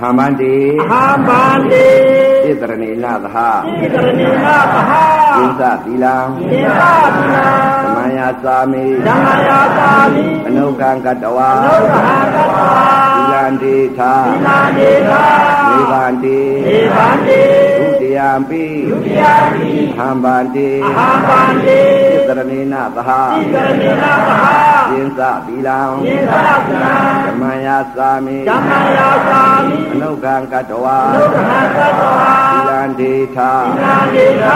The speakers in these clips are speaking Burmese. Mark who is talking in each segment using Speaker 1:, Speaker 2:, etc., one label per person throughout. Speaker 1: ဟမန္တိ
Speaker 2: ဟာပါတိ
Speaker 1: ဣတရဏိလသဟ
Speaker 2: ဣတရဏိနာပဟာ
Speaker 1: ဣသသီလံ
Speaker 2: သင်္ခာပနာ
Speaker 1: သမယသာမိ
Speaker 2: ဓမ္မယာသာမိ
Speaker 1: အနုကံကတဝါ
Speaker 2: ဒုက္ခဟာကတ္တာ
Speaker 1: သီလံတိထာ
Speaker 2: သီလဒေသာ
Speaker 1: နိဗ္ဗာန်တိ
Speaker 2: ဒေဗန္တိ
Speaker 1: ဒုတိယံပိ
Speaker 2: ဒုတိယတိ
Speaker 1: ဟမ္ဗန္တိ
Speaker 2: ဟာပါတိ
Speaker 1: ဣတရဏိနသဟ
Speaker 2: ဣတရဏိနာပဟာ
Speaker 1: ဣသသီလံ
Speaker 2: သင်္ခာပနာ
Speaker 1: သမယသာမိ
Speaker 2: ဓမ္မယာသာမိ
Speaker 1: အနုကံကတဝါ
Speaker 2: ဒုက္ခဟာကတ္တာ
Speaker 1: သီလံတိထာ
Speaker 2: သီလ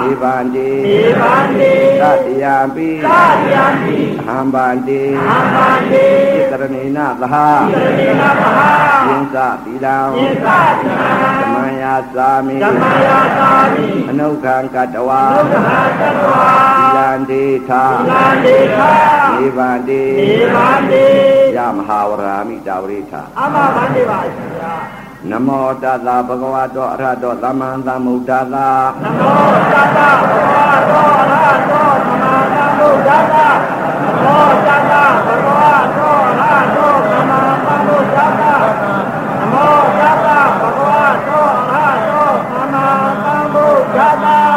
Speaker 2: ဒေ
Speaker 1: နိ
Speaker 2: သာ
Speaker 1: ဗ္ဗာန်တိ
Speaker 2: ဒေဗန္တိ
Speaker 1: သတိယံပိ
Speaker 2: သာယတိ
Speaker 1: ဟမ္ဗန္တိ
Speaker 2: ဟာပါတိ
Speaker 1: ဣတရဏိနသဟ
Speaker 2: သေနမဟာ
Speaker 1: ဣသသီလံ
Speaker 2: သေသနာ
Speaker 1: သမယသာမိ
Speaker 2: ဓမ္မယာသာမိ
Speaker 1: အနုခံကတဝါ
Speaker 2: ဒုက္ခဟာတ္တဝါ
Speaker 1: သီလံဒေထာ
Speaker 2: သာတိဟာ
Speaker 1: နိဗ္ဗာန်တေ
Speaker 2: သေမတိ
Speaker 1: ယမဟာဝရာမိတာဝရိထာ
Speaker 2: အမဘန္တိပါရှင်ဗျာ
Speaker 1: နမောတသာဘဂဝတောအရဟတောသမ္မာသမ္ဗုဒ္ဓသာ
Speaker 2: နမောတတ္တဘဂဝတောအရဟတောသမ္မာသမ္ဗုဒ္ဓသာနမောတတ္တဘဂဝတောအရဟတောသမ္မာသမ္ဗုဒ္ဓသာနမောတတ္တဘဂဝတောအရဟတောသမ္မာသမ္ဗုဒ္ဓသာ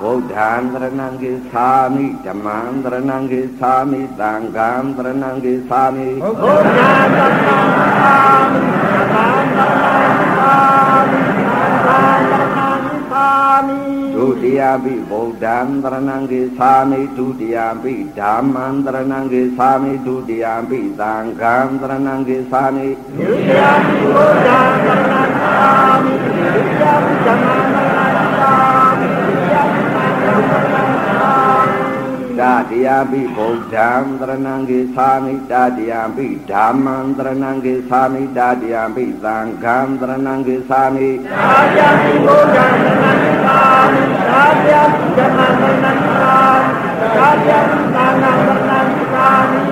Speaker 1: ဗုဒ္ဓံသရဏံကိသာမိဓမ္မံသရဏံကိသာမိသံဃံသရဏံကိသာမိ
Speaker 2: ဘုရားသခင်သာမန်သာမန်သာမန်သာမန်သာမန်
Speaker 1: ဒုတိယပိဗုဒ္ဓံသရဏံကိသာမိဒုတိယပိဓမ္မံသရဏံကိသာမိဒုတိယပိသံဃံသရဏံကိသာမိ
Speaker 2: ဒုတိယဘုရားသခင်သာမန်ဒုတိယဓမ္မသာမန်ဒုတိယသာမန်သာမန်
Speaker 1: တတိယပိဗုဒ္ဓံသရဏံကိသာမိတတိယပိဓမ္မံသရဏံကိသာမိတတိယပိသံဃံသရဏံကိသာမိ
Speaker 2: သာယံဘုရားသခင်သာမန်သာယံဓမ္မသာမန်သာယံသာနာသာမန်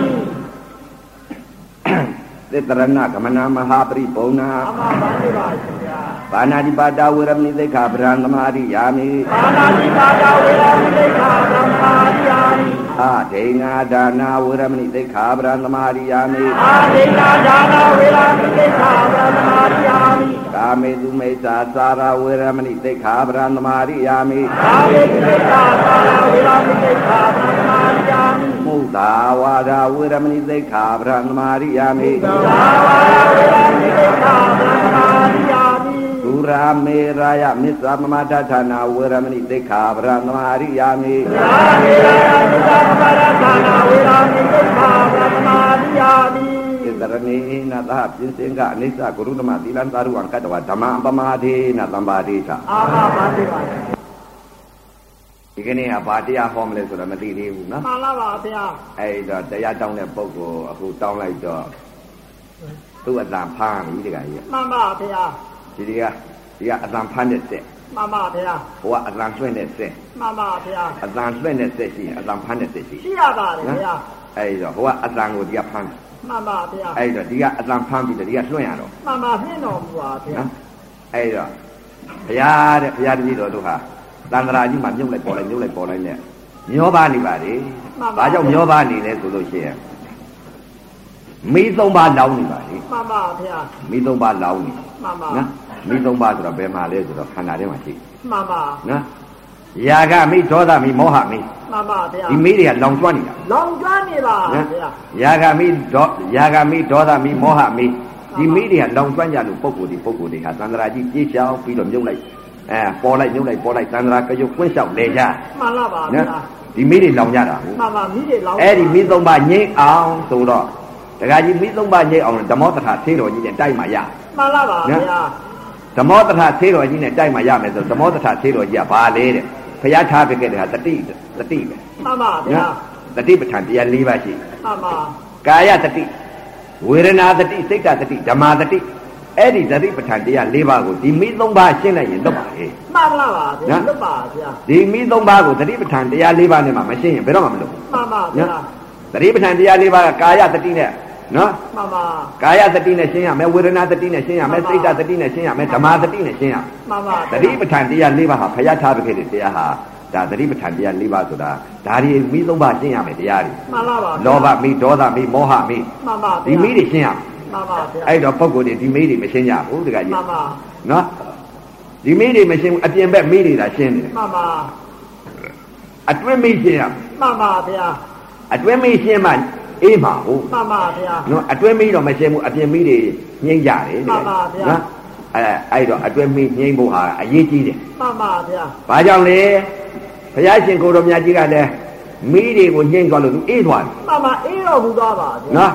Speaker 1: သေတရဏဂမနမဟာပရိဘုံနာ
Speaker 2: အမဘာနေပါရှင်ဗျာ
Speaker 1: ဘာနာတိပါတာဝရမိသိက္ခာပရံသမာရိယာမိ
Speaker 2: ဘာနာတိပါဒဝေရဝိသိက္ခာဓမ္မာယာနိ
Speaker 1: အဒိနာဒါနာဝရမိသိက္ခာပရံသမာရိယာမိ
Speaker 2: အာဒိနာဒါနာဝေရဝိသိက္ခာဓမ္မာယာနိ
Speaker 1: ကာမေသူမိစ္ဆာသာရဝရမိသိက္ခာပရံသမာရိယာမိ
Speaker 2: အာဒိနိသာသာဝေရဝိသိက္ခာဓမ္မာယာနိ
Speaker 1: မုဒ္ဒဝါဒဝရမိသိက္ခာပရံသမာရိယာမိ
Speaker 2: သာဝရဝေရဝိသိက္ခာဓမ္မာယာနိ
Speaker 1: ဒူရာမေရာယမစ္ဆာမမတဌာနာဝေရမဏိသိက္ခာပရံသမာရိယာမိ
Speaker 2: သာဝေရယနိသာမရသာနာဝေရဝိသိက္ခာဓမ္မာယာနိ
Speaker 1: ဣတရဏေနသပြင်းစင်ကအနိစ္စကရုဏမသီလံသာရုဝံကတ္တဝဓမ္မံပမာဒေနသမ္ပါဒေသ
Speaker 2: အာမဘာနေပါရှင်
Speaker 1: ဒီကနေ့ကဘာတရားဟောမလဲဆိုတော့မသိသေးဘူးနော်
Speaker 2: မှန်လားပါဗျာ
Speaker 1: အဲ့တော့တရားတောင်းတဲ့ပုဂ္ဂိုလ်အခုတောင်းလိုက်တော့သူ့အတန်ဖမ်းပြီတခါကြီး
Speaker 2: မှန်ပါဗျာ
Speaker 1: ကဒီဒီကဒီကအတန်ဖမ်းတဲ့ဆက်
Speaker 2: မှန်ပါဗျာ
Speaker 1: ဟိုကအတန်လွှင့်တဲ့ဆက်
Speaker 2: မှန်ပါဗျာ
Speaker 1: အတန်လွှင့်တဲ့ဆက်ရှိရင်အတန်ဖမ်းတဲ့ဆက်ရှိ
Speaker 2: ရှိရပါတယ်ဗျာ
Speaker 1: အဲ့တော့ဟိုကအတန်ကိုဒီကဖမ်းတယ်
Speaker 2: မှန်ပါဗျာ
Speaker 1: အဲ့တော့ဒီကအတန်ဖမ်းပြီးတော့ဒီကလွှင့်ရတော့
Speaker 2: မှန်ပါနှင်းတော်မူပါဗျာ
Speaker 1: နော်အဲ့တော့ဘုရားတဲ့ဘုရားတပည့်တော်တို့ဟာသန္တရာကြီးမှာမြုပ်လိုက်ပေါ်လိုက်မြုပ်လိုက်ပေါ်လိုက်နဲ့မျောပါနေပါလေဘာကြောင့်မျောပါနေလဲဆိုလို့ရှိရင်မိသုံးပါလောင်းနေပါလေ
Speaker 2: မှန်ပါဗျာ
Speaker 1: မိသုံးပါလောင်းနေနော်
Speaker 2: မှန်ပါ
Speaker 1: မိသုံးပါဆိုတော့ဘယ်မှာလဲဆိုတော့ခန္ဓာထဲမှာရှိ
Speaker 2: မှန်ပါ
Speaker 1: နော်ရာဂမိဒေါသမိမောဟမိ
Speaker 2: မှန်ပါဗျာ
Speaker 1: ဒီမိတွေကလောင်ကျွမ်းနေတာ
Speaker 2: လောင်ကျွမ်းနေပါ
Speaker 1: နော်
Speaker 2: ဗျာ
Speaker 1: ရာဂမိဒေါရာဂမိဒေါသမိမောဟမိဒီမိတွေကလောင်ကျွမ်းကြလို့ပုံကိုယ်တွေပုံကိုယ်တွေဟာသန္တရာကြီးပြေးချောင်းပြီးတော့မြုပ်လိုက်အဲပေါ်လိုက်မြုပ်လိုက်ပေါ်လိုက်သန္တရာကရုပ်ကွင်းလျှောက်လေကြ
Speaker 2: မှန်လားပါ
Speaker 1: နော်
Speaker 2: ဗျာ
Speaker 1: ဒီမိတွေလောင်ကြတာဟုတ်
Speaker 2: မှန်ပါမိတွေလောင်
Speaker 1: အဲ့ဒီမိသုံးပါငိမ့်အောင်ဆိုတော့ဒကာကြီးမိသုံးပါငိမ့်အောင်ဓမ္မောတထာသေးတော်ကြီးနဲ့တိုက်မှရ
Speaker 2: မှန်လားပါဗျာ
Speaker 1: ဓမ္မောတထာသေးတော်ကြီးနဲ့တိုက်မှရမယ်ဆိုတော့ဓမ္မောတထာသေးတော်ကြီးကဘာလဲတဲ့ဖျားထားပြခဲ့တဲ့ဟာတတိတတိပဲ
Speaker 2: မှန်ပါဗျာ
Speaker 1: နော်တတိပဋ္ဌာန်တရား၄ပါးရှိတယ်
Speaker 2: မှန်ပါ
Speaker 1: ကာယတတိဝေဒနာတတိစိတ်တတတိဓမ္မာတတိအဲ့ဒီတတိပဋ္ဌာန်တရား၄ပါးကိုဒီမိ၃ပါးရှင်းလိုက်ရင်တော့ပါလေ
Speaker 2: မှန်လားပါဗျာလွတ်ပါဗျာ
Speaker 1: ဒီမိ၃ပါးကိုတတိပဋ္ဌာန်တရား၄ပါးနဲ့မှမရှင်းရင်ဘယ်တော့မှမလုပ်ဘူး
Speaker 2: မှန်ပါဗျာ
Speaker 1: တတိပဋ္ဌာန်တရား၄ပါးကကာယတတိနဲ့နော်
Speaker 2: မှန်ပါ
Speaker 1: ကာယတတိနဲ့ရှင်းရမယ်ဝေဒနာတတိနဲ့ရှင်းရမယ်စိတ်တတတိနဲ့ရှင်းရမယ်ဓမ္မာတတိနဲ့ရှင်းရမယ်
Speaker 2: မှန်ပါ
Speaker 1: တတိပဋ္ဌာန်တရား၄ပါးဟာဖျားထားခဲ့တဲ့တရားဟာဒါတတိပဋ္ဌာန်တရား၄ပါးဆိုတာဒါဒီမိ၃ပါးရှင်းရမယ်တရားတွေ
Speaker 2: မှန်လားပါ
Speaker 1: လောဘမိဒေါသမိမောဟမိ
Speaker 2: မှန်ပါ
Speaker 1: ဒီမိတွေရှင်းရမယ်
Speaker 2: မ မှန်ပါဗျာ
Speaker 1: အဲ့တော့ပုံကိုယ်တွေဒီမေးတွေမရှင်းကြဘူးတခါကြီး
Speaker 2: မှန်ပါ
Speaker 1: နော်ဒီမေးတွေမရှင်းဘူးအပြင်ဘက်မေးတွေသာရှင်းတယ်
Speaker 2: မှန်ပါ
Speaker 1: အတွင်းမေးရှင်းရမယ်
Speaker 2: မှန်ပါဗျာ
Speaker 1: အတွင်းမေးရှင်းမှအေးမှာဟုတ်
Speaker 2: မှန်ပါဗျာ
Speaker 1: နော်အတွင်းမီးတော့မရှင်းဘူးအပြင်မီးတွေငိမ့်ကြတယ်
Speaker 2: မှန်ပါဗျာ
Speaker 1: အဲအဲ့တော့အတွင်းမီးငိမ့်ဖို့ဟာအရေးကြီးတယ်
Speaker 2: မှန်ပါဗျာ
Speaker 1: ။ဘာကြောင့်လဲဘုရားရှင်ကိုတော်မြတ်ကြီးကလည်းမီးတွေကိုငိမ့်သွားလို့သူအေးသွားတယ်
Speaker 2: မှန်ပါအေးတော်မူသွားပါဗျာ
Speaker 1: နော်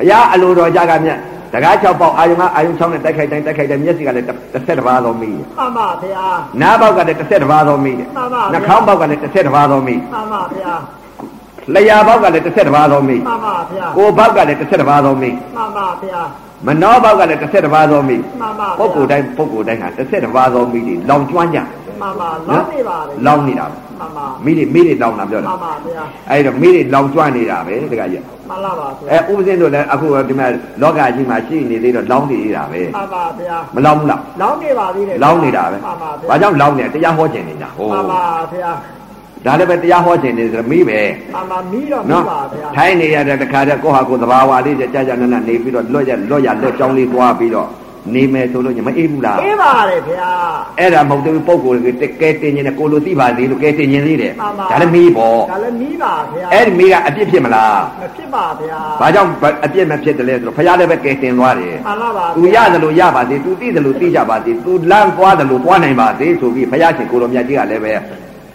Speaker 1: ဘုရားအလိုတော်ကြကမြတ်တကား၆ပေါက်အာယုံကအာယုံ၆နဲ့တိုက်ခိုက်တိုင်းတိုက်ခိုက်တိုင်းမျက်စိကလည်းတစ်ဆက်တစ်ပါးသောမီးတယ်
Speaker 2: မှန်ပါဗျာ
Speaker 1: နားပေါက်ကလည်းတစ်ဆက်တစ်ပါးသောမီးတယ်
Speaker 2: မှန်ပါဗျာ
Speaker 1: နှာခေါင်းပေါက်ကလည်းတစ်ဆက်တစ်ပါးသောမီး
Speaker 2: မှန်ပါဗျာ
Speaker 1: လျှာပေါက်ကလည်းတစ်ဆက်တစ်ပါးသောမီး
Speaker 2: မှန်ပါဗျာ
Speaker 1: ကိုယ်ပေါက်ကလည်းတစ်ဆက်တစ်ပါးသောမီး
Speaker 2: မှန်ပါဗျာ
Speaker 1: မနှောပေါက်ကလည်းတစ်ဆက်တစ်ပါးသောမီး
Speaker 2: မှန်ပါ
Speaker 1: ပုဂ္ဂိုလ်တိုင်းပုဂ္ဂိုလ်တိုင်းဟာတစ်ဆက်တစ်ပါးသောမိတွေလောင်ကျွမ်းကြတယ်
Speaker 2: မှန်ပါလောင်းနေပါလေ
Speaker 1: လောင်နေတာ
Speaker 2: မှန်ပါ
Speaker 1: မိတွေမိတွေလောင်တာပြော
Speaker 2: မှ
Speaker 1: တာ
Speaker 2: န်ပါဗျာ
Speaker 1: အဲ့တော့မိတွေလောင်ကျွမ်းနေတာပဲတခါကြီး
Speaker 2: မှန်လားပါဗျာ
Speaker 1: အဲဥပဇင်းတို့လည်းအခုဒီမှာလောကကြီးမှာရှိနေသေးတော့လောင်နေနေတာပဲ
Speaker 2: မှန်ပါဗျာ
Speaker 1: မလောင်ဘူးလား
Speaker 2: လောင်းနေပါသေးတယ်
Speaker 1: လောင်နေတာပဲ
Speaker 2: မှန်ပါဗျာ
Speaker 1: ဘာကြောင့်လောင်နေတရားဟောခြင်းနေတာ
Speaker 2: မှန်ပါဗျာ
Speaker 1: ဒါလည်းပဲတရားဟောခြင်းနေဆိုတော့မိပဲ
Speaker 2: မှန်ပါမီးတော်မူ
Speaker 1: နော်
Speaker 2: ပါဗျာ
Speaker 1: ထိုင်းနေရတဲ့တခါတည်းကိုယ့်ဟာကိုယ်သဘာဝလေးကြကြကြနနနေပြီးတော့လွတ်ရလွတ်ရလွတ်ကြောင်းလေးသွားပြီးတော့နေမယ်ဆိုလို့ညမအေးဘူးလား
Speaker 2: အေးပါလေဗျာ
Speaker 1: အဲ့ဒါမဟုတ်သေးဘူးပုံကိုယ်ကတကယ်တင်ရင်လည်းကိုယ်လိုသိပါသေးလို့ကဲတင်ရင်သေးတယ်
Speaker 2: မှန်ပါ
Speaker 1: ဒါလည်းမီးပေါ့
Speaker 2: ဒါလည်းမီးပါဗျာ
Speaker 1: အဲ့ဒီမိကအပြစ်ဖြစ်မလား
Speaker 2: မဖြစ်ပါဗျာ
Speaker 1: ဘာကြောင့်အပြစ်မဖြစ်တယ်လဲဆိုတော့ဖရားလည်းပဲကယ်တင်သွားတယ်
Speaker 2: မှန်လားပါ
Speaker 1: သူရသလိုရပါစေသူသိသလိုသိကြပါစေသူလမ်းသွားသလိုသွားနိုင်ပါစေဆိုပြီးဖရားရှင်ကိုလိုမြတ်ကြီးကလည်းပဲ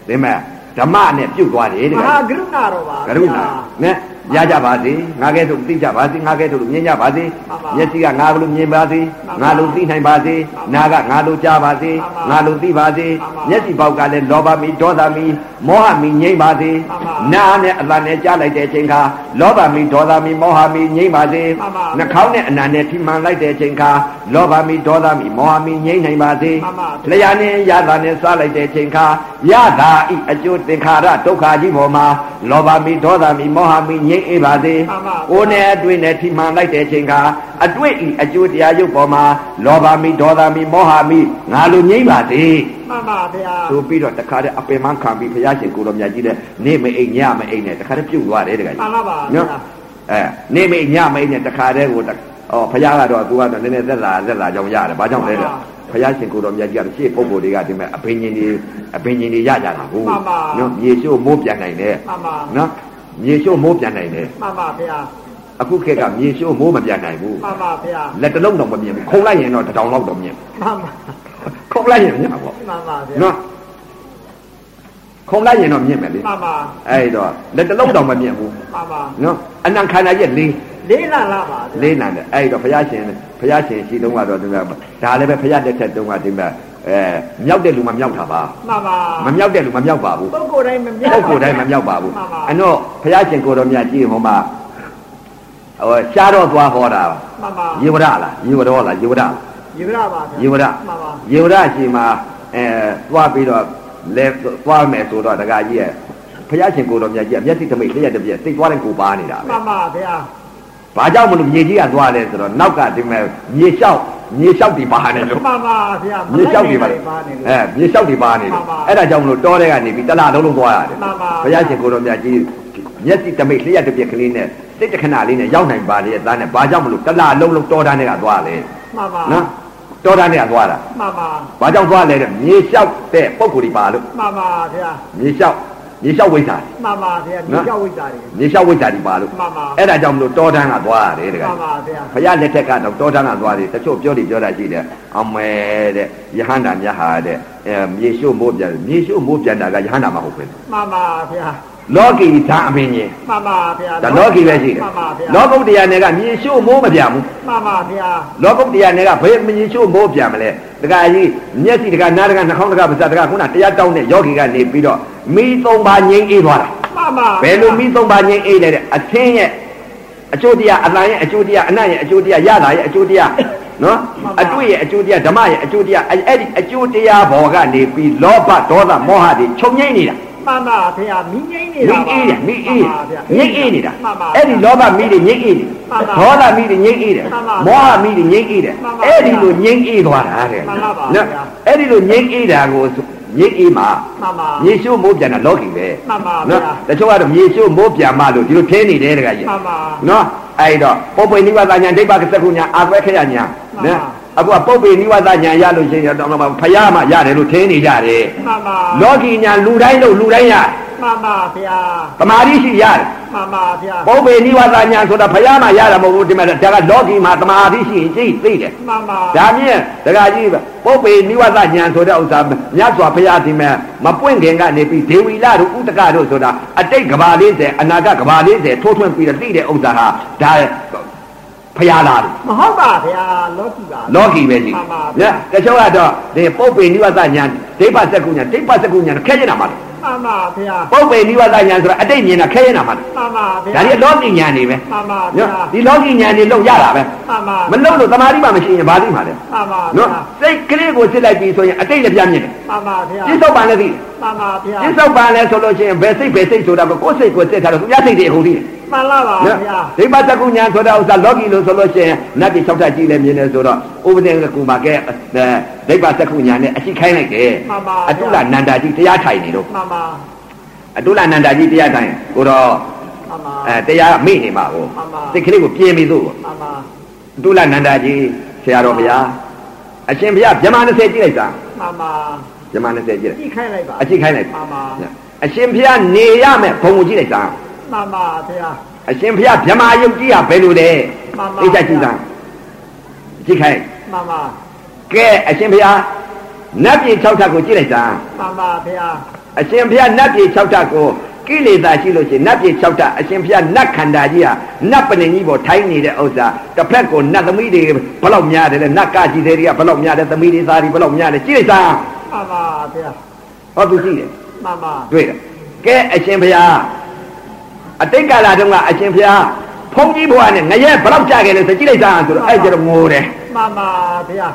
Speaker 1: ဒီမဲ့ဓမ္မနဲ့ပြုတ်သွားတယ်တ
Speaker 2: မ
Speaker 1: ကယ်
Speaker 2: ဟာကရုဏာတော်ပါ
Speaker 1: ကရုဏာနဲ့ရကြပါစေငါကဲသို့သိကြပါစေငါကဲသို့မြင်ကြပါစေမျက်စိကငါလိုမြင်ပါစေငါလိုသိနိုင်ပါစေနာကငါလိုကြားပါစေငါလိုသိပါစေမျက်စိပေါက်ကလည်းလောဘမီဒေါသမီမောဟမီငြိမ့်ပါစေ နာနဲ့အလံနဲ့ကြားလိုက်တဲ့အချိန်ခါလောဘမီဒေါသမီမောဟမီငြိမ့်ပါစေနှာခေါင်းနဲ့အနံနဲ့ထိမှန်လိုက်တဲ့အချိန်ခါလောဘမီဒေါသမီမောဟမီငြိမ့်နိုင်ပါစေလျာနဲ့ရတာနဲ့စားလိုက်တဲ့အချိန်ခါရတာဤအကျိုးသင်္ခါရဒုက္ခကြီးပေါ်မှာလောဘမီဒေါသမီမောဟမီငြိမ့်အေးပါစေကိုယ်နဲ့အတွင်းနဲ့ထိမှန်လိုက်တဲ့အချိန်ခါအတွေ့ဤအကျိုးတရားရုပ်ပေါ်မှာလောဘမီဒေါသမီမောဟမီငါလိုငြိမ့်ပါစေ
Speaker 2: မှန်ပါဗျာ
Speaker 1: ဆိုပြီးတော့တခါတည်းအပင်မခံပြီးဘုရားရှင်ကိုတော်မြတ်ကြီးလည်းနေမအိမ်ညမအိမ်နဲ့တခါတည်းပြုတ်သွားတယ်တခါ
Speaker 2: မှ
Speaker 1: ကြီး
Speaker 2: န်လားပါ
Speaker 1: နော်
Speaker 2: ဗျာ
Speaker 1: အဲနေမအိမ်ညမအိမ်နဲ့တခါတည်းကိုတအော်ဘုရားကတော့သူကတော့နည်းနည်းသက်သာသက်သာကြောင်ရတယ်ဘာကြောင့်လဲလဲ
Speaker 2: မှန်ပါ
Speaker 1: ဘုရားရှင်ကိုတော်မြတ်ကြီးကရှေ့ပုဂ္ဂိုလ်တွေကဒီမဲ့အပင်ရှင်တွေအပင်ရှင်တွေရကြတာကို
Speaker 2: မှန်ပါ
Speaker 1: နော်မြေရှို့မိုးပြန်နိုင်တယ်
Speaker 2: မှန်ပါ
Speaker 1: နော်မြေရှို့မိုးပြန်နိုင်တယ်
Speaker 2: မှန်ပါဗျာ
Speaker 1: အခုခေတ်ကမြေရှို့မိုးမပြန်နိုင်ဘူး
Speaker 2: မှန်ပါဗျာ
Speaker 1: လက်တစ်လုံးတော့မမြင်ဘူးခုံလိုက်ရင်တော့တစ်ထောင်လောက်တော့မြင်တယ်
Speaker 2: မှန်ပါ
Speaker 1: ခုံလိုက်ရင်မြင်မှာပေါ့
Speaker 2: မှန်ပါဗျာ
Speaker 1: နော်ခုံလိုက်ရင်တော့မြင်မယ်လေ
Speaker 2: မှန်ပါ
Speaker 1: အဲ့တော့လက်တစ်လုံးတောင်မမြင်ဘူး
Speaker 2: မှန်ပါ
Speaker 1: နော်အနံခန္ဓာရဲ့လေး
Speaker 2: လေးလာလာပါဗျာ
Speaker 1: လေးနံတယ်အဲ့တော့ဘုရားရှင်ဘုရားရှင်ရှိတုန်းကတော့ဒီမှာဒါလည်းပဲဘုရားတက်တဲ့တုန်းကဒီမှာအဲမြောက်တဲ့လူမမြောက်တာပါ
Speaker 2: မှန်ပါ
Speaker 1: မမြောက်တဲ့လူမမြောက်ပါဘူး
Speaker 2: ပုဂ္ဂိုလ်တိုင်းမမြောက်
Speaker 1: ပုဂ္ဂိုလ်တိုင်းမမြောက်ပါဘူး
Speaker 2: မှန်ပါ
Speaker 1: အတော့ဘုရားရှင်ကိုတော်မြတ်ကြီးဟောမှာဟောရှားတော့သွားဟောတာ
Speaker 2: မှန်ပါ
Speaker 1: ယေဝရလားယေဝရောလားယေဝရလား
Speaker 2: ယူရပါဗျာ
Speaker 1: ယေဝရ
Speaker 2: မှန်ပါ
Speaker 1: ယေဝရရှင်မှာအဲသွားပြီးတော့လဲသွားမယ်ဆိုတော့တကကြီးရဲ့ဘုရားရှင်ကိုယ်တော်မြတ်ကြီးကမျက်စိတစ်မိတ်လျှက်တစ်ပြက်သိသွားတဲ့ကိုပါနေတာ
Speaker 2: မှ
Speaker 1: ပဲ
Speaker 2: န်ပါဗျာ
Speaker 1: ။ဘာကြောင့်မလို့မြေကြီးကသွားလဲဆိုတော့နောက်ကဒီမဲ့မြေလျှောက်မြေလျှောက်ဒီပါနေလို့
Speaker 2: မှန်ပါဗျာ
Speaker 1: မြေလျှောက်ဒီပါ
Speaker 2: ပါနေလို့
Speaker 1: အဲမြေလျှောက်ဒီပါနေလို့
Speaker 2: မှန်ပါ
Speaker 1: အဲ့ဒါကြောင့်မလို့တောထဲကနေပြီးတလားလုံးလုံးသွားရတယ်
Speaker 2: မှန်ပါ
Speaker 1: ဘုရားရှင်ကိုယ်တော်မြတ်ကြီးမျက်စိတစ်မိတ်လျှက်တစ်ပြက်ကလေးနဲ့စိတ်တစ်ခဏလေးနဲ့ရောက်နိုင်ပါလေသားနဲ့ဘာကြောင့်မလို့တလားလုံးလုံးတောထဲကသွားလဲ
Speaker 2: မှန်ပါ
Speaker 1: နော်တောထဲကသွားတာ
Speaker 2: မှန်ပါ
Speaker 1: ။ဘာကြောင့်သွားလဲတဲ့မြေလျှောက်တဲ့ပုံကိုယ်ဒီပါလို့
Speaker 2: မှန်ပါဗျာ
Speaker 1: မြေလျှောက်မြေလျှောက်ဝိဇ္ဇာ
Speaker 2: မှန်ပါဗျာမြေရောက်ဝိတာတွေ
Speaker 1: မြေလျှောက်ဝိဇ္ဇာဒီပါလို့
Speaker 2: မှန်ပါ
Speaker 1: အဲ့ဒါကြောင့်မလို့တောတန်းကသွားရတယ်တကယ်
Speaker 2: မှန်ပါဗျာ
Speaker 1: ။ဘုရားလက်ထက်ကတော့တောတန်းကသွားတယ်တချို့ပြောတယ်ပြောတာရှိတယ်။အမဲတဲ့ယဟန္တာမြတ်ဟာတဲ့အဲမြေလျှို့မိုးပြန်မြေလျှို့မိုးပြန်တာကယဟန္တာမဟုတ်ဘူး
Speaker 2: မှန်ပါဗျာ
Speaker 1: ။လောကီဓာအမင်းကြီး
Speaker 2: မှန်ပါဗျာ
Speaker 1: ဒါလောကီပဲရှိတယ်
Speaker 2: မှန်ပါဗျာ
Speaker 1: ။လောကုတ္တရာနယ်ကမြေလျှို့မိုးမပြန်ဘူး
Speaker 2: မှန်ပါဗျာ
Speaker 1: ။လောကုတ္တရာနယ်ကဘယ်မြေလျှို့မိုးပြန်မလဲ။တကယ်ကြီးမျက်စိတကနားတကနှာခေါင်းတကပါးစပ်တကခုနတရားတောင်းတဲ့ယောဂီကနေပြီးတော့မိသုံးပါငြိမ်းအေးသွားတာ။
Speaker 2: မှန်ပါ
Speaker 1: ဘယ်လိုမိသုံးပါးချင်းအေးလဲတဲ့အသင်းရဲ့အကျိုးတရားအလံရဲ့အကျိုးတရားအနတ်ရဲ့အကျိုးတရားရတာရဲ့အကျိုးတရားနော်အတွေ့ရဲ့အကျိုးတရားဓမ္မရဲ့အကျိုးတရားအဲ့အဲ့ဒီအကျိုးတရားဘောကနေပြီးလောဘဒေါသမောဟတွေချုပ်ငိမ့်နေတာ
Speaker 2: မှန်ပါဗျာမိငိမ့်နေ
Speaker 1: မိ
Speaker 2: တာပါ
Speaker 1: အေးတယ်မိအေး
Speaker 2: မှန်ပါဗျာ
Speaker 1: ငိမ့်အေးနေတာ
Speaker 2: မှန်ပါ
Speaker 1: အဲ့ဒီလောဘမိတွေငိမ့်အေးတယ်
Speaker 2: မှန်ပါ
Speaker 1: ဒေါသမိတွေငိမ့်အေးတယ်
Speaker 2: မှန်ပါ
Speaker 1: မောဟမိတွေငိမ့်အေးတယ်
Speaker 2: မှန်ပါ
Speaker 1: အဲ့ဒီလိုငိမ့်အေးသွားတာတဲ့
Speaker 2: မှန်ပါပါဗျာ
Speaker 1: အဲ့ဒီလိုငိမ့်အေးတာကိုငိမ့်အေးမှာ
Speaker 2: မှန်ပါ
Speaker 1: မြေရှုမိုးပြန်တာလောကီပဲ
Speaker 2: မှန်ပါဗျာ
Speaker 1: နော်တချို့ကတော့မြေရှုမိုးပြန်မှလို့ဒီလိုထင်းနေတယ်တခါကြီး
Speaker 2: မှန်ပါ
Speaker 1: နော် အဲ့တော့ပုပ်ပေနိဝသညာဒိဗ္ဗကစ္စကုညာအာသွဲခရညာ
Speaker 2: မှန်
Speaker 1: နော်
Speaker 2: ပါ
Speaker 1: အခုကပုပ်ပေနိဝသညာရလို့ရှိရင်တော့မှဖယားမှရတယ်လို့ထင်နေကြတယ်
Speaker 2: မှန်ပါ
Speaker 1: လောကီညာလူတိုင်းလို့လူတိုင်းရ
Speaker 2: မှန်ပါဗျာ
Speaker 1: သမာဓိရှိရတယ်
Speaker 2: မှန်ပါဗျာ
Speaker 1: ပုပ်ပေနိဝသညာဆိုတာဖယားမှရတာမဟုတ်ဘူးဒီမှာဒါကလောကီမှာသမာဓိရှိရင်ကြိတ်သိတယ်
Speaker 2: မှန်ပါ
Speaker 1: ဒါမြင်ဒကာကြီးပုပ်ပေနိဝသညာဆိုတဲ့ဥစ္စာမြတ်စွာဘုရားဒီမှာမပွင့်ခင်ကနေပြီးဒေဝီလာတို့ဥတကတို့ဆိုတာအတိတ်ကဘာ40အနာဂတ်ကဘာ40ထိုးထွင်းပြီးတော့သိတဲ့ဥစ္စာဟာဒါဘုရားလာတယ်
Speaker 2: မဟုတ်ပါဗျာလောကီပါ
Speaker 1: လောကီပဲကြီးနော်တချို့ကတော့ဒီပုပ်ပေနိဝသညာဒိဗ္ဗစကုညာဒိဗ္ဗစကုညာခဲရင်တာမှာ
Speaker 2: မှန်ပါဗျာ
Speaker 1: ပုပ်ပေနိဝသညာဆိုတာအတိတ်မြင်တာခဲရင်တာမှာ
Speaker 2: မှန်ပါဗျာ
Speaker 1: ဒါကြီးလောကီညာနေပဲ
Speaker 2: မှန်ပါဗျာ
Speaker 1: နော်ဒီလောကီညာနေလုံရတာပဲ
Speaker 2: မှန်ပါ
Speaker 1: မလုံလို့သမာဓိမှမရှိရင်ဘာသိမှာလဲ
Speaker 2: မှန်ပါဗျာ
Speaker 1: နော်စိတ်ကလေးကိုစစ်လိုက်ပြီဆိုရင်အတိတ်လည်းပြန်မြင်တယ်
Speaker 2: မှန်ပါဗျာ
Speaker 1: ပြစ္ဆုတ်ပန်လည်းသိတယ်
Speaker 2: မှန်ပါဗျာ
Speaker 1: ပြစ္ဆုတ်ပန်လည်းဆိုလို့ရှိရင်ဘယ်စိတ်ဘယ်စိတ်ဆိုတာကိုကိုယ်စိတ်ကိုစစ်ထားတော့သူများစိတ်တွေအကုန်သိတယ်
Speaker 2: မှန်လားပါ
Speaker 1: နော်
Speaker 2: ဗျာ
Speaker 1: ဒိဗ္ဗတကုညာဆိုတဲ့ဥစ္စာလောကီလို့ဆိုလို့ရှိရင်နတ်ပြည်၆ထပ်ကြီးလည်းမြင်တယ်ဆိုတော့ဥပဒေကူမှာကဲအဲဒိဗ္ဗတကုညာနဲ့အရှိခိုင်းလိုက်တယ်အတုလနန္ဒာကြီးတရားထိုင်နေတော့
Speaker 2: မှန်ပါ
Speaker 1: အတုလနန္ဒာကြီးတရားထိုင်ကိုတော့
Speaker 2: မှန်ပါ
Speaker 1: အဲတရားမေ့နေမှာကို
Speaker 2: မှန်ပါ
Speaker 1: စိတ်ကလေးကိုပြင်ပြီးသို့ကို
Speaker 2: မှန်ပါ
Speaker 1: အတုလနန္ဒာကြီးဆရာတော်ဘုရားအရှင်ဘုရားမြမ20ကြည့်လိုက်တာ
Speaker 2: မှန်ပါ
Speaker 1: မြမ20ကြည့်လိုက်
Speaker 2: ကြည့်ခိုင်းလိုက်ပါ
Speaker 1: အကြည့်ခိုင်းလိုက်
Speaker 2: မှန်ပါ
Speaker 1: အရှင်ဘုရားနေရမယ်ဘုံကိုကြည့်လိုက်သား
Speaker 2: မှန်ပါဗျာ
Speaker 1: အရှင်ဘုရားဗြဟ္မာယုတ်ကြီးကဘယ်လိုလဲ
Speaker 2: မှန်ပါ
Speaker 1: သိကြကြည့်သားကြည့်ခိုင်း
Speaker 2: မှန်ပါ
Speaker 1: ကဲအရှင်ဘုရားနတ်ပြည်6ထပ်ကိုကြည့်လိုက်သား
Speaker 2: မှန်ပါဗျာ
Speaker 1: အရှင်ဘုရားနတ်ပြည်6ထပ်ကိုကိလေသာရှိလို့ရှိရင်နတ်ပြည်6ထပ်အရှင်ဘုရားနတ်ခန္ဓာကြီးဟာနတ်ပဏိကြီးပေါ်ထိုင်းနေတဲ့ဥစ္စာတစ်ဖက်ကိုနတ်သမီးတွေဘယ်လောက်များတယ်လဲနတ်ကကြီးတွေတွေကဘယ်လောက်များတယ်သမီးတွေသားတွေဘယ်လောက်များတယ်ကြည့်လိုက်သား
Speaker 2: မှန်ပါဗျာ
Speaker 1: ဟောသူကြည့်တယ်
Speaker 2: မှန်ပါ
Speaker 1: တွေ့တယ်ကဲအရှင်ဘုရားအတိတ်ကာလတုန်းကအရှင်ဘုရားဖုန်ကြီးဘုရားနဲ့ငရဲဘယ်လောက်ကြာခဲ့လဲဆိုကြည့်လိုက်သားဆိုတော့အဲ့ကျတော့ငိုတယ်
Speaker 2: မှန်ပါဗျာ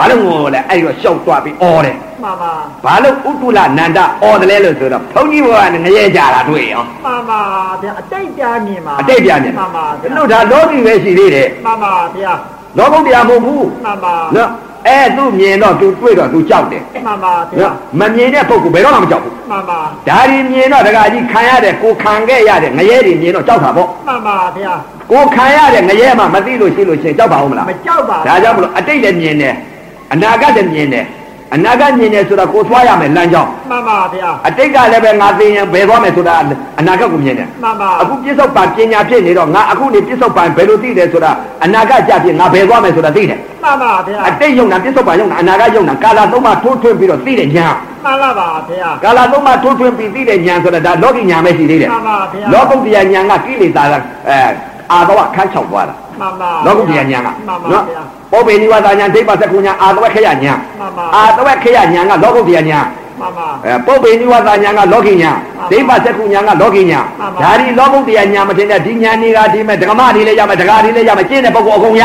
Speaker 1: ဘာလို့ငိုလဲအဲ့တော့ရှောက်သွားပြီးအော်တယ်
Speaker 2: မှန်ပါ
Speaker 1: ဘာလို့ဥတုလနန္ဒအော်တယ်လဲလို့ဆိုတော့ဖုန်ကြီးဘုရားနဲ့ငရဲကြာတာတွေ့ရော
Speaker 2: မှန်ပါဗျာအတိတ်ကြာမြင်ပါ
Speaker 1: အတိတ်ပြန်ပြန်
Speaker 2: မှန်ပါဗျာ
Speaker 1: ဘလို့ဒါလောကီပဲရှိသေးတယ်
Speaker 2: မှန်ပါဗျာ
Speaker 1: လောကုတ္တရာမဟုတ်ဘူး
Speaker 2: မှန်ပါ
Speaker 1: နော်အဲ့သူမြင်တော့သူတွေ့တော့သူကြောက်တယ်
Speaker 2: မှန်ပါဗျာ
Speaker 1: နော်မမြင်တဲ့ပုဂ္ဂိုလ်ဘယ်တော့မှမကြောက်ဘူး
Speaker 2: မှန်ပါ
Speaker 1: ဒါတွေမြင်တော့တခါကြီးခံရတယ်ကိုခံခဲ့ရတယ်ငရဲတွေမြင်တော့ကြောက်တာပေါ့
Speaker 2: မှန်ပါဗျာ
Speaker 1: ကိုခံရတဲ့ငရဲမှမသိလို့ရှိလို့ရှရင်ကြောက်ပါဦးမလား
Speaker 2: မကြောက်ပါ
Speaker 1: ဒါကြောင့်မလို့အတိတ်လည်းမြင်တယ်အနာဂတ်လည်းမြင်တယ်အနာဂတ်မြင်တယ်ဆိုတော့ကိုသွားရမယ်လမ်းကြောင်း
Speaker 2: မှန်ပါဗျာ
Speaker 1: အတိတ်ကလည်းပဲငါသိရင်ဘယ်သွားမယ်ဆိုတာအနာဂတ်ကိုမြင်တယ်
Speaker 2: မှန်ပါ
Speaker 1: အခုပြစ္ဆုတ်ပံပညာဖြစ်နေတော့ငါအခုနေပြစ္ဆုတ်ပံဘယ်လိုသိတယ်ဆိုတာအနာဂတ်ကြဖြစ်ငါဘယ်သွားမယ်ဆိုတာသိတယ်
Speaker 2: မှန်ပါဗျာ
Speaker 1: အတိတ်ယုံတာပြစ္ဆုတ်ပံယုံတာအနာဂတ်ယုံတာကာလသုံးပါထိုးထွင်းပြီးတော့သိတဲ့ညာ
Speaker 2: မှန်လားပါဗျာ
Speaker 1: ကာလသုံးပါထိုးထွင်းပြီးသိတဲ့ညာဆိုတာဒါလောကီညာပဲရှိသေးတယ်
Speaker 2: မှန်ပါဗျာ
Speaker 1: လောကုတ္တရာညာကကိလေသာကအဲအာဘဝခန်းချောက်သွားတာ
Speaker 2: မှန်ပါ
Speaker 1: လောကုတ္တရာညာက
Speaker 2: မှန်ပါဗျာ
Speaker 1: ပောပေနိဝါဒညာဒိဗ္ဗစကုညာအာတဝက်ခရညာ
Speaker 2: မှန်ပါ
Speaker 1: အာတဝက်ခရညာကလောကုတ္တရာညာ
Speaker 2: မှန်ပါ
Speaker 1: အဲပောပေနိဝါဒညာကလောကိညာဒိဗ္ဗစကုညာကလောကိညာ
Speaker 2: မှန်ပါ
Speaker 1: ဒါဒီလောကုတ္တရာညာမတင်တဲ့ဒီညာနေကဒီမဲ့ဓမ္မတွေလည်းရမယ်ဒကာတွေလည်းရမယ်ကျင့်တဲ့ပုဂ္ဂိုလ်အကုန်ရ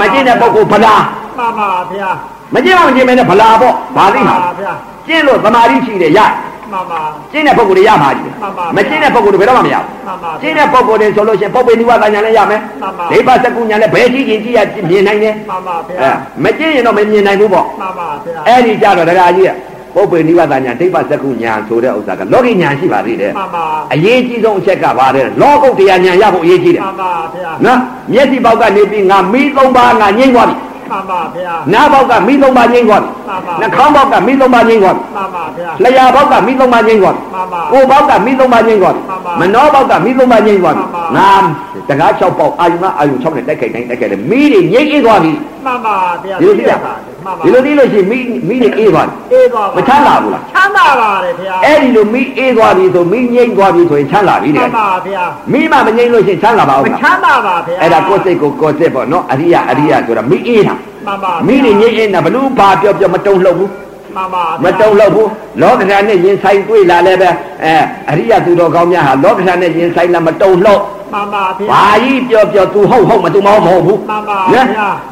Speaker 1: မကျင့်တဲ့ပုဂ္ဂိုလ်ဗလာ
Speaker 2: မှန်ပါဗျာ
Speaker 1: မကျင့်မှမကျင့်မဲနဲ့ဗလာပေါ့ဘာသိမှာ
Speaker 2: ဗျာ
Speaker 1: ကျင့်လို့သမာဓိရှိတယ်ရ
Speaker 2: မှန်ပါ
Speaker 1: ကျင့်တဲ့ပုဂ္ဂိုလ်တွေရမှာကြီး
Speaker 2: မှန်ပါ
Speaker 1: မကျင့်တဲ့ပုဂ္ဂိုလ်တွေဘယ်တော့မှမရဘူး
Speaker 2: မှန်ပါ
Speaker 1: ကျင်း
Speaker 2: ဗျာ
Speaker 1: တဲ့ပုံကိုယ်တွေဆိုလို့ရှိရင်ပုပ်ပေနိဝါဒညာလည်းရမယ်
Speaker 2: မှန်ပါ
Speaker 1: ဒိဗ္ဗစကုညာလည်းဘယ်ကြည့်ရင်ကြည့်ရမြင်နိုင်တယ်
Speaker 2: မှန်ပါဗျာ
Speaker 1: အဲမကျင်းရင်တော့မမြင်နိုင်ဘူးပေါ့
Speaker 2: မှန်ပါဗျာ
Speaker 1: အဲ့ဒီကြတော့ဒကာကြီးကပုပ်ပေနိဝါဒညာဒိဗ္ဗစကုညာဆိုတဲ့ဥစ္စာကလောကီညာရှိပါသေးတယ်
Speaker 2: မှန်ပါ
Speaker 1: အရေးကြီးဆုံးအချက်ကပါတယ်လောကုတ်တရားညာရဖို့အရေးကြီးတယ်
Speaker 2: မှန်ပါဗျာ
Speaker 1: နော်မျက်စိပေါက်ကနေပြီးငါမီးသုံးပါးငါငိမ့်သွားပြီ
Speaker 2: မှန်ပါဗျာ
Speaker 1: နားပေါက်ကမီးသုံးပါးငိမ့်သွားပြီ
Speaker 2: မှန်ပါ
Speaker 1: နှာခေါင်းပေါက်ကမီးသုံးပါးငိမ့်သွားပြီ
Speaker 2: မှန်ပါဗျာ
Speaker 1: လျှာပေါက်ကမီးသုံးပါးငိမ့်သွားပြီ
Speaker 2: မှန်ပါ
Speaker 1: ကိုဘောက်ကမိသုံးပါးငိမ့်သွားပြီ
Speaker 2: မှန်ပါ
Speaker 1: မနှောဘောက်ကမိသုံးပါးငိမ့်သွားပြီ
Speaker 2: မှန်ပါ
Speaker 1: ငါတကား6ပေါက်အာယုမအာယု6နဲ့တိုက်ခိုက်တိုင်းတိုက်ခိုက်တယ်မိတွေငိမ့်အေးသွားပြီ
Speaker 2: မှန်ပါဗျာ
Speaker 1: ဒီလိုသိရပါ
Speaker 2: မှန်ပါ
Speaker 1: ဒီလိုသိလို့ရှိရင်မိမိတွေအေးသွားပြီ
Speaker 2: အေးပါ
Speaker 1: မချမ်းသာဘူးလား
Speaker 2: ချမ်းသာပါတယ်ဗျာ
Speaker 1: အဲ့ဒီလိုမိအေးသွားပြီဆိုမိငိမ့်သွားပြီဆိုရင်ချမ်းသာပြီ
Speaker 2: မှ
Speaker 1: တဲ့
Speaker 2: န်ပါဗျာ
Speaker 1: မိမှမငိမ့်လို့ရှိရင်ချမ်းသာပါ
Speaker 2: မ
Speaker 1: ဦးလား
Speaker 2: ချမ်းသာပါဗျာ
Speaker 1: အဲ့ဒါကိုယ်စိတ်ကိုကိုယ်စိတ်ပေါ့နော်အရိယအရိယဆိုတာမိအေးတာ
Speaker 2: မှန်ပါ
Speaker 1: မိတွေငိမ့်အေးတာဘလို့ဘာပြောပြောမတုံ့လှုပ်ဘူး
Speaker 2: မှန်ပါ
Speaker 1: မတုံလို့ဘူးလောကဓာတ်နဲ့ယင်ဆိုင်တွေ့လာလည်းပဲအဲအရိယသူတော်ကောင်းများဟာလောကဓာတ်နဲ့ယင်ဆိုင်လာမတုံလို့
Speaker 2: မှန်ပါဗျာ
Speaker 1: ဘာကြီးပြောပြောသူဟုတ်ဟုတ်မသူမဟုတ်မဟုတ်ဘူး
Speaker 2: မှန်ပါဗျာ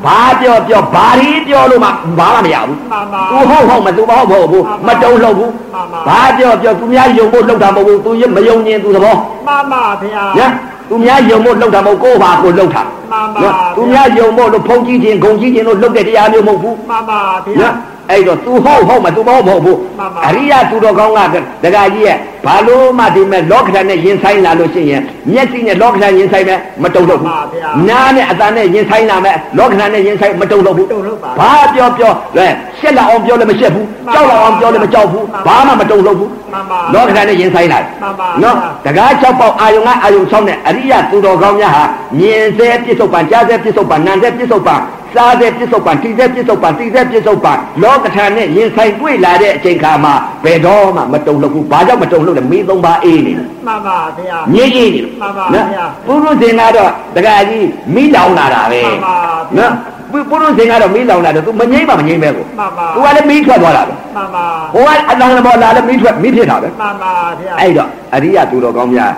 Speaker 1: ဘာပြောပြောဘာကြီးပြောလို့မှဘာမှမရဘူး
Speaker 2: မှန်ပါ
Speaker 1: သူဟုတ်ဟုတ်မသူမဟုတ်မဟုတ်ဘူး
Speaker 2: မှ
Speaker 1: မ
Speaker 2: န်ပါ
Speaker 1: တုံလို့ဘူး
Speaker 2: မှန်ပါ
Speaker 1: ဘာပြောပြောသူများယုံဖို့လှုပ်တာမဟုတ်ဘူးသူမယုံရင်သူသဘော
Speaker 2: မှန်ပါဗျာ
Speaker 1: ညာသူများယုံဖို့လှုပ်တာမဟုတ်ကိုယ့်ဘာကိုယ်လှုပ်တာ
Speaker 2: မှန်ပါ
Speaker 1: နော်သူများယုံဖို့လို့ဖုံးကြီးခြင်းဂုံကြီးခြင်းလို့လှုပ်တဲ့တရားမျိုးမဟုတ်ဘူး
Speaker 2: မှန်ပါဗျာ
Speaker 1: နော်အဲ့တော့ तू ဟုတ်ဟုတ်မ तू မဟုတ်မဟုတ်ဘူး
Speaker 2: မှန်ပါ
Speaker 1: အရိယသူတော်ကောင်းကဒကာကြီးရဲ့ ဘာလို့မှဒီမဲ့လောကဓာတ်နဲ့ရင်ဆိုင်လာလို့ရှိရင်မျက်စိနဲ့လောကဓာတ်ရင်ဆိုင်မယ်မတုံ့တော့ဘူး
Speaker 2: မှန်ပါဗျာ
Speaker 1: နားနဲ့အသံနဲ့ရင်ဆိုင်လာမယ်လောကဓာတ်နဲ့ရင်ဆိုင်မတုံ့တော့ဘူး
Speaker 2: တုံ့လှုပ်ပါ
Speaker 1: ဘာပြောပြောလဲရှက်လာအောင်ပြောလည်းမရှက်ဘူး
Speaker 2: မှန်
Speaker 1: ကြောက်
Speaker 2: ပါ
Speaker 1: လာအောင်ပြောလည်းမကြောက်ဘူး
Speaker 2: မှန်
Speaker 1: ဘာ
Speaker 2: ပါ
Speaker 1: မှမတုံ့တော့ဘူး
Speaker 2: မှန်ပါ
Speaker 1: လောကဓာတ်နဲ့ရင်ဆိုင်လာ
Speaker 2: မှန်ပါ
Speaker 1: နော်တကား၆ပေါက်အာယုံကအာယုံ၆နဲ့အရိယသူတော်ကောင်းများဟာမြင်စေပြစ္ဆုတ်ပံကြားစေပြစ္ဆုတ်ပံနာမ်စေပြစ္ဆုတ်ပံစားစေပြစ္ဆုတ်ပံထိစေပြစ္ဆုတ်ပံသိစေပြစ္ဆုတ်ပံလောကဓာတ်နဲ့ရင်ဆိုင်တွေ့လာတဲ့အချိန်ခါမှာဘယ်တော့မှမတုံ့လို့ဘူးဘာကြောင့်မတုံ့လို့လဲမီးသုံးပါအေးနေတယ်
Speaker 2: မှန်ပါဗျာ
Speaker 1: မြေကြီးနေ
Speaker 2: မှန်ပါဗျာ
Speaker 1: ပုရုဇင်ကတော့တကကြီးမိလောင်လာတာပဲ
Speaker 2: မှန်ပါဗျာ
Speaker 1: နော်ပုပုရုဇင်ကတော့မိလောင်လာတယ် तू မငိမ့်ပါမငိမ့်ပဲကို
Speaker 2: မှန်ပါ
Speaker 1: သူကလည်းမိထွက်သွားတာပဲ
Speaker 2: မှန်ပါ
Speaker 1: ဟိုကအလောင်းဘောလာလည်းမိထွက်မိဖြစ်တာပဲ
Speaker 2: မှန်ပါဗျာ
Speaker 1: အဲ့တော့အရိယသူတော်ကောင်းများ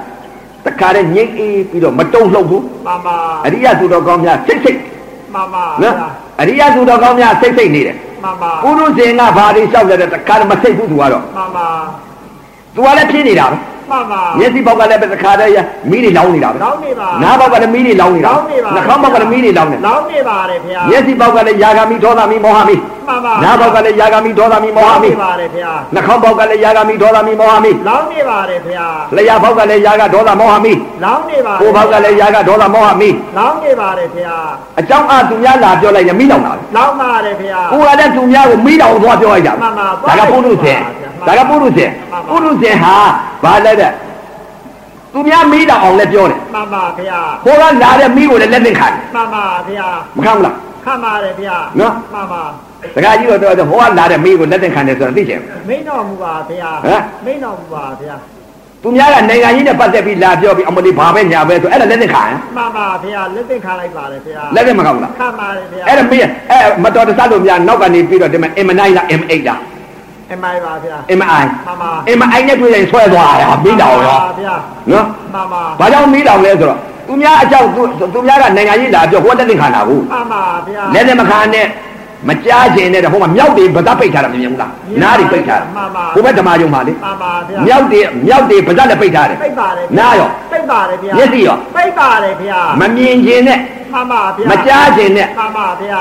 Speaker 1: တခါတည်းငိမ့်အေးပြီးတော့မတုံ့လှုပ်ဘူး
Speaker 2: မှန်ပါ
Speaker 1: အရိယသူတော်ကောင်းများစိတ်စိတ်
Speaker 2: မှန်ပါ
Speaker 1: နော်အရိယသူတော်ကောင်းများစိတ်စိတ်နေတယ်
Speaker 2: မှန်ပါ
Speaker 1: ပုရုဇင်ကဘာတွေလျှောက်လဲတဲ့တခါတည်းမစိတ်ဘူးသူကတော့
Speaker 2: မှန်ပါ
Speaker 1: तू ကလည်းဖြစ်နေတာပဲ
Speaker 2: မှန်ပါ
Speaker 1: မျက်စိဘောက်ကလည်းပဲတစ်ခါတည်းရမီးတွေလောင်းနေတာပဲ
Speaker 2: လောင်းနေပါ
Speaker 1: နားဘောက်ကလည်းမီးတွေလောင်းနေတာ
Speaker 2: လောင်းနေပါ
Speaker 1: နှာခေါင်းဘောက်ကလည်းမီးတွေလောင်းနေ
Speaker 2: လောင်းနေပါတယ်ခင်ဗျာ
Speaker 1: မျက်စိဘောက်ကလည်းယာဂမီဒေါသမီမောဟမီ
Speaker 2: မှန်ပါ
Speaker 1: နားဘောက်ကလည်းယာဂမီဒေါသမီမောဟ
Speaker 2: လောင်း
Speaker 1: မီ
Speaker 2: နေပါတယ်ခင်ဗျာ
Speaker 1: နှာခေါင်းဘောက်ကလည်းယာဂမီဒေါသမီမောဟမီ
Speaker 2: လောင်းနေပါတယ်ခင်ဗျာ
Speaker 1: လျှာဘောက်ကလည်းယာဂဒေါသမောဟမီ
Speaker 2: လောင်းနေပါ
Speaker 1: ကိုယ်ဘောက်ကလည်းယာဂဒေါသမောဟမီ
Speaker 2: လောင်းနေပါတယ်ခင်ဗျာ
Speaker 1: အကြောင်းအသူများလာပြောလိုက်ရင်မီးလောင်တာပဲ
Speaker 2: လောင်းပါတယ်ခင်ဗျာ
Speaker 1: ကိုယ်ကလည်းသူများကိုမီးလောင်သွားပြောလိုက်တာ
Speaker 2: မှန်ပါ
Speaker 1: ဒါကပုရုဇဉ်ဒါက
Speaker 2: မှန်ပါ
Speaker 1: ပုရုဇဉ်
Speaker 2: မှန်
Speaker 1: ပု
Speaker 2: ပါ
Speaker 1: ရုဇဉ်ဟာဘာလဲတဲ့သူများမီးလောင်အောင်လည်းပြောတယ်
Speaker 2: မှန်ပါခင်ဗျာ
Speaker 1: ကိုယ်ကလာတဲ့မီးကိုလည်းလက်သိခံတယ်
Speaker 2: မှန်ပါခင်ဗျာ
Speaker 1: မခံဘူးလား
Speaker 2: ခံပါတယ်ခင်ဗျာ
Speaker 1: နော်
Speaker 2: မှန်ပါ
Speaker 1: ။တခါကြီးတော့တော့ဟိုကလာတဲ့မိကိုလက်တင်ခံတယ်ဆိုတာသိချင်တယ်
Speaker 2: မိန်တော်မူပါခင်ဗျာ
Speaker 1: ဟမ်
Speaker 2: မိန်တော်မူပါခင်ဗျာ
Speaker 1: ။သူများကနိုင်ငံကြီးနဲ့ပတ်သက်ပြီးလာပြောပြီးအမလီဘာပဲညာပဲဆိုအဲ့ဒါလက်တင်ခံရင်
Speaker 2: မှန်ပါခင်ဗျာလက်သင်ခံလိုက်ပါတယ်ခင်ဗျာ
Speaker 1: လက်တင်မကောင်းဘူးလား
Speaker 2: ခံပါတယ်ခင်ဗျာ
Speaker 1: ။အဲ့ဒါမိရဲ့အဲ့မတော်တဆလို့များနောက်ကနေပြီးတော့ဒီမှာ M9 လား M8 လား
Speaker 2: အမိုင်ပါခင်ဗျာ
Speaker 1: MI
Speaker 2: မှန်ပါ
Speaker 1: MI နဲ့တွေ့ရင်ဆွဲသွားတာမိတောင်ရော
Speaker 2: မှန်ပါခင်ဗျာ
Speaker 1: နော်
Speaker 2: မှန်ပါ
Speaker 1: ။ဘာကြောင့်မိတောင်လဲဆိုတော့သူများအကြောက်သူသူများကနိုင်ငံကြီးလာပြောဟိုကလက်တင်ခံတာကို
Speaker 2: မှန်ပါခင်ဗျာ
Speaker 1: လက်တင်မခံနဲ့မကြားကျင်တဲ့ဟိုမှာမြောက်တွေဗဒပိတ်ထားတာမမြင်ဘူးလား
Speaker 2: မြင်ပါ
Speaker 1: နားတွေပိတ်ထား
Speaker 2: မှန်ပါ
Speaker 1: ဟိုဘက်ဓမ္မယုံပါလေ
Speaker 2: မှန်ပါခင်ဗျာ
Speaker 1: မြောက်တွေမြောက်တွေဗဒလည်းပိတ်ထားတယ်
Speaker 2: ပိတ်ပါတယ်ဗျာ
Speaker 1: နားရော
Speaker 2: ပိတ်ပါတယ်ဗျာ
Speaker 1: မျက်စိရော
Speaker 2: ပိတ်ပါတယ်ဗျာ
Speaker 1: မမြင်ခြင်းနဲ့
Speaker 2: မှန်ပါဗျာ
Speaker 1: မကြားခြင်းနဲ့
Speaker 2: မှန်ပါဗျာ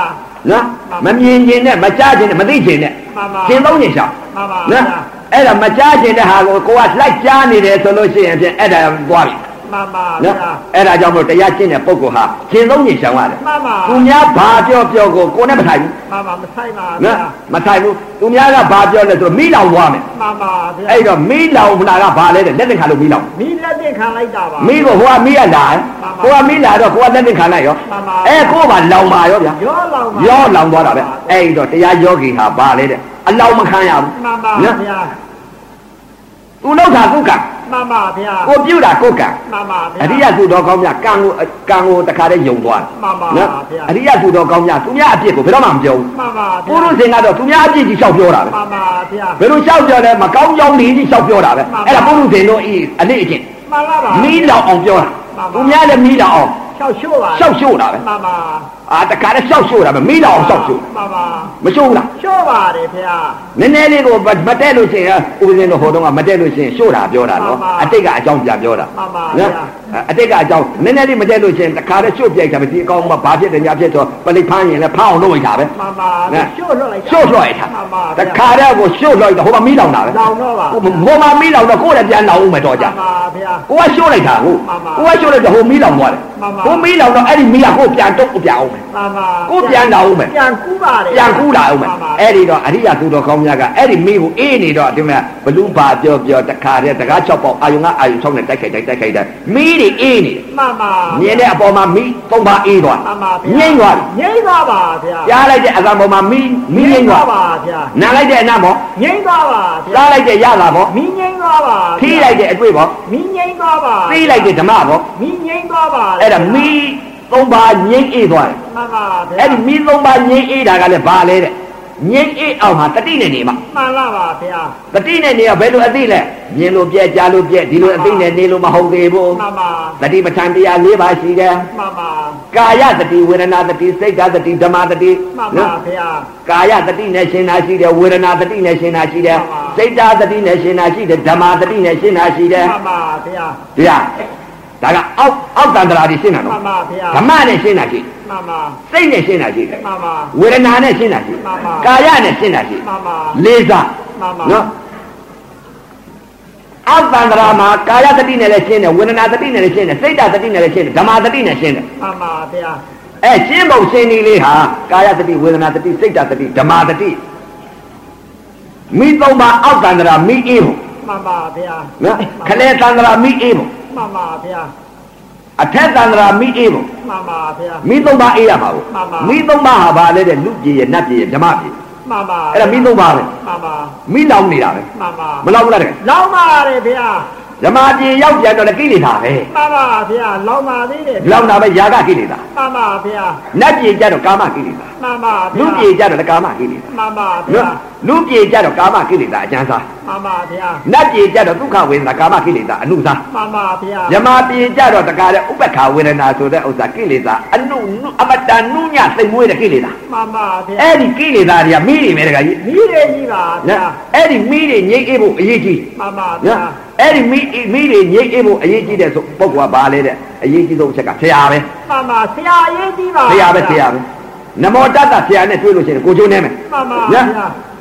Speaker 1: နော်မ
Speaker 2: မှန်ပါ
Speaker 1: မြင်ခြင်းနဲ့မကြားခြင်းနဲ့မသိခြင်းနဲ့
Speaker 2: မှန်ပါ
Speaker 1: ရှင်းသုံးခြင်းရှောင်း
Speaker 2: မှန်ပါ
Speaker 1: နော်
Speaker 2: ဗျာ
Speaker 1: အဲ့ဒါမကြားခြင်းတဲ့ဟာကိုကိုကလိုက်ကြားနေတယ်ဆိုလို့ရှိရင်ဖြင့်အဲ့ဒါသွားပြီ
Speaker 2: မှန်ပါ
Speaker 1: နော်
Speaker 2: ဗျာ
Speaker 1: အဲ့ဒါကြောင့်မလို့တရားရှင်းတဲ့ပုဂ္ဂိုလ်ဟာရှင်းသုံးခြင်းရှောင်းရတယ်
Speaker 2: မှန်ပါ
Speaker 1: သူများဘာပြောပြောကိုကိုနဲ့မထိုင်ဘူး
Speaker 2: မှန်ပါမဆိုင်ပါဗျာ
Speaker 1: နော်မထိုင်ဘူးသူများကဘာပြောလဲဆိုတော့မိလောင်သွားမယ်
Speaker 2: မှန်ပါဗျာ
Speaker 1: အဲ့တော့မိလောင်လာကဘာလဲတဲ့လက်သင်္ခါလို့မိလောင်
Speaker 2: မိလက်တင်ခံလိုက်တာပါ
Speaker 1: မိကိုဟိုကမိရလာတယ်
Speaker 2: မှန်
Speaker 1: ဟို
Speaker 2: ပါ
Speaker 1: ကမိလာတော့ကိုကလက်သင်္ခါလိုက်ရော
Speaker 2: မှန်ပါ
Speaker 1: အဲ့ကိုကဘာလောင်ပါရောဗျာ
Speaker 2: ရော
Speaker 1: ရောလော
Speaker 2: လောင်ပါ
Speaker 1: င်သွားတာပဲအဲ့ဒီတော့တရားယောဂီဟာဘာလဲတဲ့အလောင်းမခံရဘူး
Speaker 2: မှန်ပါဗျာ
Speaker 1: သူလောက်တာကုကံ
Speaker 2: မှန်ပါဗျာ
Speaker 1: ကိုပြုတ်တာကုကံ
Speaker 2: မှန်ပါဗျာ
Speaker 1: အရိယသူတော်ကောင်းများကံကိုကံကိုတခါတည်းယုံသွား
Speaker 2: မှန်ပါ
Speaker 1: တယ်
Speaker 2: ဗျာ
Speaker 1: အရိယသူတော်ကောင်းများသူများအပြစ်ကိုဘယ်တော့မှမပြောဘူး
Speaker 2: မှန်ပါ
Speaker 1: ပု
Speaker 2: ဗျာ
Speaker 1: ရုဇဉ်ကတော့သူများအပြစ်ကြီးလျှောက်ပြောတာပဲ
Speaker 2: မှန်ပါဗျာ
Speaker 1: ဘယ်လိုလျှောက်ပြောလဲမကောင်းကြောင်းလေးကြီးလျှောက်ပြောတာပဲ
Speaker 2: မှန်ပါ
Speaker 1: အဲ့ဒါပုရုဇဉ်တို့ဤအလေးအကျင့်
Speaker 2: မှန်လားပါ
Speaker 1: မီးလောင်အောင်ပြောတာ
Speaker 2: မှန်ပါ
Speaker 1: သူများလည်းမီးလောင်အောင်
Speaker 2: ရှောက်ရှို့ပါ
Speaker 1: လျှောက်ရှို့တာပဲ
Speaker 2: မှန်ပါ
Speaker 1: အာတခါတည်းလျှောက်ရှို့တာပဲမီးလောင်အောင်လျှောက်ရှို့
Speaker 2: မှန်ပါ
Speaker 1: မရှို့ဘူးလား
Speaker 2: ရှို့ပါတယ်ဗျာ
Speaker 1: နည်းနည်းလေးကိုမတက်လို့ရှိရင်ဥပဒေတော်ဟောတော့ကမတက်လို့ရှိရင်ရှို့တာပြောတာနော်
Speaker 2: မှန်ပါ
Speaker 1: အတိတ်ကအကြောင်းပြန်ပြောတာ
Speaker 2: မှန်ပါ
Speaker 1: နော်
Speaker 2: ဗျာ
Speaker 1: အတိတ်ကအကြောင်းနည်းနည်းလေးမတက်လို့ရှိရင်တခါတည်းရှို့ပြိုက်တာပဲဒီအကောင်ကဘာဖြစ်တယ်ညာဖြစ်တော့ပလိတ်ဖမ်းရင်လည်းဖမ်းအောင်လုပ်လိုက်တာပဲ
Speaker 2: မှန်ပါဗျာရှို့လွှတ်လိုက်တာ
Speaker 1: ရှို့လွှတ်ရတာ
Speaker 2: မှန်ပါ
Speaker 1: တ
Speaker 2: ဗျာ
Speaker 1: ခါတည်းကိုရှို့လွှတ်ရတာဟိုမှာမီးလောင်တာပဲ
Speaker 2: လောင်တော့ပါ
Speaker 1: ဟိုဟိုမှာမီးလောင်တော့ကိုယ်လည်းပြန်လောင်အောင်ပဲတော့ကြ
Speaker 2: မှန်ပါဗျာ
Speaker 1: ကိုကရှို့လိုက်တာကို
Speaker 2: မှန်ပါ
Speaker 1: ကိုကရှို့လိုက်တော့ဟိုမီးလောင်သွားတယ်
Speaker 2: မှန်ပါ
Speaker 1: ဟိုမီးလောင်တော့အဲ့ဒီမီးကကိုယ်ပြန်တော့ကိုပြန်အောင်ပဲ
Speaker 2: မှန်ပါ
Speaker 1: ကိုပြန်လာဦးမယ်
Speaker 2: ပြန်ကူးပါတယ်
Speaker 1: ပြန်ကူးလာဦးမယ်
Speaker 2: မှန်ပါ
Speaker 1: အဲ့ဒီတော့အရိယသူတော်ကောင်းများကအဲ့ဒီမိကိုအေးနေတော့ဒီမှာဘလူပါပြောပြောတခါတည်းတကား၆ပေါက်အာယုံကအာယုံ၆နဲ့တိုက်ခိုက်တိုက်တိုက်ခိုက်တိုက်မိတွေအေးနေတယ်
Speaker 2: မှန်ပါ
Speaker 1: မြင်တဲ့အပေါ်မှာမိသုံးပါအေးသွား
Speaker 2: မှန်ပါ
Speaker 1: ငြိမ့်သွား
Speaker 2: ငိမ့်သွားပါဗျာ
Speaker 1: ပြီကြားလိုက်တဲ့အသံပေါ်မှာမိမိငြိမ့်သွား
Speaker 2: ပါဗျာ
Speaker 1: နားလိုက်တဲ့အနားပေါ်
Speaker 2: ငိမ့်သွားပါဗျာ
Speaker 1: ကြားလိုက်တဲ့ရတာပေါ်
Speaker 2: မီးငိမ့်သွားပါ
Speaker 1: ထိလိုက်တဲ့အတွေ့ပေါ်
Speaker 2: မီးငိမ့်သွားပါ
Speaker 1: သိလိုက်တဲ့ဓမ္မပေါ်
Speaker 2: မီးငိမ့်သွားပါ
Speaker 1: အဲ့ဒါမိသုံးပါငြိမ့်အေးသွားတယ်
Speaker 2: မှန်ပါဗျာ
Speaker 1: အဲ့ဒီမိသုံးပါငြိမ့်အေးတာကလည်းဘာလဲတဲ့ငြိမ့်အေးအောင်ဟာတတိနဲ့နေမှာ
Speaker 2: မှန်လားပါဗျာ
Speaker 1: တတိနဲ့နေရဘယ်လိုအသိလဲမြင်လို့ပြက်ကြားလို့ပြက်ဒီလိုအသိနဲ့နေလို့မဟုတ်သေးဘူး
Speaker 2: မှန်ပါ
Speaker 1: တတိပဋ္ဌာန်တရား၄ပါးရှိတယ်
Speaker 2: မှန်ပါ
Speaker 1: ကာယတတိဝေဒနာတတိစိတ်ဓာတ်တတိဓမ္မတတိ
Speaker 2: မှန်ပါဗျာ
Speaker 1: ကာယတတိနဲ့ရှင်နာရှိတယ်ဝေဒနာတတိနဲ့ရှင်နာရှိတယ်
Speaker 2: မှန်ပါ
Speaker 1: စိတ်ဓာတ်တတိနဲ့ရှင်နာရှိတယ်ဓမ္မတတိနဲ့ရှင်နာရှိတယ်
Speaker 2: မှန်ပါဗျာ
Speaker 1: တရားဒါကအောက်အောက်တန္တရာတွေရှင်းတာ
Speaker 2: မှ
Speaker 1: နော်
Speaker 2: န်ပါဗျာ
Speaker 1: ဓမ္မနဲ့ရှင်းတာရှိတယ်
Speaker 2: မှန်ပါ
Speaker 1: စိတ်နဲ့ရှင်းတာရှိတယ်
Speaker 2: မှန်ပါ
Speaker 1: ဝေဒနာနဲ့ရှင်းတာရှိတယ်
Speaker 2: မှန်ပါ
Speaker 1: ကာယနဲ့ရှင်းတာရှိတယ်
Speaker 2: မှန်ပါ
Speaker 1: လေးစား
Speaker 2: မှန်ပါ
Speaker 1: နော် အတ္တန္တရာမှာကာယတတိနဲ့လည်းရှင်းတယ်ဝေဒနာတတိနဲ့လည်းရှင်းတယ်စိတ်ဓာတ်တတိနဲ့လည်းရှင်းတယ်ဓမ္မတတိနဲ့ရှင်းတယ်
Speaker 2: မှန်ပါဗျာ
Speaker 1: အဲရှင်းပုံရှင်းနည်းလေးဟာကာယတတိဝေဒနာတတိစိတ်ဓာတ်တတိဓမ္မတတိမိသုံးပါအတ္တန္တရာမိအေးဖို့
Speaker 2: မှန်ပါဗျာ
Speaker 1: နော်ခလေတန္တရာမိအေးဖို့
Speaker 2: မှန်ပါဗျာ
Speaker 1: အထက်တန္တရာမိအေးဖို့
Speaker 2: မှန်ပါဗျာ
Speaker 1: မိသုံးပါအေးရမှာကို
Speaker 2: မှန်ပါ
Speaker 1: မိသုံးပါဟာဘာလဲတဲ့လူပြည်ရဲ့နတ်ပြည်ရဲ့ဓမ္မပြည်
Speaker 2: မှန်ပါ
Speaker 1: အဲ့ဒါမိသုံးပါပဲ
Speaker 2: မှန်ပါ
Speaker 1: မိလောင်နေတာပဲ
Speaker 2: မှန်ပါ
Speaker 1: မလောက်ဘူးလားတကယ်
Speaker 2: လောင်းပါလေဗျာ
Speaker 1: ဓမ္မပြည်ရောက်ပြန်တော့လည်းကိလေသာပဲ
Speaker 2: မှန်ပါဗျာလောင်းပါသေးတယ်
Speaker 1: လောင်တာပဲຢာကကိလေသာ
Speaker 2: မှန်ပါဗျာ
Speaker 1: နတ်ပြည်ကြတော့ကာမကိလေသာ
Speaker 2: မှန်ပါ
Speaker 1: လူ
Speaker 2: ဗျာ
Speaker 1: ပြေကြတော့လည်းကာမကိလေသာ
Speaker 2: မှန်ပါဗျာ
Speaker 1: နော်လူပြေကြတော့ကာမကိလေသာအကျမ်းစား
Speaker 2: မှန်ပါဗျာ
Speaker 1: နတ်ပြေကြတော့ဒုက္ခဝေဒနာကာမကိလေသာအနုစား
Speaker 2: မှန်ပါဗျာ
Speaker 1: ယမပြေကြတော့တကားတဲ့ဥပ္ပခာဝေဒနာဆိုတဲ့ဥစ္စာကိလေသာအနုနုအမတန်နုညသိမ်မွေးတဲ့ကိလေသာ
Speaker 2: မှန်ပါဗျာ
Speaker 1: အဲ့ဒီကိလေသာတွေကမိတွေပဲတကားကြီး
Speaker 2: မိရေကြီးပါဗျာ
Speaker 1: နော်အဲ့ဒီမိတွေငြိမ့်အေးဖို့အရေးကြီး
Speaker 2: မှန်ပါဗျာ
Speaker 1: နော်အဲ့ဒီမိမိတွေငြိမ့်အေးဖို့အရေးကြီးတဲ့ဆိုပုဂ္ဂိုလ်ကဘာလဲတဲ့အရေးကြီးဆုံးအချက်ကဖရာပဲ
Speaker 2: မှန်ပါဆရာအရေးကြီးပါ
Speaker 1: ဖရာပဲဖ
Speaker 2: ဗျာ
Speaker 1: ရာပဲနမောတတ္တဖရာနဲ့တွေ့လို့ရှိရင်ကိုကျိုးနေမယ်
Speaker 2: မှန်ပါ
Speaker 1: နော်
Speaker 2: ဗျာ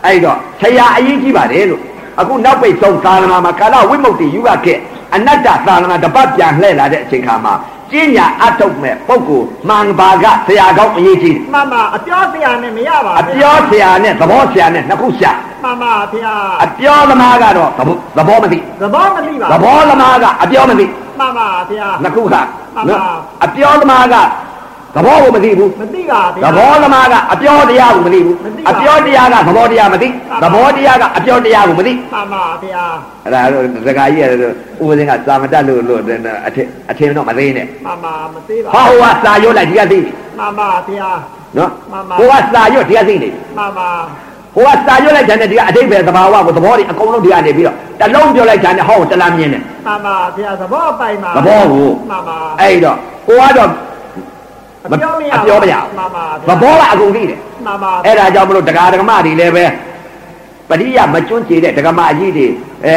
Speaker 1: အဲ့တော့ဆရာအရေးကြီးပါတယ်လို့အခုနောက်ပိတ်ဆုံးသာသနာမှာကာလဝိမု ക്തി ယူကခဲ့အနတ္တသာသနာတစ်ပတ်ပြန်လှည့်လာတဲ့အချိန်ခါမှာကျင့်ညာအထုတ်မဲ့ပုဂ္ဂိုလ်မှန်ပါကဆရာကောင်းအရေးကြီးတယ်
Speaker 2: မှန်ပါအပြောဆရာနဲ့မရပါ
Speaker 1: အ
Speaker 2: ဘူး
Speaker 1: ပြောဆရာနဲ့သဘောဆရာနဲ့နှစ်ခုရှာ
Speaker 2: မှန်ပါဗျာ
Speaker 1: အပြောသမားကတော့သဘောသဘောမသိ
Speaker 2: သဘောမသိပါ
Speaker 1: သ
Speaker 2: ဘူး
Speaker 1: ဘောသမားကအပြောမသိ
Speaker 2: မှန်ပါဗျာ
Speaker 1: နှစ်ခုက
Speaker 2: မှန်ပါ
Speaker 1: နော်အပြောသမားကသဘောကိုမသိဘူး
Speaker 2: မသိပါဗျာ
Speaker 1: သဘောသမားကအပြောတရားကိုမသိဘူး
Speaker 2: မသိပါဘူး
Speaker 1: အပြောတရားကသဘောတရားမသိ
Speaker 2: မှန်ပါ
Speaker 1: သဘောတရားကအပြောတရားကိုမသိ
Speaker 2: မှန်ပါဗျာ
Speaker 1: အဲ့ဒါတော့စကားကြီးရတယ်ဆိုဥပဒေကသာမတက်လို့လို့တဲ့နော်အထင်အထင်တော့မသိနဲ့
Speaker 2: မှန်ပါမသိပါ
Speaker 1: ဟောဟိုကစာရွတ်လိုက်ဒီကသိနေ
Speaker 2: မှန်ပါဗျာ
Speaker 1: နော်
Speaker 2: မှန်ပါ
Speaker 1: ဟိုကစာရွတ်ဒီကသိနေ
Speaker 2: မှန်ပါ
Speaker 1: ဟိုကစာရွတ်လိုက်တယ်နဲ့ဒီကအတိတ်ပဲသဘာဝကိုသဘောတွေအကုန်လုံးဒီကနေပြီးတော့တစ်လုံးပြောလိုက်တယ်နဲ့ဟောကိုတစ်လားမြင်တယ်
Speaker 2: မှန်ပါဗျာသဘောအပိုင်ပါ
Speaker 1: သဘောကို
Speaker 2: မှန်ပါ
Speaker 1: အဲ့တော့ကိုကတော့
Speaker 2: အပြောမရ
Speaker 1: အပြောမရဘူး
Speaker 2: မှန်ပါ
Speaker 1: သ
Speaker 2: ဗျာ
Speaker 1: ဘောကအကုန်သိတယ်
Speaker 2: မှန်ပါ
Speaker 1: အဲ့ဒါကြောင့်မလို့တရားဓမ္မတွေလည်းပဲပရိယမကျွန့်ချေတဲ့ဓမ္မအကြီးတွေအဲ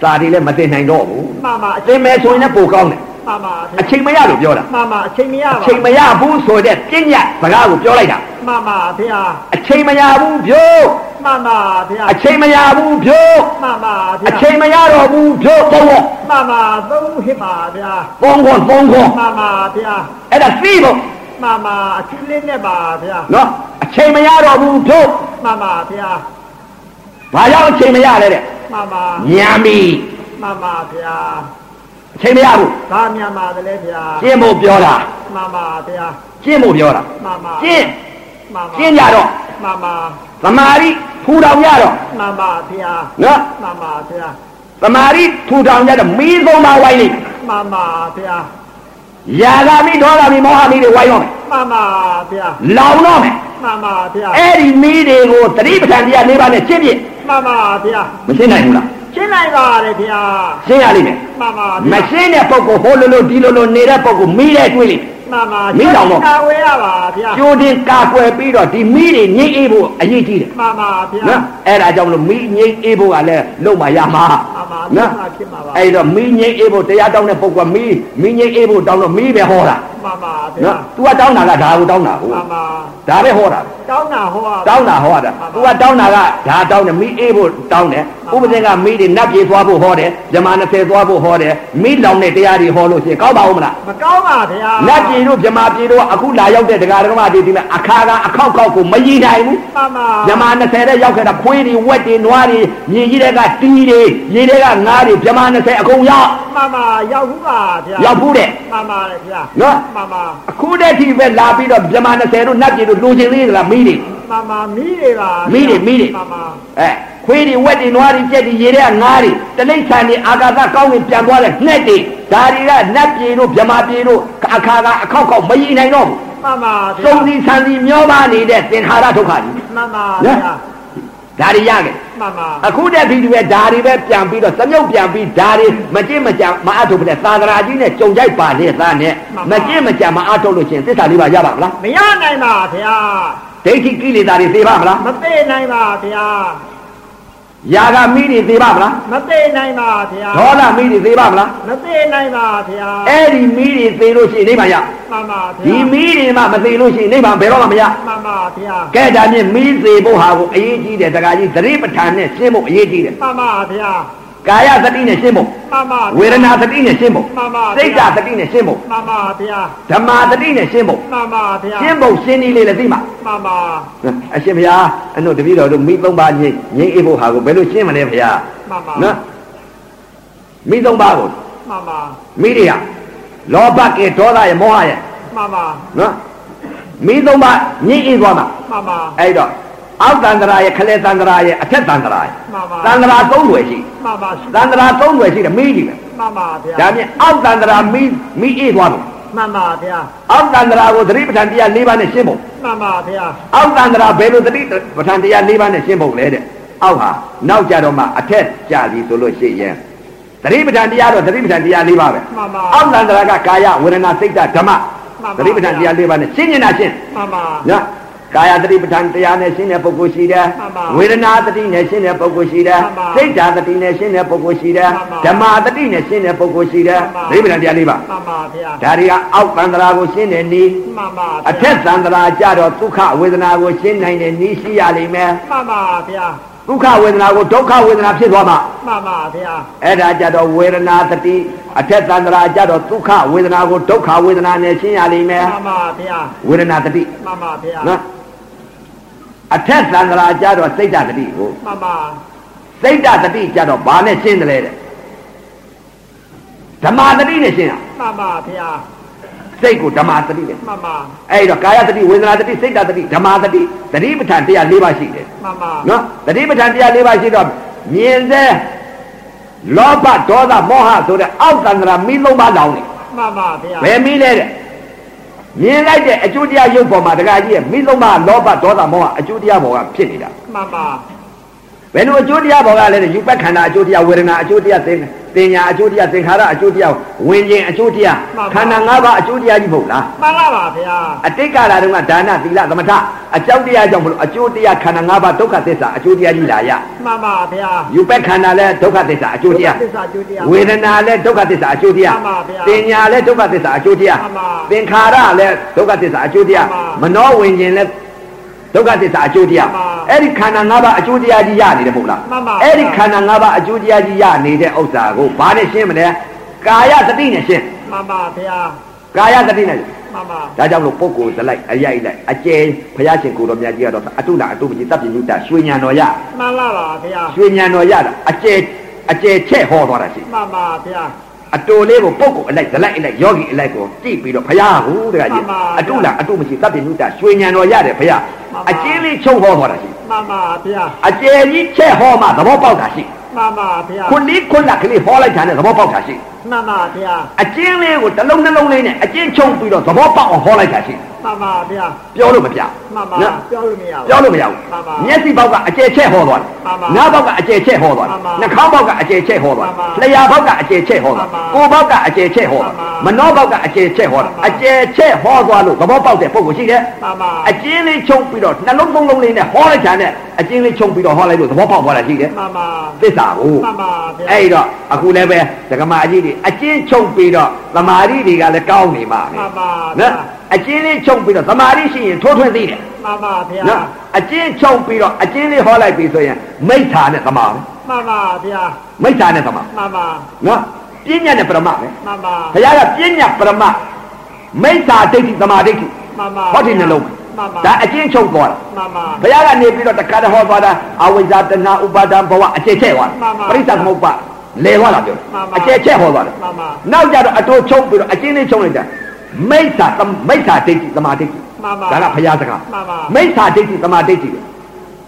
Speaker 1: စာတွေလည်းမသိနိုင်တော့ဘူး
Speaker 2: မှန်ပါအ
Speaker 1: သိမယ်ဆိုရင်လည်းပိုကောင်းတယ်
Speaker 2: မှန်ပါဗျာ
Speaker 1: အချိန်မရလို့ပြောတာ
Speaker 2: မှန်ပါအချိန်မရပါ
Speaker 1: အချိန်မရဘူးဆိုတဲ့ပြညတ်စကားကိုပြောလိုက်တာ
Speaker 2: မှန်ပါဗျာ
Speaker 1: အချိန်မရဘူးဖြို့
Speaker 2: မှန်ပါဗျာ
Speaker 1: အချိန်မရဘူးဖြို့
Speaker 2: မှန်ပါဗျာ
Speaker 1: အချိန်မရတော့ဘူးဖြို့သုံးဖို့
Speaker 2: မှန်ပါသုံးဖြစ်ပါဗျာ
Speaker 1: သုံးဖို့သုံးဖို့
Speaker 2: မှန်ပါဗျာ
Speaker 1: အဲ့ဒါသိဖို့
Speaker 2: မမအချီလေးနဲ့ပါဗျာ
Speaker 1: နော်အချိန်မရတော့ဘူးဖြို့
Speaker 2: မမဗျာ
Speaker 1: ဘာကြောင့်အချိန်မရလဲတဲ့
Speaker 2: မမ
Speaker 1: ညံပြီ
Speaker 2: မမဗျာ
Speaker 1: အချိန်မရဘူး
Speaker 2: ဒါမြန်မာတလဲဗျာ
Speaker 1: ကျင့်ဖို့ပြောတာ
Speaker 2: မမဗျာ
Speaker 1: ကျင့်ဖို့ပြောတာ
Speaker 2: မမ
Speaker 1: ကျင့်
Speaker 2: မမ
Speaker 1: ကျင့်ကြတော့
Speaker 2: မမ
Speaker 1: သမာဓိထူထောင်ကြတော့
Speaker 2: မမဗျာ
Speaker 1: နော်
Speaker 2: မမဗျာ
Speaker 1: သမာဓိထူထောင်ကြတော့မီးသုံးပါဝိုင်းလိမ့်
Speaker 2: မမဗျာ
Speaker 1: ယာဂမိဒေါဂမိမောဟမိတွေဝိုင်းတော့မယ်
Speaker 2: မမဗျာ
Speaker 1: လောင်တော့မယ်
Speaker 2: မမဗျာ
Speaker 1: အဲ့ဒီမိတွေကိုသတိပဋ္ဌာန်တရား၄ပါးနဲ့ရှင်းပြ
Speaker 2: မမဗျာ
Speaker 1: မရှင်းနိုင်ဘူးလား
Speaker 2: ရှင်းလိုက်ပါလေဗျာ
Speaker 1: ရှင်းရလိမ့်မယ်
Speaker 2: မမ
Speaker 1: မ
Speaker 2: ဗျာ
Speaker 1: ရှင်းတဲ့ပုဂ္ဂိုလ်ဟိုလိုလိုဒီလိုလိုနေတဲ့ပုဂ္ဂိုလ်မိတဲ့တွေးလိမ့်
Speaker 2: မမ
Speaker 1: မိတော်မ
Speaker 2: တာဝဲရပါဗျာ
Speaker 1: ကျိုးတင်ကာကွယ်ပြီးတော့ဒီမိတွေငြိမ့်အေးဖို့အရေးကြီးတယ်
Speaker 2: မမဗျာ
Speaker 1: နော်အဲ့ဒါကြောင့်မလို့မိငြိမ့်အေးဖို့ကလည်းလုံမရမှာ
Speaker 2: မှန်ပါ
Speaker 1: နော်
Speaker 2: မှန်ပါဖြစ်မှာပါ
Speaker 1: အဲ့တော့မိငြိမ့်အေးဖို့တရားတောင်းတဲ့ပုဂ္ဂိုလ်ကမိမိငြိမ့်အေးဖို့တောင်းတော့မိပဲဟောတာ
Speaker 2: မမဗျာ
Speaker 1: နော် तू ကတောင်းတာကဒါကိုတောင်းတာကို
Speaker 2: မမ
Speaker 1: ဒါပဲဟောတာ
Speaker 2: တောင်းတာဟောပါ
Speaker 1: တောင်းတာဟောတာ
Speaker 2: မှန်ပါ
Speaker 1: သူကတောင်းတာကဒါတောင်းတယ်မိအေးဖို့တောင်းတယ်
Speaker 2: မှ
Speaker 1: ဥ
Speaker 2: န်
Speaker 1: ပ
Speaker 2: ပါ
Speaker 1: ဒေကမိတွေနတ်ပြေသွားဖို့ဟောတယ်ဇမာ20သွားဖို့ဟောတယ်မိလောင်တဲ့တရားတွေဟောလို့ရှိရင်ကောက်ပါဦးမလား
Speaker 2: မကောင်းပါဗျာ
Speaker 1: နတ်ပြေတို့ဇမာပြေတို့ကအခုလာရောက်တဲ့တရားဓမ္မတွေဒီမှာအခါကအခောက်ခောက်ကိုမရည်နိုင်ဘူး
Speaker 2: မမ
Speaker 1: ဇမာ20တဲ့ရောက်ခဲ့တာခွေးတွေဝက်တွေနွားတွေမြည်ကြီးတွေကတီးတွေရေတွေကငါးတွေဇမာ20အကုန်ရောက်
Speaker 2: မမရောက်ဘူးပါဗျာ
Speaker 1: ရောက်ဘူးတဲ့
Speaker 2: မမလေဗျာ
Speaker 1: နော်
Speaker 2: မမ
Speaker 1: အခုတည်းကပဲလာပြီးတော့ဇမာ20တို့နတ်ပြေတို့လူချင်းလေးကလားမိတွေ
Speaker 2: မမမီးတွေပါ
Speaker 1: မိတွေမိတွေ
Speaker 2: မမ
Speaker 1: အဲခွေးတွေဝက်တွေနွားတွေကြက်တွေရေတွေကငါးတွေတလိษံတွေအာကာသကောင်းကင်ပြန်သွားတဲ့ငှက်တွေဒါတွေကနတ်ပြည်တို့ဗြဟ္မာပြည်တို့အခါကအခောက်ခောက်မရည်နိုင်တော့ဘူး
Speaker 2: မမဗျာ
Speaker 1: စုံစီဆန်စီမျောပါနေတဲ့သင်္ခါရဒုက္ခကြီး
Speaker 2: မမဗျာ
Speaker 1: ဒါတွေရခဲ့
Speaker 2: မမ
Speaker 1: အခုတည်းဒီဒီပဲဒါတွေပဲပြန်ပြီးတော့သမြုပ်ပြန်ပြီးဒါတွေမကြင့်မကြံမအထုတ်ဘူးတဲ့သာသနာကြီးနဲ့ကြုံကြိုက်ပါလေသားနဲ့မကြင့်မကြံမအထုတ်လို့ရှရင်သစ္စာလေးပါရပါမလား
Speaker 2: မရနိုင်ပါဗျာ
Speaker 1: ဒိဋ္ဌိကိလေသာတွေသိပါမလား
Speaker 2: မသိနိုင်ပါဗျာ
Speaker 1: ယာဂမိတွေသိပါမလား
Speaker 2: မသိနိုင်ပါဗျာ
Speaker 1: ဒေါသမိတွေသိပါမလား
Speaker 2: မသိနိုင်ပါဗျာ
Speaker 1: အဲ့ဒီမီးတွေသေလို့ရှိရင်နိဗ္ဗာန်ရ
Speaker 2: မမဗျာ
Speaker 1: ဒီမီးတွေမှမသေလို့ရှိရင်နိဗ္ဗာန်ဘယ်တော့မှမရ
Speaker 2: မမဗျာ
Speaker 1: ကဲဒါဖြင့်မီးသေဖို့ဟာကိုအရေးကြီးတယ်တခါကြီးသတိပဋ္ဌာန်နဲ့ရှင်းဖို့အရေးကြီးတယ်
Speaker 2: မမဗျာ
Speaker 1: ကာယသတိနဲ့ရှင်းဖို့
Speaker 2: မှန်ပါ
Speaker 1: ဝေဒနာသတိနဲ့ရှင်းဖို့
Speaker 2: မှန်ပါ
Speaker 1: စိတ်ဓာတ်သတိနဲ့ရှင်းဖို့
Speaker 2: မှန်ပါဗျာ
Speaker 1: ဓမ္မသတိနဲ့ရှင်းဖို့
Speaker 2: မှန်ပါဗျာ
Speaker 1: ရှင်းဖို့ရှင်းနည်းလေးလည်းသိမှာ
Speaker 2: မှန်ပါ
Speaker 1: အရှင်ဘုရားအနုတပည့်တော်တို့မိသုံးပါးငိမ့်ငိမ့်အေးဖို့ဟာကိုဘယ်လိုရှင်းမလဲဘုရား
Speaker 2: မှန်ပါ
Speaker 1: နော်မိသုံးပါးကို
Speaker 2: မှန်ပါ
Speaker 1: မိတွေကလောဘကေဒေါသရဲ့မောဟရဲ့
Speaker 2: မှန်ပါ
Speaker 1: နော်မိသုံးပါးငိမ့်အေးသွားမှာ
Speaker 2: မှန်ပါ
Speaker 1: အဲ့တော့အောက်တန္တရာရဲ့ခလဲတန္တရာရဲ့အထက်တန္တရာရဲ့
Speaker 2: မှန်ပါ
Speaker 1: တန္တရာ၃ွယ်ရှိ
Speaker 2: မှန်ပါရှိ
Speaker 1: တန္တရာ၃ွယ်ရှိတယ်မီးကြီးပဲ
Speaker 2: မှန်ပါဗျာ
Speaker 1: ဒါပြင်အောက်တန္တရာမီးမီးအေးသွားတယ်
Speaker 2: မှန်ပါဗျာ
Speaker 1: အောက်တန္တရာကိုသတိပဋ္ဌာန်တရား၄ပါးနဲ့ရှင်းဖို့
Speaker 2: မှန်ပါဗျာ
Speaker 1: အောက်တန္တရာဘယ်လိုသတိပဋ္ဌာန်တရား၄ပါးနဲ့ရှင်းဖို့လဲတဲ့အောက်ဟာနောက်ကြတော့မှအထက်ကြပြီဆိုလို့ရှိရင်သတိပဋ္ဌာန်တရားတော့သတိပဋ္ဌာန်တရား၄ပါးပဲ
Speaker 2: မှန်ပါ
Speaker 1: အောက်တန္တရာကကာယဝေဒနာစိတ်ဓာတ်ဓမ္မ
Speaker 2: မှန်ပါ
Speaker 1: သတိပဋ္ဌာန်တရား၄ပါးနဲ့ရှင်းနေတာရှင်း
Speaker 2: မှန်ပါ
Speaker 1: နော်ကာယတတိပဋ္ဌာန်တရားနဲ့ရှင်းတဲ့ပုဂ္ဂိုလ်ရှိတယ်
Speaker 2: မှန်ပါ
Speaker 1: ဝေဒနာတတိနဲ့ရှင်းတဲ့ပုဂ္ဂိုလ်ရှိတယ်
Speaker 2: မှန်ပါ
Speaker 1: စိတ်ဓာတ်တတိနဲ့ရှင်းတဲ့ပုဂ္ဂိုလ်ရှိတယ်
Speaker 2: မှန်ပါ
Speaker 1: ဓမ္မတတိနဲ့ရှင်းတဲ့ပုဂ္ဂိုလ်ရှိတယ်
Speaker 2: မှန်ပါ
Speaker 1: ဒိဗ္ဗံတရားလေးပါ
Speaker 2: မှန်ပါဗျာ
Speaker 1: ဒါတွေကအောက်တန္တရာကိုရှင်းတဲ့နည်း
Speaker 2: မှန်ပါ
Speaker 1: အထက်တန္တရာကြတော့ဒုက္ခဝေဒနာကိုရှင်းနိုင်တဲ့နည်းရှိရလိမ့်မယ်
Speaker 2: မှန်ပါဗျာ
Speaker 1: ဒုက္ခဝေဒနာကိုဒုက္ခဝေဒနာဖြစ်သွားမှာ
Speaker 2: မှန်ပါဗျာ
Speaker 1: အဲ့ဒါကြတော့ဝေဒနာတတိအထက်တန္တရာကြတော့ဒုက္ခဝေဒနာကိုဒုက္ခဝေဒနာနဲ့ရှင်းရလိမ့်မယ်
Speaker 2: မှန်ပါဗျာ
Speaker 1: ဝေဒနာတတိ
Speaker 2: မှန်ပါဗျာ
Speaker 1: နော်အထက်တန္တရာကြတော့စိတ်ဓာတ်တတိကို
Speaker 2: မှန်ပါ
Speaker 1: စိတ်ဓာတ်တတိကြတော့ဘာနဲ့ရှင်းတယ်လဲတဲ့ဓမ္မာတတိနဲ့ရှင်းတာ
Speaker 2: မှန်ပါဗျာ
Speaker 1: စိတ်ကိုဓမ္မာတတိနဲ့
Speaker 2: မှန်ပါ
Speaker 1: အဲ့တော့ကာယတတိဝေဒနာတတိစိတ်ဓာတ်တတိဓမ္မာတတိတတိပဋ္ဌာန်တရား၄ပါးရှိတယ်
Speaker 2: မှန်ပါ
Speaker 1: နော်တတိပဋ္ဌာန်တရား၄ပါးရှိတော့မြင်စေလောဘဒေါသမောဟဆိုတဲ့အောက်တန္တရာမိလုံးပါလောင်နေ
Speaker 2: မှန်ပါဗျာ
Speaker 1: ဘယ်မိလဲတဲ့မြင်လိုက်တဲ့အကျိုးတရားရုပ်ပေါ်မှာတခါကြီးရဲ့မိလုံးပါလောဘဒေါသမောဟအကျိုးတရားပေါ်ကဖြစ်နေတာ
Speaker 2: မှန်ပါ
Speaker 1: ဘယ်လိုအကျိုးတရားပေါ်ကလဲတဲ့ယူပက္ခန္ဓာအကျိုးတရားဝေဒနာအကျိုးတရားသင်တင်ညာအကျိုးတရားသင်္ခါရအကျိုးတရားဝิญဉ္အကျိုးတရားခန္ဓာ၅ပါးအကျိုးတရားကြီးမဟုတ်လား
Speaker 2: မှန်လားပါဗျာ
Speaker 1: အတိတ်ကလာတုန်းကဒါနသီလသမထအကြောင်းတရားကြောင့်မလို့အကျိုးတရားခန္ဓာ၅ပါးဒုက္ခသစ္စာအကျိုးတရားကြီးလာရ
Speaker 2: မှန်ပါဗျာ
Speaker 1: ယူပက္ခန္ဓာလဲဒုက္ခသစ္စာအကျိုးတရား
Speaker 2: သစ္စာကျိုးတရား
Speaker 1: ဝေဒနာလဲဒုက္ခသစ္စာအကျိုးတရား
Speaker 2: မှန်ပါဗျာ
Speaker 1: တင်ညာလဲဒုက္ခသစ္စာအကျိုးတရား
Speaker 2: မှန်ပါ
Speaker 1: သင်္ခါရလဲဒုက္ခသစ္စာအကျိုးတရား
Speaker 2: မှ
Speaker 1: မ
Speaker 2: န်ပါ
Speaker 1: နောဝิญဉ္လဲဒုက္ခသစ္စာအကျိုးတရား
Speaker 2: မှန်ပါ
Speaker 1: အဲ့ဒီခန္ဓာ၅ပါးအကျိုးတရားကြီးရနေတယ်မဟုတ်လား
Speaker 2: မှန်ပါ
Speaker 1: အဲ့ဒီခန္ဓာ၅ပါးအကျိုးတရားကြီးရနေတဲ့ဥစ္စာကိုဘာနဲ့ရှင်းမလဲကာယသတိနဲ့ရှင်း
Speaker 2: မှန်ပါဗျာ
Speaker 1: ကာယသတိနဲ့ရှင်း
Speaker 2: မှန်ပါ
Speaker 1: ဒါကြောင့်လို့ပုဂ္ဂိုလ်သလိုက်အရိုက်လိုက်အကျယ်ဘုရားရှင်ကိုယ်တော်မြတ်ကြီးကတော့အတုလာအတုပကြီးတပ်ပြညုတရွှေညံတော်ရ
Speaker 2: မှန်လားပါဗျာ
Speaker 1: ရွှေညံတော်ရတာအကျယ်အကျယ်ချက်ဟောသွားတာရှိ
Speaker 2: မှန်ပါဗျာ
Speaker 1: အတူလေးကိုပုဂ္ဂိုလ်အလိုက်သလိုက်အလိုက်ယောဂီအလိုက်ကိုကြည့်ပြီးတော့ဘုရားဟူတကကြီး
Speaker 2: မှန်ပါ
Speaker 1: အတုလာအတုမရှိတပ်ပြညုတရွှေညံတော်ရတယ်ဘုရား
Speaker 2: မှန်ပါ
Speaker 1: အကျယ်လေးချုပ်ဟောသွားတာရှိ
Speaker 2: မှန်ပါဗျာ
Speaker 1: အကျယ်ကြီးချက်ဟောမှသဘောပေါက်တာရှိ
Speaker 2: မှန်ပါဗျာ
Speaker 1: ခုနည်းခုနကလေးဟောလိုက်တာနဲ့သဘောပေါက်တာရှိ
Speaker 2: မှန်ပါဗျာ
Speaker 1: အကျဉ်းလေးကိုတစ်လုံးနှလုံးလေးနဲ့အကျဉ်းချုပ်ပြီးတော့သဘောပေါက်အောင်ဟောလိုက်တာရှိတယ်
Speaker 2: မှန်ပါဗျာ
Speaker 1: ပြောလို့မပြ
Speaker 2: မှန်ပါ
Speaker 1: နော်
Speaker 2: ပြောလို့မရဘူး
Speaker 1: ပြောလို့မရဘူး
Speaker 2: မှန်ပါ
Speaker 1: မျက်စိပေါက်ကအကျယ်ချက်ဟောသွားတယ်
Speaker 2: မှ
Speaker 1: နား
Speaker 2: န်ပါ
Speaker 1: ပေါက်ကအကျယ်ချက်ဟောသွားတယ်
Speaker 2: မှန်ပါ
Speaker 1: နှာခေါင်းပေါက်ကအကျယ်ချက်ဟောသွား
Speaker 2: မှန်ပါ
Speaker 1: တယ်လျှာပေါက်ကအကျယ်ချက်ဟောသွားတယ်
Speaker 2: မှန်ပါ
Speaker 1: ကိုယ်ပေါက်ကအကျယ်ချက်ဟောသွားတယ်
Speaker 2: မှ
Speaker 1: မ
Speaker 2: န်ပါ
Speaker 1: နှောပေါက်ကအကျယ်ချက်ဟောသွားတယ်အကျယ်ချက်ဟော
Speaker 2: မှန်ပါ
Speaker 1: သွားလို့သဘောပေါက်တဲ့ပုံကိုရှိတယ်
Speaker 2: မှန်ပါ
Speaker 1: အကျဉ်းလေးချုပ်ပြီးတော့နှလုံးသုံးလုံးလေးနဲ့ဟောလိုက်တာနဲ့အကျဉ်းလေးချုပ်ပြီးတော့ဟောလိုက်လို့သဘောပေါက်သွားတာရှိတယ်
Speaker 2: မှန်ပါ
Speaker 1: သစ္စာကို
Speaker 2: မှန်ပါဗျာ
Speaker 1: အဲ့တော့အခုလည်းပဲဒကမာကြီးတွေအကျဉ်းချုပ်ပြီးတော့သမာဓိတွေကလည်းကောင်းနေပါ
Speaker 2: မှ
Speaker 1: ပဲ
Speaker 2: န်ပါဗျာ
Speaker 1: နော်အကျဉ်းလေးချုပ်ပြီးတော့သမာဓိရှိရင်ထိုးထွင်းသိတယ်
Speaker 2: မှန်ပါဗျာ
Speaker 1: နော်အကျဉ်းချုပ်ပြီးတော့အကျဉ်းလေးဟောလိုက်ပြီဆိုရင်မိစ္ဆာနဲ့သမာပဲ
Speaker 2: မှန်ပါဗျာ
Speaker 1: မိစ္ဆာနဲ့သမာ
Speaker 2: မှန်ပါ
Speaker 1: နော်ပညာနဲ့ပရမပဲ
Speaker 2: မှန်ပါ
Speaker 1: ဘုရားကပညာပရမမိစ္ဆာဒိဋ္ဌိသမာဒိဋ္ဌိ
Speaker 2: မှန်ပါ
Speaker 1: ဟောဒီနှလုံး
Speaker 2: မှန်ပါ
Speaker 1: ဒါအကျဉ်းချုပ်သွားတာ
Speaker 2: မှန်ပါ
Speaker 1: ဘုရားကနေပြီးတော့တခါတည်းဟောသွားတာအဝိဇ္ဇာတဏှာဥပါဒံဘဝအခြေချက်ဟော
Speaker 2: မှန်ပါ
Speaker 1: ပရိစ္ဆသမုပ္ပါလဲဟောတာပြောတယ်
Speaker 2: မှန်ပါ
Speaker 1: အခြေချက်ဟောသွားတယ်
Speaker 2: မှန်ပါ
Speaker 1: နောက်ကြတော့အတိုးချုပ်ပြီးတော့အချင်းလေးချုပ်လိုက်တာမိစ္ဆာသမမိစ္ဆာဒိဋ္ဌိသမာဒိဋ္ဌိ
Speaker 2: မှန်ပါ
Speaker 1: ဒါကဘုရားစကား
Speaker 2: မှန်ပါ
Speaker 1: မိစ္ဆာဒိဋ္ဌိသမာဒိဋ္ဌိပဲ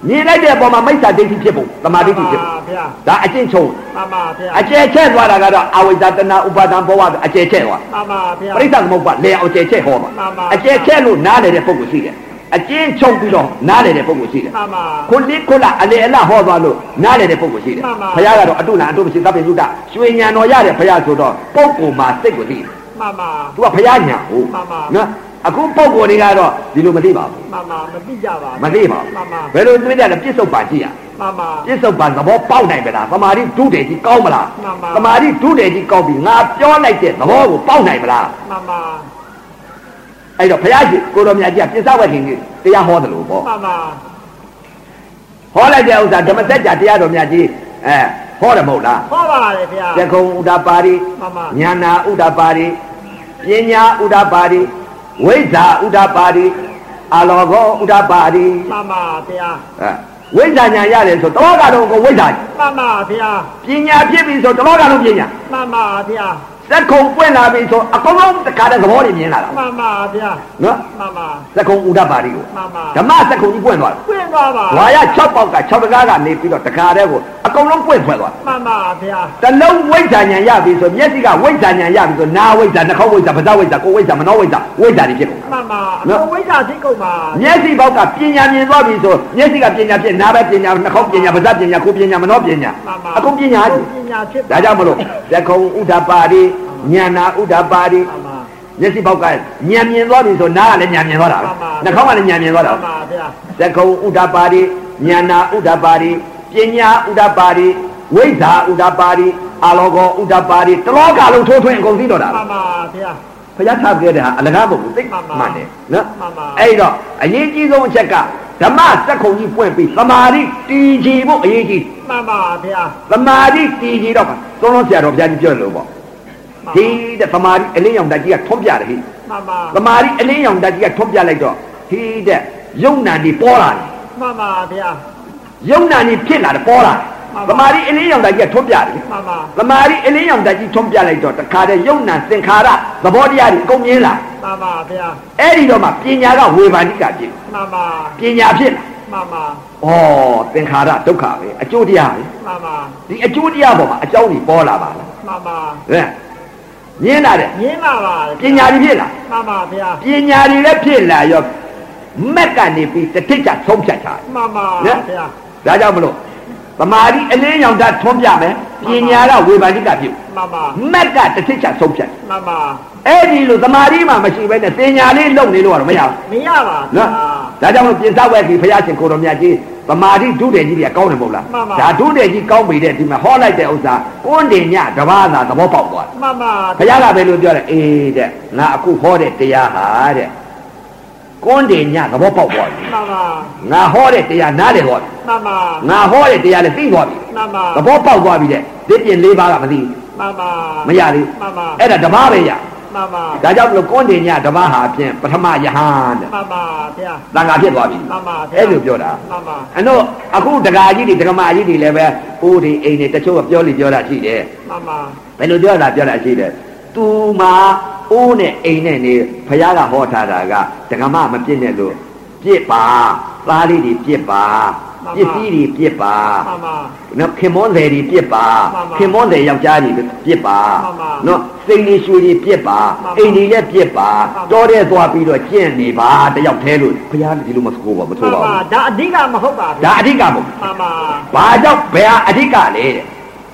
Speaker 1: မြင်လိုက်တဲ့အပေါ်မှာမိစ္ဆာဒိဋ္ဌိဖြစ်ပုံသမာဒိဋ္ဌိဖြစ်ပုံ
Speaker 2: ဗျာ
Speaker 1: ဒါအချင်းချုပ်
Speaker 2: မှန်ပါဗျာ
Speaker 1: အခြေချက်သွားတာကတော့အဝိဇ္ဇာတဏှာဥပါဒံဘဝအခြေချက်ဟော
Speaker 2: မှန်ပါဗျာ
Speaker 1: ပရိသတ်မဟုတ်ပါလေအောင်ကျဲချက်ဟောပါ
Speaker 2: မှန်ပါ
Speaker 1: အကျဲချက်လို့နားလေတဲ့ပုံကိုရှိတယ်အကျဉ်းချုပ်ပြီးတော့နားလေတဲ့ပုံကိုရှိတယ်
Speaker 2: မှန်ပါ
Speaker 1: ခုလိခုလအလေအလဟောသွားလို့နားလေတဲ့ပုံကိုရှိတယ်
Speaker 2: မှန်ပါ
Speaker 1: ဘုရားကတော့အတုလားအတုမရှိသဗ္ဗညုတရွှေညာတော်ရတဲ့ဘုရားဆိုတော့ပုံကိုမှာစိတ်ကိုသိတယ်
Speaker 2: မှန်ပါ
Speaker 1: သူကဘုရားညာဟုတ်
Speaker 2: မှန်ပါ
Speaker 1: နော်အခုပုံကိုတွေကတော့ဒီလိုမသိပါဘူး
Speaker 2: မှန်ပါမသိကြပါ
Speaker 1: မ
Speaker 2: ဘူး
Speaker 1: သိပါဘူး
Speaker 2: မှန်ပါ
Speaker 1: ဘယ်လိုသိကြလဲပြစ္ဆုတ်ပါကြည့်ရ
Speaker 2: မှန်ပါ
Speaker 1: ပြစ္ဆုတ်ပါသဘောပေါက်နိုင်မလားသမာဓိဒုတယ်ကြီးကောင်းမလား
Speaker 2: မှန်ပါ
Speaker 1: သမာဓိဒုတယ်ကြီးကောင်းပြီငါပြောလိုက်တဲ့သဘောကိုပေါက်နိုင်မလား
Speaker 2: မှန်ပါ
Speaker 1: အဲ့တော့ဘုရားရှင်ကိုတော်မြတ်ကြီးကပြစ္ဆဝတ်ထင်ကြီးတရားဟောတယ်လို့ပေါ့
Speaker 2: မှန်ပါ
Speaker 1: ဟောလိုက်တဲ့ဥစ္စာဓမ္မစကြာတရားတော်မြတ်ကြီးအဲဟ ဟောတယ်မဟုတ်လား
Speaker 2: ဟောပါလေဗျာ
Speaker 1: သကုံဥဒ္ဒပါရီ
Speaker 2: မှန်ပါ
Speaker 1: ညာနာဥဒ္ဒပါရီပညာဥဒ္ဒပါရီဝိဇ္ဇာဥဒ္ဒပါရီအလောကောဥဒ္ဒပါရီ
Speaker 2: မှန်ပါဗျာ
Speaker 1: အဲဝိဇ္ဇာညာရတယ်ဆိုတော့ကတော့ကိုဝိဇ္ဇာ
Speaker 2: မှန်ပါဗျာ
Speaker 1: ပညာဖြစ်ပြီဆိုတော့ကတော့ပညာ
Speaker 2: မှန်ပါဗျာ
Speaker 1: သကုံပွင့်လာပြီဆိုအကုန်လုံးတခါတည်းသဘောတွေမြင်လာတာ
Speaker 2: မှန်ပါဗျာ
Speaker 1: နော်
Speaker 2: မှန်ပါ
Speaker 1: သကုံဥဒ္ဒပါရီကို
Speaker 2: မှန်ပါ
Speaker 1: ဓမ္မသကုံကြီးပွင့်သွားတာ
Speaker 2: ပြင်းသွားပါ
Speaker 1: ။ဝါရ6ပေါက်က6တကားကနေပြီးတော့တကားတဲ့ကိုအကုန်လုံးပွင့်ထွက်သွား
Speaker 2: မှန်ပါဗျာ
Speaker 1: ။တလုံးဝိဇ္ဇာဉာဏ်ရပြီဆိုမျက်စိကဝိဇ္ဇာဉာဏ်ရပြီဆိုနာဝိဇ္ဇာနှာခေါင်းဝိဇ္ဇာပါးစပ်ဝိဇ္ဇာကိုယ်ဝိဇ္ဇာမနောဝိဇ္ဇာဝိဇ္ဇာတွေဖြစ်ကုန်တာ
Speaker 2: မှန်ပါအကုန်ဝိဇ္ဇာသိကုန်ပါ
Speaker 1: ။မျက်စိပေါက်ကပညာမြင်သွားပြီဆိုမျက်စိကပညာဖြစ်နာပဲပညာနှာခေါင်းပညာပါးစပ်ပညာကိုယ်ပညာမနောပညာ
Speaker 2: မှန်ပါ
Speaker 1: အကုန်ပညာကြီး
Speaker 2: ပညာဖြစ်
Speaker 1: ။ဒါကြောင့်မလို့သက္ကုံဥဒ္ဓပါရီဉာဏဥဒ္ဓပါရီ
Speaker 2: မှန်ပါ
Speaker 1: မျက်စိပေါက်ကဉာဏ်မြင်သွားပြီဆိုနားကလည်းဉာဏ်မြင်သွားတာပဲ
Speaker 2: မှန်
Speaker 1: နှာခေါ
Speaker 2: ပါ
Speaker 1: င်းကလည်းဉာဏ်မြင်သွားတာ
Speaker 2: မှ
Speaker 1: ပဲ
Speaker 2: န်ပါဗျာ
Speaker 1: သကုံဥဒ္ဒပါရိညာနာဥဒ္ဒပါရိပညာဥဒ္ဒပါရိဝိဇ္ဇာဥဒ္ဒပါရိအာလောကောဥဒ္ဒပါရိတလောကလုံးထိုးထွင်းအကုန်သိတော့တာ
Speaker 2: မှန်ပါဗျာ
Speaker 1: ဘုရားထားခဲ့တဲ့ဟာအလကားမဟုတ်ဘူးသိ
Speaker 2: မှန်ပါ
Speaker 1: မှန်တယ်နော်
Speaker 2: မှန်ပါ
Speaker 1: အဲ့တော့အရေးကြီးဆုံးအချက်ကဓမ္မစက္ခုံကြီးပွင့်ပြီးသမာဓိတည်ကြည်ဖို့အရေးကြီး
Speaker 2: မှန်ပါဗျာ
Speaker 1: သမာဓိတည်ကြည်တော့ပါသုံးလုံးဆရာတော်ဘုရားကြီးပြောတယ်လို့ပေါ့ဒီတဲ့သမာဓိအလင်းရောင်တက်ကြီးကထွန်းပြတယ်ဟိ
Speaker 2: မှန်ပါ
Speaker 1: သမာဓိအလင်းရောင်တက်ကြီးကထွန်းပြလိုက်တော့ဒီတဲ့ယုံနာနေပေါ်လာတယ်
Speaker 2: မှန်ပါဗျာ
Speaker 1: ယုံနာနေဖြစ်လာတယ်ပေါ်လာတယ်သ
Speaker 2: မှန်ပါ
Speaker 1: မာဓိအလင်းရောင်တိုက်ကြီးကထွန်းပြတယ်
Speaker 2: မှန်ပါ
Speaker 1: သမာဓိအလင်းရောင်တိုက်ကြီးထွန်းပြလိုက်တော့တခါတည်းယုံနာသင်္ခါရသဘောတရားတွေအကုန်မြင်လာ
Speaker 2: မှန်ပါဗျာ
Speaker 1: အဲ့ဒီတော့မှပညာကဝေဘာနိကဖြစ်
Speaker 2: မှန်ပါ
Speaker 1: ပညာဖြစ်လာ
Speaker 2: မှန်ပါ
Speaker 1: ဩသင်္ခါရဒုက္ခပဲအကျိုးတရားပဲ
Speaker 2: မှန်ပါ
Speaker 1: ဒီအကျိုးတရားပေါ်မှာအကြောင်းတွေပေါ်လာပါလား
Speaker 2: မှန်ပါ
Speaker 1: ဟဲ့မြင်လာတယ်
Speaker 2: မြင်ပါပါ
Speaker 1: ပညာတွေဖြစ်လာ
Speaker 2: မှန်ပါဗျာ
Speaker 1: ပညာတွေလည်းဖြစ်လာရောမက်ကနေပြီးတစ်ထိပ်ချဆုံးဖြတ်ချတယ်
Speaker 2: မှန်ပါဗျာ
Speaker 1: ဒါကြောင့်မလို့သမာဓိအလင်းရောင်ဓာတ်ထွန်းပြမယ်ပညာကဝေဘာတိကပြု
Speaker 2: မှန်ပါ
Speaker 1: မက်ကတစ်ချက်ချဆုံးဖြတ်တယ်
Speaker 2: မှန်ပါ
Speaker 1: အဲ့ဒီလိုသမာဓိမှမရှိဘဲနဲ့ပညာလေးလုံနေလို့ကတော့မရဘူး
Speaker 2: မရပါဗျာ
Speaker 1: နော်ဒါကြောင့်မလို့ပြင်စားဝဲကြီးဘုရားရှင်ကိုတော်မြတ်ကြီးသမာဓိဒုတဲ့ကြီးတွေကကောင်းတယ်မဟုတ်လား
Speaker 2: မှန်ပါ
Speaker 1: ဒါဒုတဲ့ကြီးကောင်းပြီတဲ့ဒီမှာဟောလိုက်တဲ့ဥစ္စာကိုယ်တင်ညတပါးသာသဘောပေါက်သွားတယ်
Speaker 2: မှန်ပါ
Speaker 1: ဘုရားကပဲလို့ပြောတယ်အေးတဲ့ငါအခုဟောတဲ့တရားဟာတဲ့ကိုယ်တင်ညသဘောပေါက်သွားပြီ
Speaker 2: မှန်ပါ
Speaker 1: ငါဟောတဲ့တရားနားလည်သွားပြီ
Speaker 2: မှန်ပါ
Speaker 1: ငါဟောတဲ့တရားလည်းသိသွားပြီ
Speaker 2: မှန်ပါ
Speaker 1: သဘောပေါက်သွားပြီတဲ့ဒီပြင်၄ပါးကမသိဘူး
Speaker 2: မှန်ပါ
Speaker 1: မရသေး
Speaker 2: မှန်ပါ
Speaker 1: အဲ့ဒါဓမ္မပဲရ
Speaker 2: မှန်ပါ
Speaker 1: ဒါကြောင့်မလို့ကွန်တင်ညဓမ္မဟာဖြင့်ပထမယဟန်တဲ့
Speaker 2: မှန်ပါဗျာ
Speaker 1: တန်ခါဖြစ်သွားပြီ
Speaker 2: မှန်ပါဗျာ
Speaker 1: အဲ့လိုပြောတာ
Speaker 2: မှန်ပါ
Speaker 1: အတော့အခုဒကာကြီးတွေဒကမကြီးတွေလည်းပဲအိုးဒီအိမ်တွေတချို့ကပြောလိပြောတာရှိတယ်
Speaker 2: မှန်ပါ
Speaker 1: ဘယ်လိုပြောတာပြောတာရှိတယ်သူမှအိုးနဲ့အိမ်နဲ့နေဖះကဟောထားတာကဒကမမပြစ်နဲ့လို့ပြစ်ပါသားလေးတွေပြစ်ပါပစ္စည်းတွေပြစ်ပါ
Speaker 2: မှန်ပါ
Speaker 1: နော်ခင်မွန်တယ်တွေပြစ်ပါ
Speaker 2: မှန်ပါ
Speaker 1: ခင်မွန်တယ်ယောက်ျားတွေပြစ်ပါ
Speaker 2: မှန်ပါ
Speaker 1: နော်စိန်တွေရွှေတွေပြစ်ပါ
Speaker 2: မှန်ပါ
Speaker 1: အိမ်တွေလည်းပြစ်ပါ
Speaker 2: မှန်ပါ
Speaker 1: တော်တဲ့သွားပြီးတော့ကျင့်နေပါတယောက်သေးလို့ဘုရားဒီလိုမဆိုးပါမ
Speaker 2: မှ
Speaker 1: ဆိုး
Speaker 2: န်
Speaker 1: ပါ
Speaker 2: ပါ
Speaker 1: ဘူး
Speaker 2: ဒါအဓိကမဟုတ်ပါဘူး
Speaker 1: ဒါအဓိကမဟုတ်ဘူး
Speaker 2: မှန်ပါ
Speaker 1: ဘာကြောင့်ဘယ်ဟာအဓိကလဲတဲ့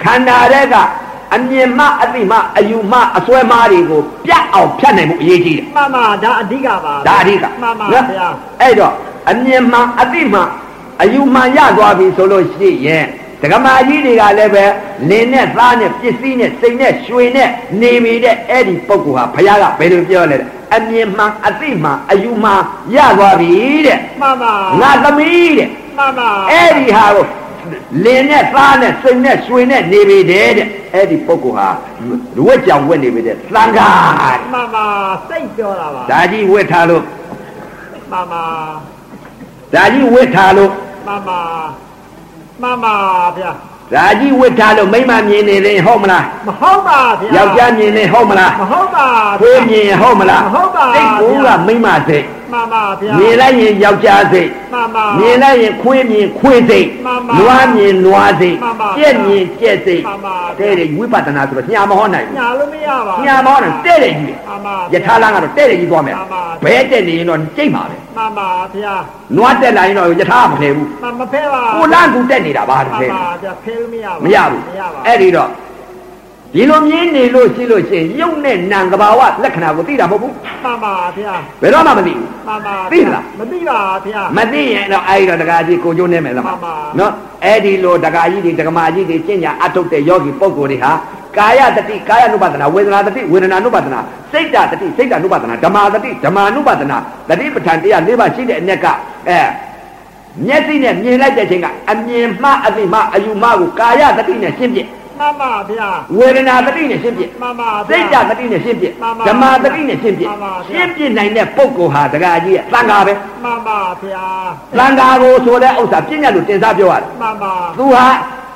Speaker 1: ခန္ဓာတဲ့ကအမြင်မှအသိမှအယူမှအစွဲမှတွေကိုပြတ်အောင်ဖြတ်နိုင်မှုအရေးကြီးတယ်
Speaker 2: မှန်ပါဒါအဓိကပါ
Speaker 1: ဒါအဓိက
Speaker 2: မှန်ပါ
Speaker 1: နော်
Speaker 2: ဗျာ
Speaker 1: အဲ့တော့အမြင်မှန်အသိမှန်အယူမှန်ရသွားပြီဆိုလို့ရှိရင်ဒကမာကြီးတွေကလည်းပဲလင်းနဲ့သားနဲ့ပစ္စည်းနဲ့စိတ်နဲ့ရွှေနဲ့နေမိတဲ့အဲ့ဒီပုဂ္ဂိုလ်ဟာဘုရားကဘယ်လိုပြောလဲတဲ့အမြင်မှန်အသိမှန်အယူမှန်ရသွားပြီတဲ့
Speaker 2: မှန်ပါ
Speaker 1: ငါသမီးတဲ့
Speaker 2: မှန်ပါ
Speaker 1: အဲ့ဒီဟာကိုလင်းနဲ့သားနဲ့စိတ်နဲ့ရွှေနဲ့နေမိတယ်တဲ့အဲ့ဒီပုဂ္ဂိုလ်ဟာဝက်ကြောင်ဝက်နေမိတဲ့သံဃာတဲ့
Speaker 2: မှန်ပါစိတ်ပြောတာပါ
Speaker 1: ဒါကြီးဝက်ထားလို့
Speaker 2: မှန်ပါ
Speaker 1: ဒါကြီးဝစ်ထားလို့
Speaker 2: မှန်ပါမှန်ပါဗျာ
Speaker 1: ဒါကြီးဝစ်ထားလို့မိမမြင်နေရင်ဟုတ်မလား
Speaker 2: မဟုတ်ပါဗျာ
Speaker 1: ယောက်ျားမြင်နေဟုတ်မလား
Speaker 2: မဟုတ်ပါ
Speaker 1: ဖွေးမြင်
Speaker 2: ဗျာ
Speaker 1: ရင်ဟုတ်မလား
Speaker 2: မဟုတ်ပါ
Speaker 1: စိတ်ကူ
Speaker 2: ဗျာ
Speaker 1: ကမိမစိတ်
Speaker 2: မှန်ပါဗျာ
Speaker 1: မြင်လိုက်ရင်ယောက်ျားစိတ်
Speaker 2: မှန်ပါ
Speaker 1: မြင်လိုက်ရင်ခွေးမြင်ခွေးစိတ်
Speaker 2: မှန်ပါ
Speaker 1: နွားမြင်နွားစိတ်
Speaker 2: မှန်ပါ
Speaker 1: ကြက်မြင်ကြက်စိတ်
Speaker 2: မှန်ပါ
Speaker 1: တဲ့တဲ့ဝိပဿနာဆိုတော့ညာမဟောနိုင်
Speaker 2: ညာလို့မရပါ
Speaker 1: ဘူး
Speaker 2: ဘူး
Speaker 1: ညာမဟောနိုင်တဲ့တဲ့ကြီး
Speaker 2: မှန်ပါ
Speaker 1: ပဲယထာလန်းကတော့တဲ့တဲ့ကြီးသွားမယ်
Speaker 2: မှန်ပါ
Speaker 1: ဘဲတဲ့နေရင်တော့ကြိတ်ပါပဲ
Speaker 2: မှန်ပါဗျာ
Speaker 1: နွားတက်လာရင်တော့ယထာမဖယ်ဘူး
Speaker 2: မမဖဲပါ
Speaker 1: ကိုလန့်ကူတက်နေတာပါတ
Speaker 2: မှန်
Speaker 1: ကယ်
Speaker 2: ပါဗျာဖဲလို့မရပါ
Speaker 1: မရဘူး
Speaker 2: မရပါ
Speaker 1: အဲ့ဒီတော့ဒီလိုမြင်နေလို့ရှိလို့ရှိရင်ရုပ်နဲ့နာမ်ကဘာဝလက္ခဏာကိုသိတာမဟုတ်ဘူး
Speaker 2: မှန်ပါဗျာ
Speaker 1: ဘယ်တော့မှမသိဘူး
Speaker 2: မှန်ပါ
Speaker 1: သိလား
Speaker 2: မသိပါဗျာ
Speaker 1: မသိရင်တော့အဲ့ဒီတော့ဒကာကြီးကိုကျိုးနေမယ်လား
Speaker 2: မှန်ပါ
Speaker 1: နော်အဲ့ဒီလိုဒကာကြီးတွေဒကမာကြီးတွေကျင့်ကြံအထုတ်တဲ့ယောဂီပုဂ္ဂိုလ်တွေဟာကာယတတိကာယ ानु ပါဒနာဝေဒနာတတိဝေဒနာ ानु ပါဒနာစိတ်ဓာတတိစိတ်ဓာ ानु ပါဒနာဓမ္မာတတိဓမ္မာ ानु ပါဒနာတတိပဋ္ဌာန်တရား၄ပါးရှိတဲ့အ ਨੇ ကအဲ မျက်စိနဲ့မြင်လိုက်တဲ့အချိန်ကအမြင်မှအသိမှအယူမှကိုကာယတတိနဲ့ရှင်းပြ
Speaker 2: မှန်ပါဗျာ
Speaker 1: ဝေဒနာတတိနဲ့ရှင်းပြ
Speaker 2: မှန်ပါ
Speaker 1: စိ
Speaker 2: ဗျာ
Speaker 1: တ်ဓာတ်တတိနဲ့ရှင်းပြ
Speaker 2: မှန်ပါ
Speaker 1: ဓမ္မတတိနဲ့ရှင်းပြ
Speaker 2: မှန်ပါဗျာ
Speaker 1: ရှင်းပြနိုင်တဲ့ပုဂ္ဂိုလ်ဟာတရားကြီးရဲ့သံဃာပဲ
Speaker 2: မှန်ပါဗျာ
Speaker 1: သံဃာကိုဆိုတဲ့ဥစ္စာပြည့်ညတ်လို့တင်စားပြောရတယ်
Speaker 2: မှန်ပါ
Speaker 1: သူဟာ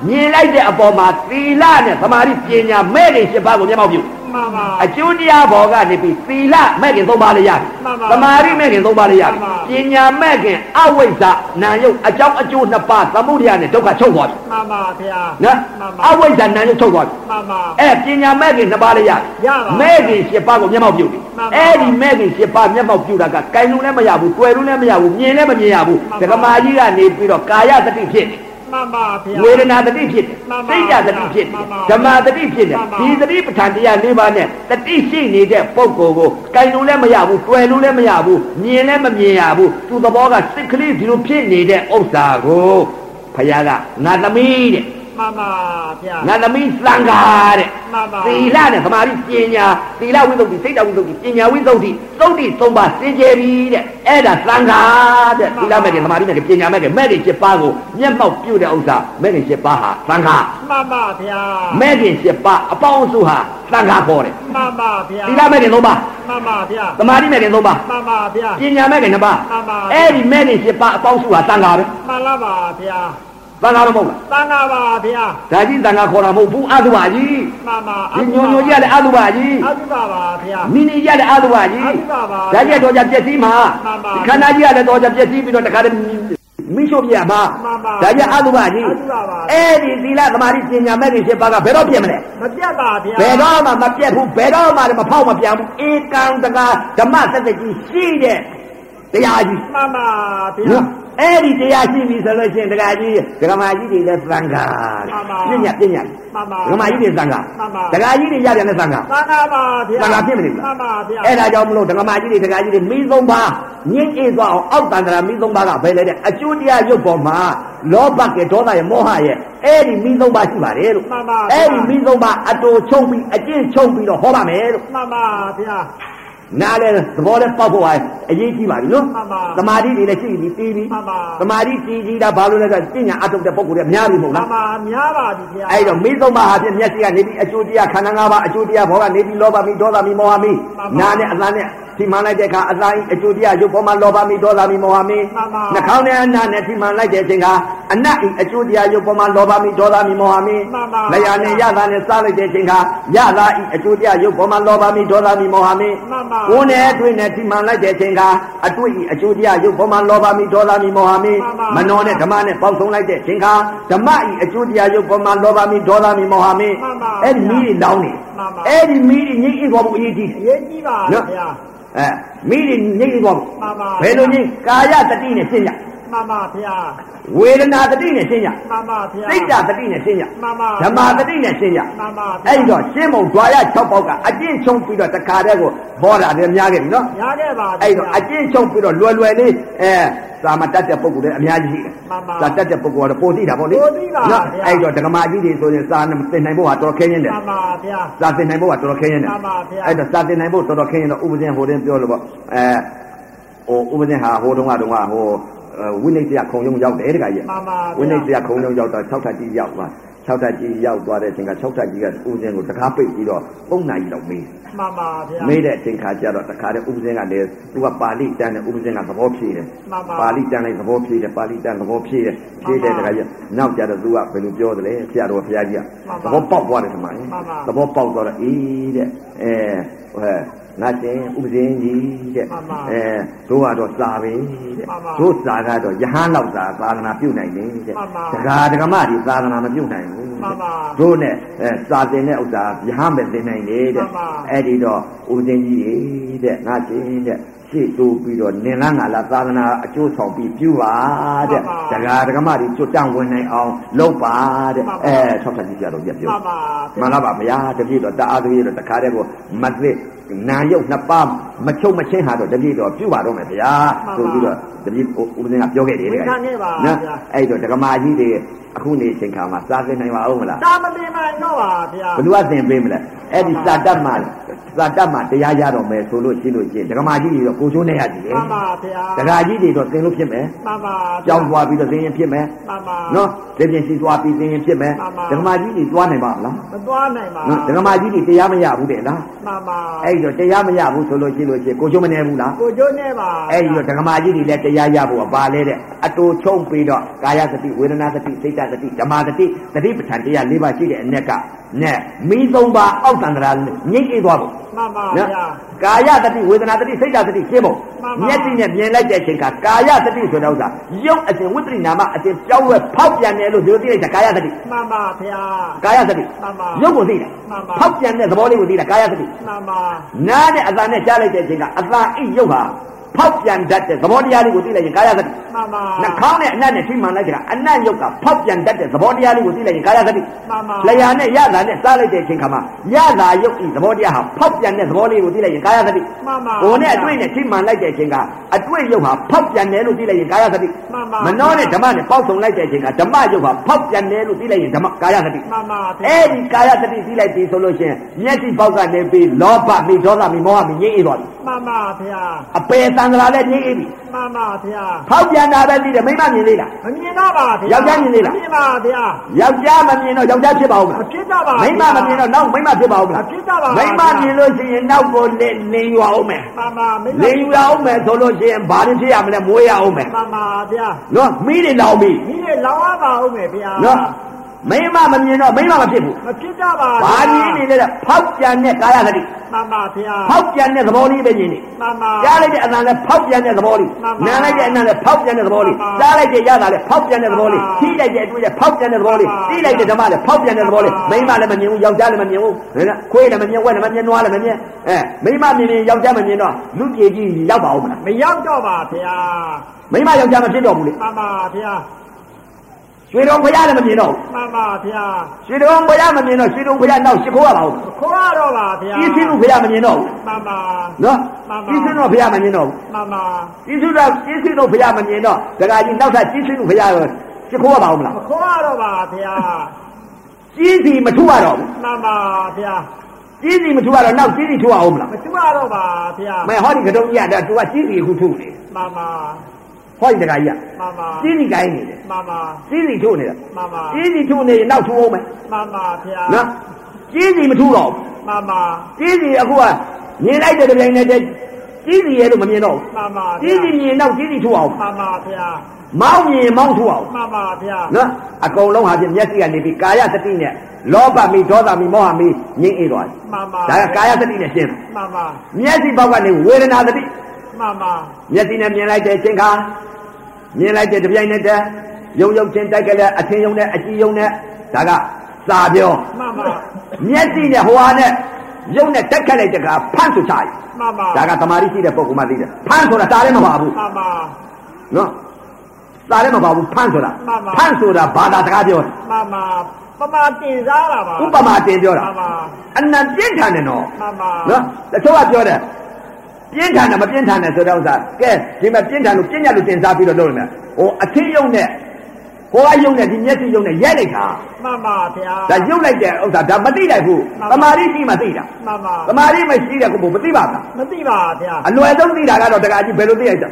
Speaker 1: မြင်လိုက်တဲ့အပေါ်မှာသီလနဲ့သမာဓိပညာမဲ့တွေ၈ပါးကိုမျက်မှောက်ပြု
Speaker 2: မှန်ပါ
Speaker 1: အကျိုးတရားဘော်ကနေပြီးသီလမဲ့ခင်သုံးပါးလေးရတယ်
Speaker 2: မှန်ပါ
Speaker 1: သမာဓိမဲ့ခင်သုံးပါးလေးရတယ်
Speaker 2: မှန်ပါ
Speaker 1: ပညာမဲ့ခင်အဝိဇ္ဇနာယုတ်အကြောင်းအကျိုးနှစ်ပါးသမုဒိယနဲ့ဒုက္ခချုပ်သွားပြီ
Speaker 2: မှန်ပါဗျာ
Speaker 1: နော်
Speaker 2: မှန်
Speaker 1: အ
Speaker 2: ပါ
Speaker 1: ဝိဇ္ဇနာယုတ်ချုပ်သွားပြီ
Speaker 2: မှန်ပါ
Speaker 1: အဲပညာမဲ့ခင်နှစ်ပါးလေးရတယ်
Speaker 2: ရပါ
Speaker 1: မဲ့ခင်၈ပါးကိုမျက်မှောက်ပြုတယ်
Speaker 2: မှန်ပါ
Speaker 1: အဲ့ဒီမဲ့ခင်၈ပါးမျက်မှောက်ပြုတာကကြိုင်လို့လည်းမရဘူးတွေ့လို့လည်းမရဘူးမြင်လည်းမမြင်ရဘူး
Speaker 2: မှန်ပါ
Speaker 1: ဒကမာကြီးကနေပြီးတော့ကာယတတိဖြစ်တယ်
Speaker 2: မှန်ပါဗျာ
Speaker 1: ဝေဒနာတတိဖြစ်တယ်
Speaker 2: မှန်ပါ
Speaker 1: စိတ်ဓာတ်တတိဖြစ်တ
Speaker 2: မှ
Speaker 1: ယ်
Speaker 2: န်ပါ
Speaker 1: ဓမ္မတတိဖြစ်တယ်
Speaker 2: မှန်ပါ
Speaker 1: ဒီတတိပဋ္ဌာန်တရား၄ပါးနဲ့တတိရှိနေတဲ့ပုဂ္ဂိုလ်ကိုကြိုင်လို့လည်းမရဘူးတွေ့လို့လည်းမရဘူးမြင်လည်းမမြင်ရဘူးသူသဘောကစိတ်ကလေးဒီလိုဖြစ်နေတဲ့ဥစ္စာကိုဖယားကငါသမီးတဲ့
Speaker 2: မှန်ပါဗျာ
Speaker 1: ငါသမီးသံဃာတဲ့
Speaker 2: မှန်ပါ
Speaker 1: သီလနဲ့သမာဓိပညာသီလဝိသုဒ္ဓိစိတ်ဓာတ်ဝိသုဒ္ဓိပညာဝိသုဒ္ဓိသုဒ္ဓိသုံးပါးစင်ကြယ်ပြီတဲ့အဲ့ဒါသံဃာတဲ့သီလမဲ့တယ်သမာဓိမဲ့တယ်ပညာမဲ့တယ်မဲ့တယ်7ပါးကိုမျက်မှောက်ပြုတဲ့ဥစ္စာမဲ့တယ်7ပါးဟာသံဃာ
Speaker 2: မှန်ပါဗျာ
Speaker 1: မဲ့ခင်၈ပါးအပေါင်းအစုဟာသံဃာခေါ်တယ်
Speaker 2: မှန်ပါဗျာ
Speaker 1: သီလမဲ့ခင်၃ပါး
Speaker 2: မှန်ပါဗျာ
Speaker 1: သမာဓိမဲ့ခင်၃ပါး
Speaker 2: မှန်ပါဗျာ
Speaker 1: ပညာမဲ့ခင်၂ပါး
Speaker 2: မှန်ပါ
Speaker 1: အဲ့ဒီမဲ့ခင်၈ပါးအပေါင်းအစုဟာသံဃာပဲ
Speaker 2: မှန်လားပါဗျာ
Speaker 1: သံဃာတော့မဟုတ်လား
Speaker 2: သံဃာပါဗျာ
Speaker 1: ဒါကြီးသံဃာခေါ်တာမဟုတ်ဘူးအတုပါကြီး
Speaker 2: မှန်ပါ
Speaker 1: ဒီညိုညိုကြီးကလည်းအတုပါကြီး
Speaker 2: အသုဘပါဗျာ
Speaker 1: မိနီကြီးကလည်းအတုပါကြီး
Speaker 2: အတုပါပါ
Speaker 1: ဒါကြီးကတော့ကြပြည့်စည်မှာ
Speaker 2: မှန်ပါ
Speaker 1: ဒီခန္ဓာကြီးကလည်းတော့ကြပြည့်စည်ပြီးတော့တခါတည်းမိရှုပ်ပြရမှာ
Speaker 2: မှန်ပါ
Speaker 1: ဒါကြီးအတုပါကြီး
Speaker 2: အတုပါပါ
Speaker 1: အဲ့ဒီသီလသမာဓိပညာမဲ့ခင်၈ပါးကဘယ်တော့ပြည့်မလဲ
Speaker 2: မပြတ်ပါဗျာ
Speaker 1: ဘယ်တော့မှမပြတ်ဘူးဘယ်တော့မှလည်းမဖောက်မပြန်ဘူးဧကံတကာဓမ္မသတ္တကြီးရှိတဲ့တရားကြီး
Speaker 2: မှန်ပါဗျာ
Speaker 1: နော်အဲ့ဒီတရားရှိပြီဆိုလို့ရှိရင်တရားကြီးဓမ္မကြီးတွေလည်းသံဃာ
Speaker 2: မှ
Speaker 1: ပြ
Speaker 2: န်
Speaker 1: ည
Speaker 2: ပါ
Speaker 1: တ်ပြညတ်
Speaker 2: မှန်ပါ
Speaker 1: ဓမ္မကြီးတွေသံဃာ
Speaker 2: မှန်ပါ
Speaker 1: တရားကြီးတွေရပြန်တဲ့သံဃာ
Speaker 2: သံဃာပါဗျာ
Speaker 1: သံဃာဖြစ်မနေ
Speaker 2: မှ
Speaker 1: လား
Speaker 2: န်ပါဗျာ
Speaker 1: အဲ့ဒါကြောင့်မလို့ဓမ္မကြီးတွေတရားကြီးတွေမိသုံးပါညှင်းအေးသွားအောင်အောက်တန္တရာမိသုံးပါကပဲလေတဲ့အကျိုးတရားရုပ်ပေါ်မှာလောဘကဒေါသရဲ့မောဟရဲ့အဲ့ဒီမိသုံးပါရှိပါတယ်လို့
Speaker 2: မှန်ပါ
Speaker 1: အဲ့ဒီမိသုံးပါအတူချုံပြီးအကျင့်ချုံပြီးတော့ဟောပါမယ်လို့
Speaker 2: မှန်ပါဗျာ
Speaker 1: နားလဲသဘောလဲပေါက်ဖို့ဟာအရေးကြီးပါပြီနော်
Speaker 2: မှန်ပါ
Speaker 1: သမာဓိတွေလည်းရှိပြီပြီးပြီ
Speaker 2: မှန်ပါ
Speaker 1: သမာဓိတည်ကြည်တာဘာလို့လဲဆိုတော့ပညာအထုတ်တဲ့ပုံကိုယ်တွေအများကြီးမဟုတ်
Speaker 2: မှန်
Speaker 1: လား
Speaker 2: ပါများပါပြီဗျာ
Speaker 1: အဲ့တော့မိသုံးပါဟာဖြင့်မျက်စိကနေပြီးအကျိုးတရားခန္ဓာ၅ပါးအကျိုးတရားဘောကနေပြီးလောဘမိဒေါသမိမောဟမိနားနဲ့အသံနဲ့ဒီမှန်လိုက်တဲ့အခါအသံဤအကျိုးတရားရုပ်ပေါ်မှာလောဘမိဒေါသမိမောဟမိ
Speaker 2: မှန်ပါ
Speaker 1: နှာခေါင်းနဲ့အနားနဲ့ဒီမှန်လိုက်တဲ့အချိန်ကအနတ်ဤအကျိုးတရားရုပ်ပေါ်မှာလောဘမိဒေါသမိမောဟမိ
Speaker 2: မှန်ပါ
Speaker 1: လျာနဲ့ရတာနဲ့စားလိုက်တဲ့အချိန်ကရတာဤအကျိုးတရားရုပ်ပေါ်မှာလောဘမိဒေါသမိမောဟမိ
Speaker 2: မှန်ပါ
Speaker 1: ကိုယ်နဲ့အတွင်းနဲ့ထိမှန်လိုက်တဲ့အချိန်ကအတွေ့ဤအကျိုးတရားရုပ်ပေါ်မှာလောဘမိဒေါသမိမောဟမိ
Speaker 2: မှန်ပါ
Speaker 1: မနှောနဲ့ဓမ္မနဲ့ပေါင်းစုံလိုက်တဲ့အချိန်ကဓမ္မဤအကျိုးတရားရုပ်ပေါ်မှာလောဘမိဒေါသမိမောဟမိ
Speaker 2: မှန်ပါ
Speaker 1: အဲ့ဒီမိတွေလောင်းနေ
Speaker 2: မှန်ပါ
Speaker 1: အဲ့ဒီမိတွေငြိမ့်အေးပေါ်ဖို့အရေးကြီးတယ်
Speaker 2: အရေးကြီးပါ
Speaker 1: နော်
Speaker 2: ဗျာ
Speaker 1: အဲမိတွေငြိမ့်အေးပေါ်ဖို့
Speaker 2: မှန်ပါ
Speaker 1: ဘယ်လိုငြိမ့်ကာယတတိနဲ့ရှင်းရ
Speaker 2: မှန်ပါဗျာ
Speaker 1: ဝေဒနာတတိနဲ့ရှင်းရ
Speaker 2: မှန်ပါဗျာ
Speaker 1: စိတ်ဓာတ်တတိနဲ့ရှင်းရ
Speaker 2: မှန်ပါ
Speaker 1: ဓမ္မတတိနဲ့ရှင်းရ
Speaker 2: မှန်ပါဗျာ
Speaker 1: အဲ့ဒီတော့ရှင်းမုံဓွာရ6ပေါက်ကအကျင့်ချုံပြီးတော့တခါတည်းကိုဘောတာလည်းများခဲ့ပြီနော်
Speaker 2: ရခဲ့ပါဗျာ
Speaker 1: အဲ့ဒီတော့အကျင့်ချုံပြီးတော့လွယ်လွယ်လေးအဲသာမတတ်တဲ့ပုံကူလည်းအများကြီးရှိတယ်
Speaker 2: မှန်ပါ
Speaker 1: သာတတ်တဲ့ပုံကူကတော့ပိုတိတာပေါ့လေ
Speaker 2: ပိုသိတာ
Speaker 1: နော်
Speaker 2: ဗျာ
Speaker 1: အဲ့ဒီတော့ဓကမာကြီးတွေဆိုရင်သာနဲ့မသိနိုင်ဖို့ဟာတော်တော်ခဲရင်းတယ်
Speaker 2: မှန်ပါဗျာ
Speaker 1: သာသိနိုင်ဖို့ဟာတော်တော်ခဲရင်းတယ်
Speaker 2: မှန်ပါဗျာ
Speaker 1: အဲ့တော့သာသိနိုင်ဖို့တော်တော်ခဲရင်းတော့ဥပဒေဟိုတင်းပြောလို့ပေါ့အဲဟိုဥပဒေဟာဟိုတုန်းကတုန်းကဟိုအဲဝိနည်းတရားခုံရုံရောက်တယ်တခါကြီး
Speaker 2: မှန်ပါ
Speaker 1: ဝိနည်းတရားခုံလုံးရောက်တော့6ထပ်ကြီးရောက်သွား6ထပ်ကြီးရောက်သွားတဲ့အချိန်က6ထပ်ကြီးကဥစဉ်ကိုတကားပိတ်ပြီးတော့ပုံနိုင်တော့မေး
Speaker 2: မှန်ပါဗျာ
Speaker 1: မေးတဲ့အချိန်ခါကျတော့တခါတည်းဥစဉ်ကလည်းသူကပါဠိတန်တဲ့ဥစဉ်ကသဘောဖြေတယ်
Speaker 2: မှန်ပါ
Speaker 1: ဠိတန်လိုက်သဘောဖြေတယ်ပါဠိတန်သဘောဖြေတယ်ဖြေတယ်
Speaker 2: မှ
Speaker 1: တ
Speaker 2: န်ပါ
Speaker 1: ခါကျနောက်ကျတော့သူကဘယ်လိုပြောသလဲဆရာတော်ဘုရားကြီးက
Speaker 2: မှန်ပါ
Speaker 1: သဘောပေါက်သွားတယ်ထင်ပါလေ
Speaker 2: မှန်ပါ
Speaker 1: သဘောပေါက်သွားတော့အေးတဲ့အဲဟဲ့ငါတင်ဥစဉ်ကြီးတဲ့
Speaker 2: မှန်ပါ
Speaker 1: အဲတို့ကတော့စာပဲတဲ့
Speaker 2: မှန်ပါ
Speaker 1: တို့စာကတော့ယဟန်လောက်စာသာသနာပြုနိုင်တယ်တဲ့
Speaker 2: မှန်ပါ
Speaker 1: တခါ ဒါဓမ္မဒီသာသနာမပြုတ်နိုင်ဘူး
Speaker 2: မှန်ပါ
Speaker 1: တို့နဲ့အဲစာတင်တဲ့ဥစ္စာရဟန်းပဲသင်နိုင်လေ
Speaker 2: မှ
Speaker 1: တဲ့
Speaker 2: န်ပါ
Speaker 1: အဲ့ဒီတော့ဦးဇင်းကြီးရေတဲ့ငါရှင်တဲ့ရှေ့တိုးပြီးတော့နင်လားငါလားသာသနာအကျိုးဆောင်ပြီးပြုပါတဲ့
Speaker 2: မှန်ပါ
Speaker 1: ဒကာဒကမဒီကျွတ်တန့်ဝင်နိုင်အောင်လုပ်ပါတဲ့
Speaker 2: မှန်ပါ
Speaker 1: အဲဆောက်ဆက်ကြည့်ကြတော့ပြတ်ပြော
Speaker 2: မှန်ပါ
Speaker 1: မလားပါဗျာတပြည့်တော့တအားတပြည့်တော့တခါတည်းကိုမသိနာရုပ်နှစ်ပါးမချုပ်မချင်းဟာတော့တပြည့်တော့ပြုပါတော့မယ်ဗျာဆိုပြီးတော့တပြည့်ဦးဦးစင်းကပြောခဲ့တယ်လေအဲ့တော့ဒကမာကြီးတွေ အခုနေအချိန်ခါမှာစားသင်နိုင်ပါဦးမလား
Speaker 2: သာမတင်မှတော့ပါဗျာ
Speaker 1: ဘ누구ကသင်ပေးမလဲအဲ့ဒီစာတတ်မှစာတတ်မှတရားရတော့မယ်ဆိုလို့ရှိလို့ရှိရင်ဒကမာကြီးတွေတော့ကိုချိုးနေရတယ်
Speaker 2: မှန်ပါဗျာ
Speaker 1: ဒကာကြီးတွေတော့သင်လို့ဖြစ်မယ်
Speaker 2: မှန်ပါ
Speaker 1: ကြောင်းသွားပြီးတော့သင်ရင်ဖြစ်မယ်
Speaker 2: မှန်ပါ
Speaker 1: နော်လက်ပြင်ရှိသွားပြီးသင်ရင်ဖြစ်မယ်ဒကမာကြီးတွေသွားနိုင်ပါမလား
Speaker 2: မသွားနိုင်ပါ
Speaker 1: နော်ဒကမာကြီးတွေတရားမရဘူးတဲ့လား
Speaker 2: မှန်ပါ
Speaker 1: အဲ့ဒီတော့တရားမရဘူးဆိုလို့ရှိလို့ရှိရင်ကိုချိုးမနေဘူးလား
Speaker 2: ကိုကျိုးနေပါ
Speaker 1: အဲ့ဒီတော့ဓမ္မကြီးတွေလည်းတရားရဖို့ကပါလေတဲ့အတူချုံပြီးတော့ကာယသတိဝေဒနာသတိစိတ်သတိဓမ္မသတိသတိပဋ္ဌာန်တရား၄ပါးရှိတဲ့အ ਨੇ ကနဲ့မိသုံးပါအောက်တန္တရာငြိမ့်အေးသွားဖို့
Speaker 2: မှန်ပါ
Speaker 1: နော်
Speaker 2: ဗျာ
Speaker 1: ကာယသတိဝေဒနာသတိစိတ်သတိရှင်းဖို့
Speaker 2: မှန်ပါ
Speaker 1: မျက်စိနဲ့မြင်လိုက်တဲ့အချိန်ကကာယသတိဆိုတဲ့ဥစ္စာရုပ်အစဉ်ဝိပရိနာမအစဉ်ပြောင်းလဲဖောက်ပြန်တယ်လို့ဒီလိုသိလိုက်တာကာယသတိ
Speaker 2: မှန်ပါဗျာ
Speaker 1: ကာယသတိ
Speaker 2: မှန်ပါ
Speaker 1: ရုပ်ကိုသိတာ
Speaker 2: မှန်ပါ
Speaker 1: ဖောက်ပြန်တဲ့သဘောလေးကိုသိတာကာယသတိ
Speaker 2: မှန်ပါ
Speaker 1: နားနဲ့အသာနဲ့ကြားလိုက်တဲ့အချိန်ကအသာအိပ်ရုပ်ဟာဖောက်ပြန်တတ်တဲ့သဘောတရားလေးကိုသိလိုက်ရင်ကာယသတိ
Speaker 2: မှန်ပါ
Speaker 1: နှာခေါင်းနဲ့အနတ်နဲ့ထိမှန်လိုက်တာကအနတ်ရုပ်ကဖောက်ပြန်တတ်တဲ့သဘောတရားလေးကိုသိလိုက်ရင်ကာယသတိ
Speaker 2: မှန်ပါ
Speaker 1: လျာနဲ့ရတာနဲ့စားလိုက်တဲ့အချိန်ခါမှာရတာရုပ်ဤသဘောတရားဟာဖောက်ပြန်တဲ့သဘောလေးကိုသိလိုက်ရင်ကာယသတိ
Speaker 2: မှန်ပါ
Speaker 1: ကိုယ်နဲ့အတွေ့နဲ့ထိမှန်လိုက်တဲ့အချိန်ကအတွေ့ရုပ်ဟာဖောက်ပြန်တယ်လို့သိလိုက်ရင်ကာယသတိ
Speaker 2: မှန်ပါ
Speaker 1: မနှောနဲ့ဓမ္မနဲ့ပေါက်ဆုံလိုက်တဲ့အချိန်ကဓမ္မရုပ်ဟာဖောက်ပြန်တယ်လို့သိလိုက်ရင်ဓမ္မကာယသတိ
Speaker 2: မှန်ပါဗျာ
Speaker 1: အဲ့ဒီကာယတတိသိလိုက်ပြီဆိုလို့ရှရင်မျက်စိပေါက်ကနေပြီးလောဘမိဒေါသမိမောဟမိငြိမ့်အေးသွားပြီ
Speaker 2: မှန်ပါဗျာ
Speaker 1: အပယ်သံသရာလည်းငြိမ့်အေးပြီ
Speaker 2: မှန်ပါဗျာ
Speaker 1: ဖောက်ပြန်တာပဲသိတယ်မိမမြင်သေးလား
Speaker 2: မမြင်တော့ပါဗျာ
Speaker 1: ယောက်ျားမြင်သေးလား
Speaker 2: မမြင်ပါဗျာ
Speaker 1: ယောက်ျားမမြင်တော့ယောက်ျားဖြစ်ပါဦးမ
Speaker 2: မ
Speaker 1: လား
Speaker 2: ဖြစ်တော့ပါ
Speaker 1: မိ
Speaker 2: ဗျာ
Speaker 1: မမမြင်တော့နောက်မိမဖြစ်ပါဦးမလား
Speaker 2: အဖြစ်တော့ပါ
Speaker 1: မိမမြင်လို့ရှိရင်နောက်ကိုလင်းလင်းရွာအောင်မယ်
Speaker 2: မှန်ပါမိ
Speaker 1: လင်းရွာအောင်မယ်ဆိုလို့ရှိရင်ဘာလို့ဖြစ်ရမလဲမွေးရအောင်မယ်
Speaker 2: မှန်ပါဗျာ
Speaker 1: နော်မိတွေလောင်ပြီ
Speaker 2: မိရေလောင်းရပါဦးမယ်ဗျာ
Speaker 1: နော်မိမမမြင်တော့မိမမဖြစ်ဘူး
Speaker 2: မဖြစ်တော့ပါ
Speaker 1: ဘာမြင်နေလဲတဲ့ဖောက်ပြန်တဲ့ကာယတတိ
Speaker 2: မှန်ပါဗျာ
Speaker 1: ဖောက်ပြန်တဲ့သဘောလေးပဲမြင်နေ
Speaker 2: မှန်ပါ
Speaker 1: ကြားလိုက်တဲ့အသံလည်းဖောက်ပြန်တဲ့သဘောလေး
Speaker 2: မှန်ပါ
Speaker 1: နားလိုက်တဲ့အနံလည်းဖောက်ပြန်တဲ့သဘောလေး
Speaker 2: မှန်ပါ
Speaker 1: ကြားလိုက်တဲ့ရတာလည်းဖောက်ပြန်တဲ့သဘောလေး
Speaker 2: မှန်ပါ
Speaker 1: ထိလိုက်တဲ့အတွေ့လည်းဖောက်ပြန်တဲ့သဘောလေး
Speaker 2: မှန်ပါ
Speaker 1: သိလိုက်တဲ့ဓမ္မလည်းဖောက်ပြန်တဲ့သဘောလေး
Speaker 2: မှ
Speaker 1: မိ
Speaker 2: န်
Speaker 1: န်းမ
Speaker 2: ပါ
Speaker 1: လည်းမမြင်ဘူးယောက်ျားလည်းမမြင်ဘူးဒါကခွေးလည်းမမြင်ဝက်လည်းမမြင်နွားလည်းမမြင်အဲမိန်းမမြင်ရင်ယောက်ျားမမြင်တော့လူကြီးကြီးရောက်ပါဦးမလား
Speaker 2: မရောက်တော့ပါဗျာ
Speaker 1: မိန်းမယောက်ျားမဖြစ်တော့ဘူးလေ
Speaker 2: မှန်ပါဗျာ
Speaker 1: ရွှေတော်ဖရားလည်းမမြင်တော့
Speaker 2: မှန်ပါဗျာ
Speaker 1: ဘူးရွှေတော်ဖရားမမြင်တော့ရွှေတော်ဖရားနောက်ရှိခိုးရပါဦး
Speaker 2: ခေါ်ရတော့ပါဗျာ
Speaker 1: ကြီးစင်းတို့ဖရားမမြင်တော့ဘူး
Speaker 2: မှန်ပါ
Speaker 1: နော်
Speaker 2: မှန်ပါ
Speaker 1: ကြီးစင်းတို့ဖရားမမြင်တော့ဘူး
Speaker 2: မှန်ပါ
Speaker 1: ကြီးစင်းတို့ကြီးစင်းတို့ဖရားမမြင်တော့ဒကာကြီးနောက်ထပ်ကြီးစင်းတို့ဖရားရှိခိုးရပါဦးမလား
Speaker 2: မခေါ်ရတော့ပါဗျာ
Speaker 1: ကြီးစီမထူရတော့
Speaker 2: မှန်ပါဗျာ
Speaker 1: ဘူးကြီးစီမထူရတော့နောက်ကြီးစီထူရအောင်မလား
Speaker 2: မတူရတော့ပါဗျာ
Speaker 1: မဲဟောဒီကတော့ကြီးကတော့ तू ကကြီးစီအခုထူနေတယ်
Speaker 2: မှန်ပါ
Speaker 1: ဟောဒီတခါကြီးက
Speaker 2: မှန်ပါ
Speaker 1: ကြီးစီကိုင်းနေတယ်
Speaker 2: မှန်ပါ
Speaker 1: ကြီးစီထူနေတာ
Speaker 2: မှန်ပါ
Speaker 1: ကြီးစီထူနေရင်နောက်ထူအောင်မယ်
Speaker 2: မှန်ပါဗျာ
Speaker 1: နော်ကြီးစီမထူတော့
Speaker 2: မှန်ပါ
Speaker 1: ဘူးကြီးစီအခုကမြင်လိုက်တဲ့တစ်ပြိုင်နက်တည်းကြီးစီရဲ့လို့မမြင်တော့
Speaker 2: မှန်ပါ
Speaker 1: ဘူးကြီးစီမြင်နောက်ကြီးစီထူအောင်
Speaker 2: မှန်ပါဗျာ
Speaker 1: မောင်းမြင်မောင်းထူအောင်
Speaker 2: မှန်ပါဗျာ
Speaker 1: နော်အကုန်လုံးဟာဖြင့်မျက်စိကနေပြီးကာယသတိနဲ့လောဘမိဒေါသမိမောဟမိငြိမ့်အေးသွားတယ်
Speaker 2: မှန်ပါ
Speaker 1: ဒါကကာယသတိနဲ့ရှင်းတယ်
Speaker 2: မှန်ပါ
Speaker 1: မျက်စိဘောက်ကနေဝေဒနာသတိ
Speaker 2: မှန်ပါ
Speaker 1: မျက်စိနဲ့မြင်လိုက်တဲ့အချိန်ခါမြင်လိုက်တဲ့တစ်ပြိုင်နက်တည်းရုံရုံချင်းတိုက်ကြလဲအချင်းယုံနဲ့အကြည့်ယုံနဲ့ဒါကစာပြော
Speaker 2: မှန်ပါ
Speaker 1: မျက်စိနဲ့ဟွာနဲ့ယုံနဲ့တိုက်ခတ်လိုက်တဲ့ကဖန့်ဆိုချရ
Speaker 2: မှန်ပါ
Speaker 1: ဒါကသမာဓိရှိတဲ့ပုဂ္ဂိုလ်မှသိတယ်ဖန့်ဆိုတာစာလည်းမပါဘူး
Speaker 2: မှန်ပါ
Speaker 1: နော်စာလည်းမပါဘူးဖန့်ဆိုတာ
Speaker 2: မှန်ပါ
Speaker 1: ဖန့်ဆိုတာဘာသာတကားပြော
Speaker 2: မမပမာတင်စားတာပါ
Speaker 1: ဥပမာတင်ပြောတာ
Speaker 2: မမ
Speaker 1: အနံပြင်းထန်တယ်နော်
Speaker 2: မမ
Speaker 1: နော်တချို့ကပြောတယ်ပြင်းထန်တယ်မပြင်းထန်တယ်ဆိုတဲ့ဥစ္စာကဲဒီမှာပြင်းထန်လို့ပြင်းရလို့တင်စားပြီးတော့လုပ်နေတယ်ဟိုအထင်းယုံနဲ့ဟိုကယုံနဲ့ဒီမျက်စိယုံနဲ့ရိုက်လိုက်တာ
Speaker 2: မမဗျာ
Speaker 1: ဒါယုံလိုက်တဲ့ဥစ္စာဒါမသိလိုက်ဘူး
Speaker 2: မှန်
Speaker 1: သ
Speaker 2: ပါ
Speaker 1: မာဓိရှိမှသိတာ
Speaker 2: မမ
Speaker 1: သမာဓိမရှိတဲ့ကိုယ်ကမသိပါဘူး
Speaker 2: မသိပါဗျာ
Speaker 1: အလွယ်ဆုံးသိတာကတော့တကကြီးဘယ်လိုသိလိုက်တာ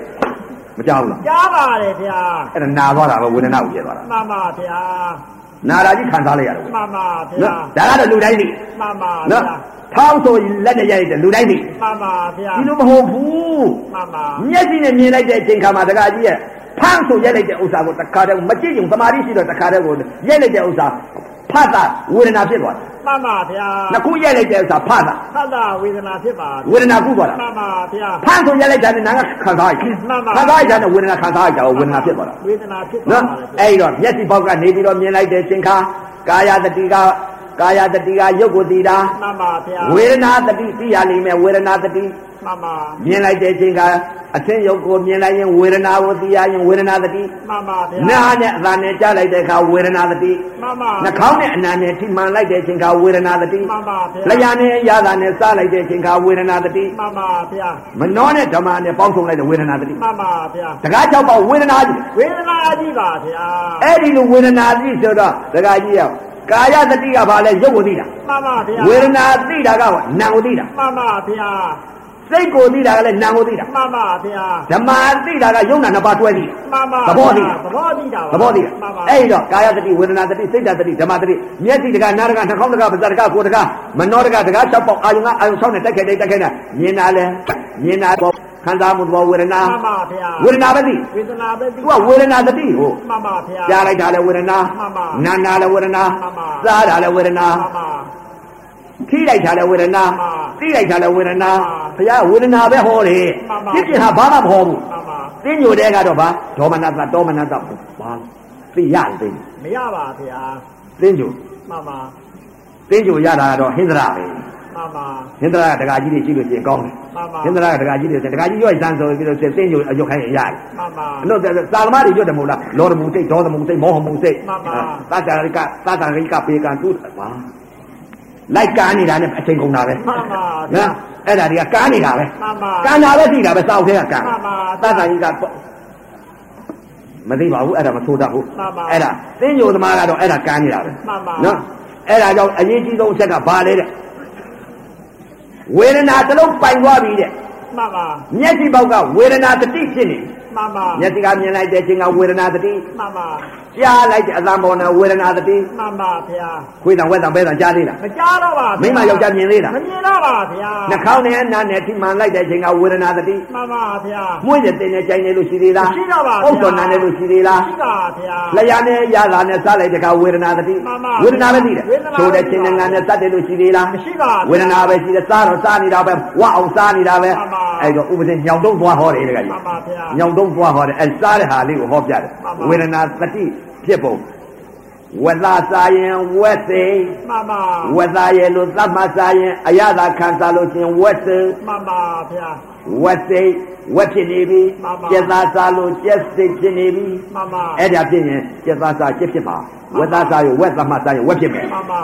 Speaker 1: မကြောက်ဘူးလား
Speaker 2: ကြားပါတယ်ဗျာ
Speaker 1: အဲ့ဒါနာသွားတာပဲဝေဒနာကိုပြည့်သွားတာ
Speaker 2: မမဗျာ
Speaker 1: နာတာကြီးခံစားလိုက်ရတယ်
Speaker 2: မမ
Speaker 1: ဗျာ
Speaker 2: ဗျာ
Speaker 1: ဒါကတော့လူတိုင်းသိ
Speaker 2: မမဗျာ
Speaker 1: နော်ထောင်းဆိုရင်လက်နဲ့ရိုက်တယ်လူတိုင်းသိ
Speaker 2: မမဗျာ
Speaker 1: ဒီလိုမဟုတ်ဘူး
Speaker 2: မမ
Speaker 1: မျက်စိနဲ့မြင်လိုက်တဲ့အချိန်ခါမှာတခါကြီးရဲ့ဖမ်းဆိုရက်လိုက်တဲ့ဥစ္စာကိုတခါတည်းမကြည့်ရင်သမာဓိရှိတော့တခါတည်းကိုရက်လိုက်တဲ့ဥစ္စာဖတ်တာဝေဒနာဖြစ်သွားတယ်
Speaker 2: မမဗျာ
Speaker 1: ။နှစ်ခုရက်လိုက်တဲ့ဥစ္စာဖတ်တာ
Speaker 2: သတ္တဝေဒနာဖြစ်ပါ
Speaker 1: ဝေဒနာကူးသွားတာ
Speaker 2: မမဗျာ
Speaker 1: ဖမ်းဆိုရက်လိုက်တာနဲ့နာကခံစားရတယ်
Speaker 2: မှန်ပါ
Speaker 1: ။ခံစားရတဲ့ဝေဒနာခံစားရတာကိုဝေဒနာဖြစ်သွားတာ
Speaker 2: ဝေဒနာဖြစ်
Speaker 1: နော်
Speaker 2: သွားပါတယ်ဗျာ
Speaker 1: အဲ့ဒီတော့မျက်စိပေါက်ကနေပြီးတော့မြင်လိုက်တဲ့အချိန်ခါကာယတတိက ကာယတတိကရုပ်ကိုသိတာ
Speaker 2: မှန်ပါဗျာ
Speaker 1: ဝေဒနာတတိသိရလိမ့်မယ်ဝေဒနာတတိ
Speaker 2: မှန်ပါ
Speaker 1: မြင်လိုက်တဲ့အချိန်ကအသင်းရုပ်ကိုမြင်လိုက်ရင်ဝေဒနာကိုသိရရင်ဝေဒနာတတိ
Speaker 2: မှန်ပါဗျာ
Speaker 1: နားနဲ့အသံနဲ့ကြားလိုက်တဲ့အခါဝေဒနာတတိ
Speaker 2: မှန်ပါ
Speaker 1: နှာခေါင်းနဲ့အနံနဲ့ထိမှန်လိုက်တဲ့အချိန်ကဝေဒနာတတိ
Speaker 2: မှန်ပါဗျာ
Speaker 1: လျှာနဲ့ရတာနဲ့စားလိုက်တဲ့အချိန်ကဝေဒနာတတိ
Speaker 2: မှန်ပါဗျာ
Speaker 1: မနှောနဲ့ဓမ္မနဲ့ပေါင်းစုံလိုက်တဲ့ဝေဒနာတတိ
Speaker 2: မှန်ပါဗျာ
Speaker 1: တကား၆ပါးဝေဒနာကြီး
Speaker 2: ဝေဒနာကြီးပါဗျာ
Speaker 1: အဲ့ဒီလိုဝေဒနာသိဆိုတော့ဒကာကြီးရောကာယတတိကဘာလဲရုပ်ကိုသိတာ
Speaker 2: မှန်ပါဗျာ
Speaker 1: ဝေဒနာသိတာကနာမ်ကိုသိတာ
Speaker 2: မှန်ပါဗျာ
Speaker 1: စိတ်ကိုသိတာကလည်းနာမ်ကိုသိတာ
Speaker 2: မှန်ပါဗျာ
Speaker 1: ဓမ္မသိတာကယုံနာနှစ်ပါးတွဲသိ
Speaker 2: မှန်ပါ
Speaker 1: တာသဘောသိ
Speaker 2: သဘောသိတာ
Speaker 1: တာသဘောသိတာ
Speaker 2: မှန်ပါ
Speaker 1: အဲ့ဒီတော့ကာယတတိဝေဒနာတတိစိတ်ဓာတ်တတိဓမ္မတတိမျက်စိတကနားတကနှာခေါင်းတကပါးစပ်တကကိုယ်တကမနောတကတက၆ပေါက်အာယုံကအာယုံ၆နဲ့တက်ခဲတိုက်တက်ခဲနဲ့မြင်တာလဲမြင်တာပေါ့ခန္ဓာမှုသဘောဝေဒနာ
Speaker 2: မှန်ပါဗျာ
Speaker 1: ဝေဒနာပဲသိ
Speaker 2: ဝေဒနာပဲသိ
Speaker 1: သူကဝေဒနာတတိဟုတ်
Speaker 2: မှန်ပါဗျာ
Speaker 1: ကြားလိုက်တာလည်းဝေဒနာ
Speaker 2: မှန်ပါ
Speaker 1: နာနာလည်းဝေဒနာ
Speaker 2: မှန်ပါ
Speaker 1: စားတာလည်းဝေဒနာ
Speaker 2: မှန်ပါ
Speaker 1: ထိလိုက်တာလည်းဝေဒနာ
Speaker 2: မှန်ပါ
Speaker 1: သိလိုက်တာလည်းဝေဒနာ
Speaker 2: မှန်ပါ
Speaker 1: ဘုရားကဝေဒနာပဲဟောတယ်
Speaker 2: မှန်ပါ
Speaker 1: ဖြစ်ဖြစ်ဟာဘာမှမဟောဘူး
Speaker 2: မှန်ပါ
Speaker 1: သိညိုတဲ့ကတော့ဘာဒေါမနတတောမနတဘာသိရတယ်သိ
Speaker 2: မရပါဗျာ
Speaker 1: သိညို
Speaker 2: မှန်ပါ
Speaker 1: သိညိုရတာကတော့ဟင်္ဒရာပဲ
Speaker 2: မှန်ပါ
Speaker 1: ဟင်္ဒရာကဒကာကြီးတွေရှိလို့ရှိရင်ကောင်း
Speaker 2: မှန်ပါ
Speaker 1: တယ်ဟင်္ဒရာကဒကာကြီးတွေဆိုရင်ဒကာကြီးရွက်စမ်းဆိုပြီးတော့ဆိုရင်သိညိုအရွက်ခိုင်းရင်ရတယ်
Speaker 2: မှန်ပါ
Speaker 1: အဲ့တော့သာသမားတွေပြောတယ်မဟုတ်လားလောရမုန်စိတ်ဒေါသမုန်စိတ်မောဟမုန်စိတ်
Speaker 2: မှန်ပါ
Speaker 1: သာတာရိကသာတာရိကပေကံသူ့ပါလိုက်ကားနေတာနဲ့အချိန်ကုန်တာပဲ
Speaker 2: မှန်ပါဗျာ
Speaker 1: နော်အဲ့ဒါတွေကကားနေတာပဲ
Speaker 2: မှန်ပါ
Speaker 1: ကားနာပဲသိတာပဲစောက်သေးကကား
Speaker 2: မှန်ပါ
Speaker 1: သာတာရိကပေါ့မသိပါဘူးအဲ့ဒါမဆိုးတတ်ဘူး
Speaker 2: မှန်ပါ
Speaker 1: ဒါသင်းညိုသမားကတော့အဲ့ဒါကားနေတာပဲ
Speaker 2: မှန်ပါ
Speaker 1: နော်အဲ့ဒါကြောင့်အရေးကြီးဆုံးအချက်ကဘာလဲတဲ့ဝေဒနာတစ်လုံးပိုင်သွားပြီတဲ့
Speaker 2: မှန်ပါ
Speaker 1: မျက်စိပေါက်ကဝေဒနာတတိဖြစ်နေပြီ
Speaker 2: မှန်ပါ
Speaker 1: မျက်စိကမြင်လိုက်တဲ့အချိန်ကဝေဒနာသတိ
Speaker 2: မှန်ပါ
Speaker 1: ကြားလိုက်တဲ့အသံပေါ်နဲ့ဝေဒနာသတိ
Speaker 2: မှန်ပါဗျာ
Speaker 1: ခွေးတံဝက်တံပဲတံကြားသေးတာ
Speaker 2: မကြားတော့ပါ
Speaker 1: မိ
Speaker 2: ဗျာ
Speaker 1: န်းမယောက်ျားမြင်သေးတာ
Speaker 2: မမြင်တော့ပါဗျာ
Speaker 1: နှာခေါင်းနဲ့နားနဲ့ထိမှန်လိုက်တဲ့အချိန်ကဝေဒနာသတိ
Speaker 2: မှန်ပါဗျာ
Speaker 1: မွေးရတဲ့နဲ့ကြိုင်နေလို့ရှိသေးလား
Speaker 2: ရှိတော့ပါ
Speaker 1: ဟုတ်တော်နားနေလို့ရှိသေးလား
Speaker 2: ရှိပါဗျာ
Speaker 1: လျာနဲ့ရလာနဲ့စားလိုက်တဲ့ကဝေဒနာသတိ
Speaker 2: မှန်ပါ
Speaker 1: ဝေဒနာပဲသိတယ်
Speaker 2: ဝေဒနာပဲ
Speaker 1: ဆိုတဲ့ချင်းနဲ့ငါနဲ့စက်တယ်လို့ရှိသေးလား
Speaker 2: မရှိပါဘူး
Speaker 1: ဝေဒနာပဲရှိတယ်စားတော့စားနေတာပဲဝအောင်စားနေတာပဲ
Speaker 2: မှန်ပါ
Speaker 1: အဲ့တော့ဥပဒေညောင်တုံးသွားဟောတယ်တကကြီး
Speaker 2: မှန်ပါဗျာ
Speaker 1: ညောင်တုံးသွားဟောတယ်အဲစားတဲ့ဟာလေးကိုဟောပြတယ်
Speaker 2: မှန်ပါ
Speaker 1: ဝေဒနာတတိဖြစ်ပုံဝက်လာစားရင်ဝက်သိ
Speaker 2: မှန်ပါ
Speaker 1: ဝက်သားရဲ့လို့သတ်မှတ်စားရင်အရသာခံစားလို့ရှရင်ဝက်သိ
Speaker 2: မှန်ပါဗျာ
Speaker 1: ဝက်သိဝက်ဖြစ်နေပြီ
Speaker 2: မှန်ပါ
Speaker 1: ကျက်သားစားလို့ကျက်သိဖြစ်နေပြီ
Speaker 2: မှန်ပါ
Speaker 1: အဲ့ဒါဖြစ်ရင်ကျက်သားစားကျက်ဖြစ်မှာဝက်သားစားရင်ဝက်သတ်မှတ်စားရင်ဝက်ဖြစ်မယ်
Speaker 2: မှန်ပါ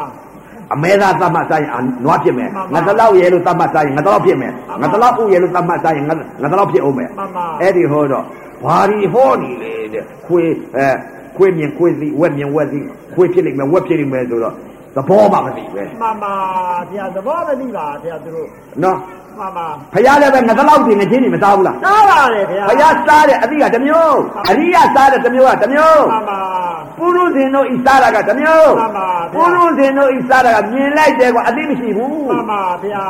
Speaker 1: အမဲသားသတ်မှတ်စားရင်အနွားဖြစ်မယ်
Speaker 2: မှန်ပါ
Speaker 1: ငါတလောက်ရဲ့လို့သတ်မှတ်စားရင်ငါတလောက်ဖြစ်မယ်
Speaker 2: မှန်
Speaker 1: ငါ
Speaker 2: ပါ
Speaker 1: တလောက်ဥရဲ့လို့သတ်မှတ်စားရင်ငါငါတလောက်ဖြစ်အောင်မယ်
Speaker 2: မှန်ပါ
Speaker 1: အဲ့ဒီဟောတော့ဘာဒီဟောနေလေတဲ့ခွေးအဲခွေးမြင်ခွေးစီဝက်မြင်ဝက်စီခွေးဖြစ်လိမ့်မယ်ဝက်ဖြစ်လိမ့်မယ်ဆိုတော့သဘောမှမသိပဲ
Speaker 2: မှန်ပါဗျာသဘောမသိပါဗျာသူတို့
Speaker 1: နော်
Speaker 2: မှန်ပါ
Speaker 1: ဖရားလည်းပဲငါတလောက်တင်နေချင်းနေမသားဘူးလား
Speaker 2: သားပါတယ်ဗျာ
Speaker 1: ဖရားစားတဲ့အသည့်ကတစ်မျိုးအရိယစားတဲ့တစ်မျိုးကတစ်မျိုး
Speaker 2: မှန်ပါ
Speaker 1: ပုရုဇဉ်တို့ဤစားတာကတစ်မျိုး
Speaker 2: မှန်ပါဗျာ
Speaker 1: ပုရုဇဉ်တို့ဤစားတာကမြင်လိုက်တယ်ကွာအသိမရှိဘူး
Speaker 2: မှန်ပါဗျာ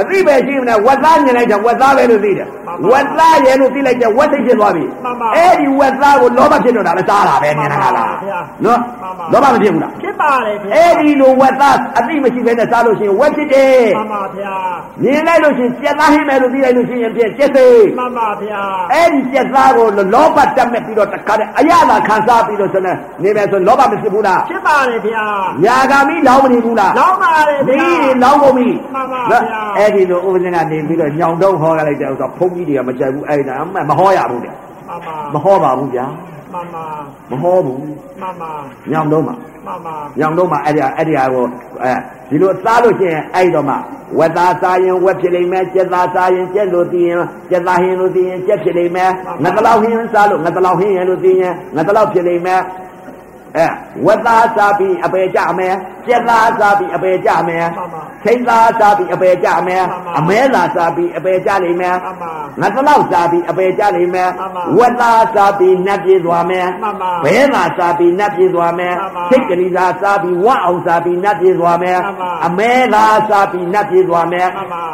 Speaker 1: အသိပဲရှိမလားဝက်သားမြင်လိုက်တာဝက်သားပဲလို့သိတယ်
Speaker 2: မှန်ပါ
Speaker 1: ဝက်သားရဲ့လို့သိလိုက်တဲ့ဝက်သိဖြစ်သွားပြီ
Speaker 2: မှန်ပါ
Speaker 1: အဲ့ဒီဝက်သားကိုလောဘဖြစ်တော့တာပဲစားတာပဲ
Speaker 2: မှ
Speaker 1: မြ
Speaker 2: န်
Speaker 1: င်
Speaker 2: ပါ
Speaker 1: တာလား
Speaker 2: ဗျာ
Speaker 1: နော်
Speaker 2: မှန်ပါ
Speaker 1: လောဘမဖြစ်ဘူးလား
Speaker 2: ဖြစ်ပါတယ်ဗျာ
Speaker 1: အဲ့ဒီလိုဝက်သားအသိမရှိဘဲနဲ့စားလို့ရှိရင်ဝက်ဖြစ်တယ်
Speaker 2: မှန်ပါဗျာ
Speaker 1: မြင်လိုက်လို့ရှိရင်ကြက်သားဟင်းမယ်လို့သိလိုက်လို့ရှိရင်ဖြစ်ကြက်သိ
Speaker 2: မှန်ပါဗျာ
Speaker 1: အဲ့ဒီကြက်သားကိုလောဘတက်မဲ့ပြီးတော့တခါတည်းအရသာခံစားပြီးတော့ဆိုနေနေမယ်ဆိုလောဘမဖြစ်ဘူးလား
Speaker 2: ဖြစ်ပါတယ်ဗျာ
Speaker 1: ညာဂามိလောင်းမနေဘူးလား
Speaker 2: လောင်းပါတယ်
Speaker 1: ဒီ
Speaker 2: ဗျာ
Speaker 1: လောင်းကုန်ပြီ
Speaker 2: မှန်ပါဗျာ
Speaker 1: နော်အဲ့ဒီလိုဥပဒေကနေပြီးတော့ညောင်တုံးဟောရလိုက်တဲ့ဥစ္စာဘုန်းကြီးတွေကမကြိုက်ဘူးအဲ့ဒါအမှန်မဟောရဘူးတဲ့
Speaker 2: မှန်ပါ
Speaker 1: မဟောပါဘူးဗျာ
Speaker 2: မှန်ပါ
Speaker 1: မဟောဘူး
Speaker 2: မှန်ပါ
Speaker 1: ညောင်တုံးမှာ
Speaker 2: မှန်ပါ
Speaker 1: ညောင်တုံးမှာအဲ့ဒီဟာအဲ့ဒီဟာကိုအဲဒီလိုစားလို့ရှိရင်အဲ့ဒီတော့မှဝက်သားစားရင်ဝက်ဖြစ်လိမ့်မယ်ကြက်သားစားရင်ကြက်လို့သိရင်ကြက်သားဟင်းလို့သိရင်ကြက်ဖြစ်လိမ့်မယ်ငါတလောက်ဟင်းစားလို့ငါတလောက်ဟင်းရလို့သိရင်ငါတလောက်ဖြစ်လိမ့်မယ်အဲဝက်သားစားပြီးအပေကြမယ်ကြက်သားစားပြီးအပေကြမယ်
Speaker 2: မှန်ပါ
Speaker 1: ထိတ်သားစားပြီးအပေကြမယ်
Speaker 2: မှန်ပါ
Speaker 1: အမဲလာစားပြီးအပေကြလိမ့်မယ်
Speaker 2: မှန်ပါ
Speaker 1: ငါတလောက်စားပြီးအပေကြလိမ့်မယ်
Speaker 2: မှန်ပါ
Speaker 1: ဝက်သားစားပြီးနှက်ပြေးသွားမယ်
Speaker 2: မှန်ပါ
Speaker 1: ဘဲသာစားပြီးနှက်ပြေးသွားမယ်
Speaker 2: မှန်ပါ
Speaker 1: ထိတ်ကလေးသာစားပြီးဝက်အောင်စားပြီးနှက်ပြေးသွားမယ်
Speaker 2: မှန်ပါ
Speaker 1: အမဲလာစားပြီးနှက်ပြေးသွားမယ်
Speaker 2: မှန်ပါ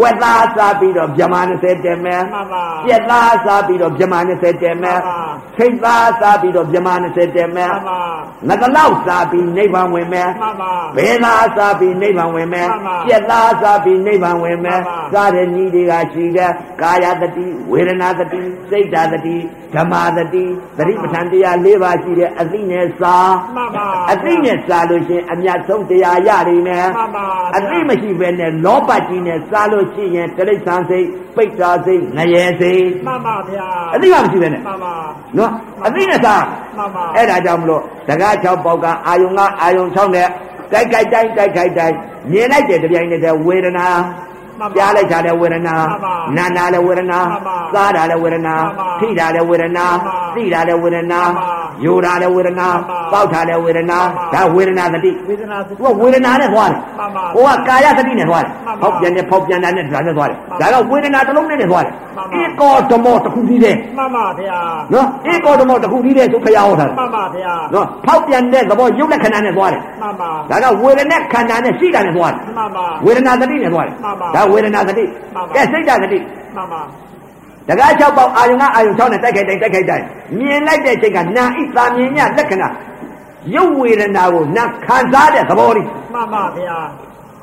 Speaker 1: ဝက်သားစားပြီးတော့ဗြဟ္မာ20တက်မယ်
Speaker 2: မှန်ပါ
Speaker 1: ပြက်သားစားပြီးတော့ဗြဟ္မာ20တက်မယ်
Speaker 2: မှန်ပါ
Speaker 1: စိတ်သားစားပြီးတော့ဗြဟ္မာ20တက်မယ်
Speaker 2: မှန်ပါ
Speaker 1: ငကလောက်စားပြီးနိဗ္ဗာန်ဝင်မယ်
Speaker 2: မှန်ပါ
Speaker 1: ဘယ်သားစားပြီးနိဗ္ဗာန်ဝင်မယ်
Speaker 2: မှန်ပါ
Speaker 1: ပြက်သားစားပြီးနိဗ္ဗာန်ဝင်မယ်
Speaker 2: မှန်ပါ
Speaker 1: စားတဲ့ညီတွေကရှိတဲ့ကာယတတိဝေဒနာတတိစိတ်ဓာတတိဓမ္မာတတိသတိပဋ္ဌာန်တရား၄ပါးရှိတဲ့အသိနဲ့စား
Speaker 2: မှန်ပါ
Speaker 1: အသိနဲ့စားလို့ရှင်အမြတ်ဆုံးတရားရနေမယ်
Speaker 2: မှန်ပါဗျာ
Speaker 1: အသိမရှိဘဲနဲ့လောဘကြီးနဲ့စားလို့ရှိရင်တိရစ္ဆာန်စိတ်ပိဋ္ဌာစိတ်ငရဲစိတ်
Speaker 2: မှန်ပါဗျာ
Speaker 1: အသိကမရှိဘဲနဲ့
Speaker 2: မှန်ပါ
Speaker 1: နော်အသိနဲ့စား
Speaker 2: မှန်ပါ
Speaker 1: အဲ့ဒါကြောင့်မလို့တကား၆ပေါက်ကအာယုံကအာယုံ၆နဲ့တိုက်ခိုက်တိုင်းတိုက်ခိုက်တိုင်းမြင်လိုက်တဲ့တစ်ပြိုင်နက်တည်းဝေဒနာ
Speaker 2: မှန်ပါ
Speaker 1: ပြားလိုက်တာလည်းဝေဒနာ
Speaker 2: မှန်ပါ
Speaker 1: နာတာလည်းဝေဒနာ
Speaker 2: မှန်ပါ
Speaker 1: စားတာလည်းဝေဒနာ
Speaker 2: မှန်ပါ
Speaker 1: ထိတာလည်းဝေဒနာ
Speaker 2: မှန်ပါ
Speaker 1: သိတာလည်းဝေဒနာ
Speaker 2: မှန်ပါ
Speaker 1: ယူတာလည်းဝေဒနာ
Speaker 2: မှန်ပါ
Speaker 1: ပေါက်တာလည်းဝေဒနာ
Speaker 2: မှန်ပါ
Speaker 1: ဒါဝေဒနာသတိ
Speaker 2: ဝေဒနာစိတ်
Speaker 1: သူကဝေဒနာနဲ့သွားတယ်
Speaker 2: မှန်ပါ
Speaker 1: ဟိုကကာယသတိနဲ့သွားတယ်
Speaker 2: မှန်ပါ
Speaker 1: ဖောက်ပြန်တယ်ဖောက်ပြန်တာနဲ့ဒါနဲ့သွားတယ်ဒါ
Speaker 2: မှန်ပါ
Speaker 1: ကဝေဒနာတစ်လုံးနဲ့နဲ့သွားတယ်
Speaker 2: မှန်ပါ
Speaker 1: အေကောဓမောတစ်ခုကြီးတယ်
Speaker 2: မှန်ပါဗျာ
Speaker 1: နော်အေကောဓမောတစ်ခုကြီးတယ်သူခရဟောတာ
Speaker 2: မှန်ပါဗျာ
Speaker 1: နော်ဖောက်ပြန်တဲ့သဘောရုပ်လက္ခဏာနဲ့သွားတယ်
Speaker 2: မှန်ပါ
Speaker 1: ဒါကဝေဒနာခန္ဓာနဲ့ရှိတာနဲ့သွားတယ်
Speaker 2: မှန်ပါ
Speaker 1: ဝေဒနာသတိနဲ့သွားတယ်
Speaker 2: မှန်ပါ
Speaker 1: ဒါဝေဒနာသတိ
Speaker 2: မှန်ပါ
Speaker 1: ကဲစိတ်ဓာတ်သတိ
Speaker 2: မှန်ပါ
Speaker 1: တကား၆ပေါက်အာယုံကအာယုံ၆နဲ့တိုက်ခိုက်တိုင်းတိုက်ခိုက်တိုင်းမြင်လိုက်တဲ့အချိန်ကနာဣသာမြင်ညလက္ခဏာရုပ်ဝေဒနာကိုနာခံစားတဲ့သဘောလေး
Speaker 2: မှန်ပါဗျာ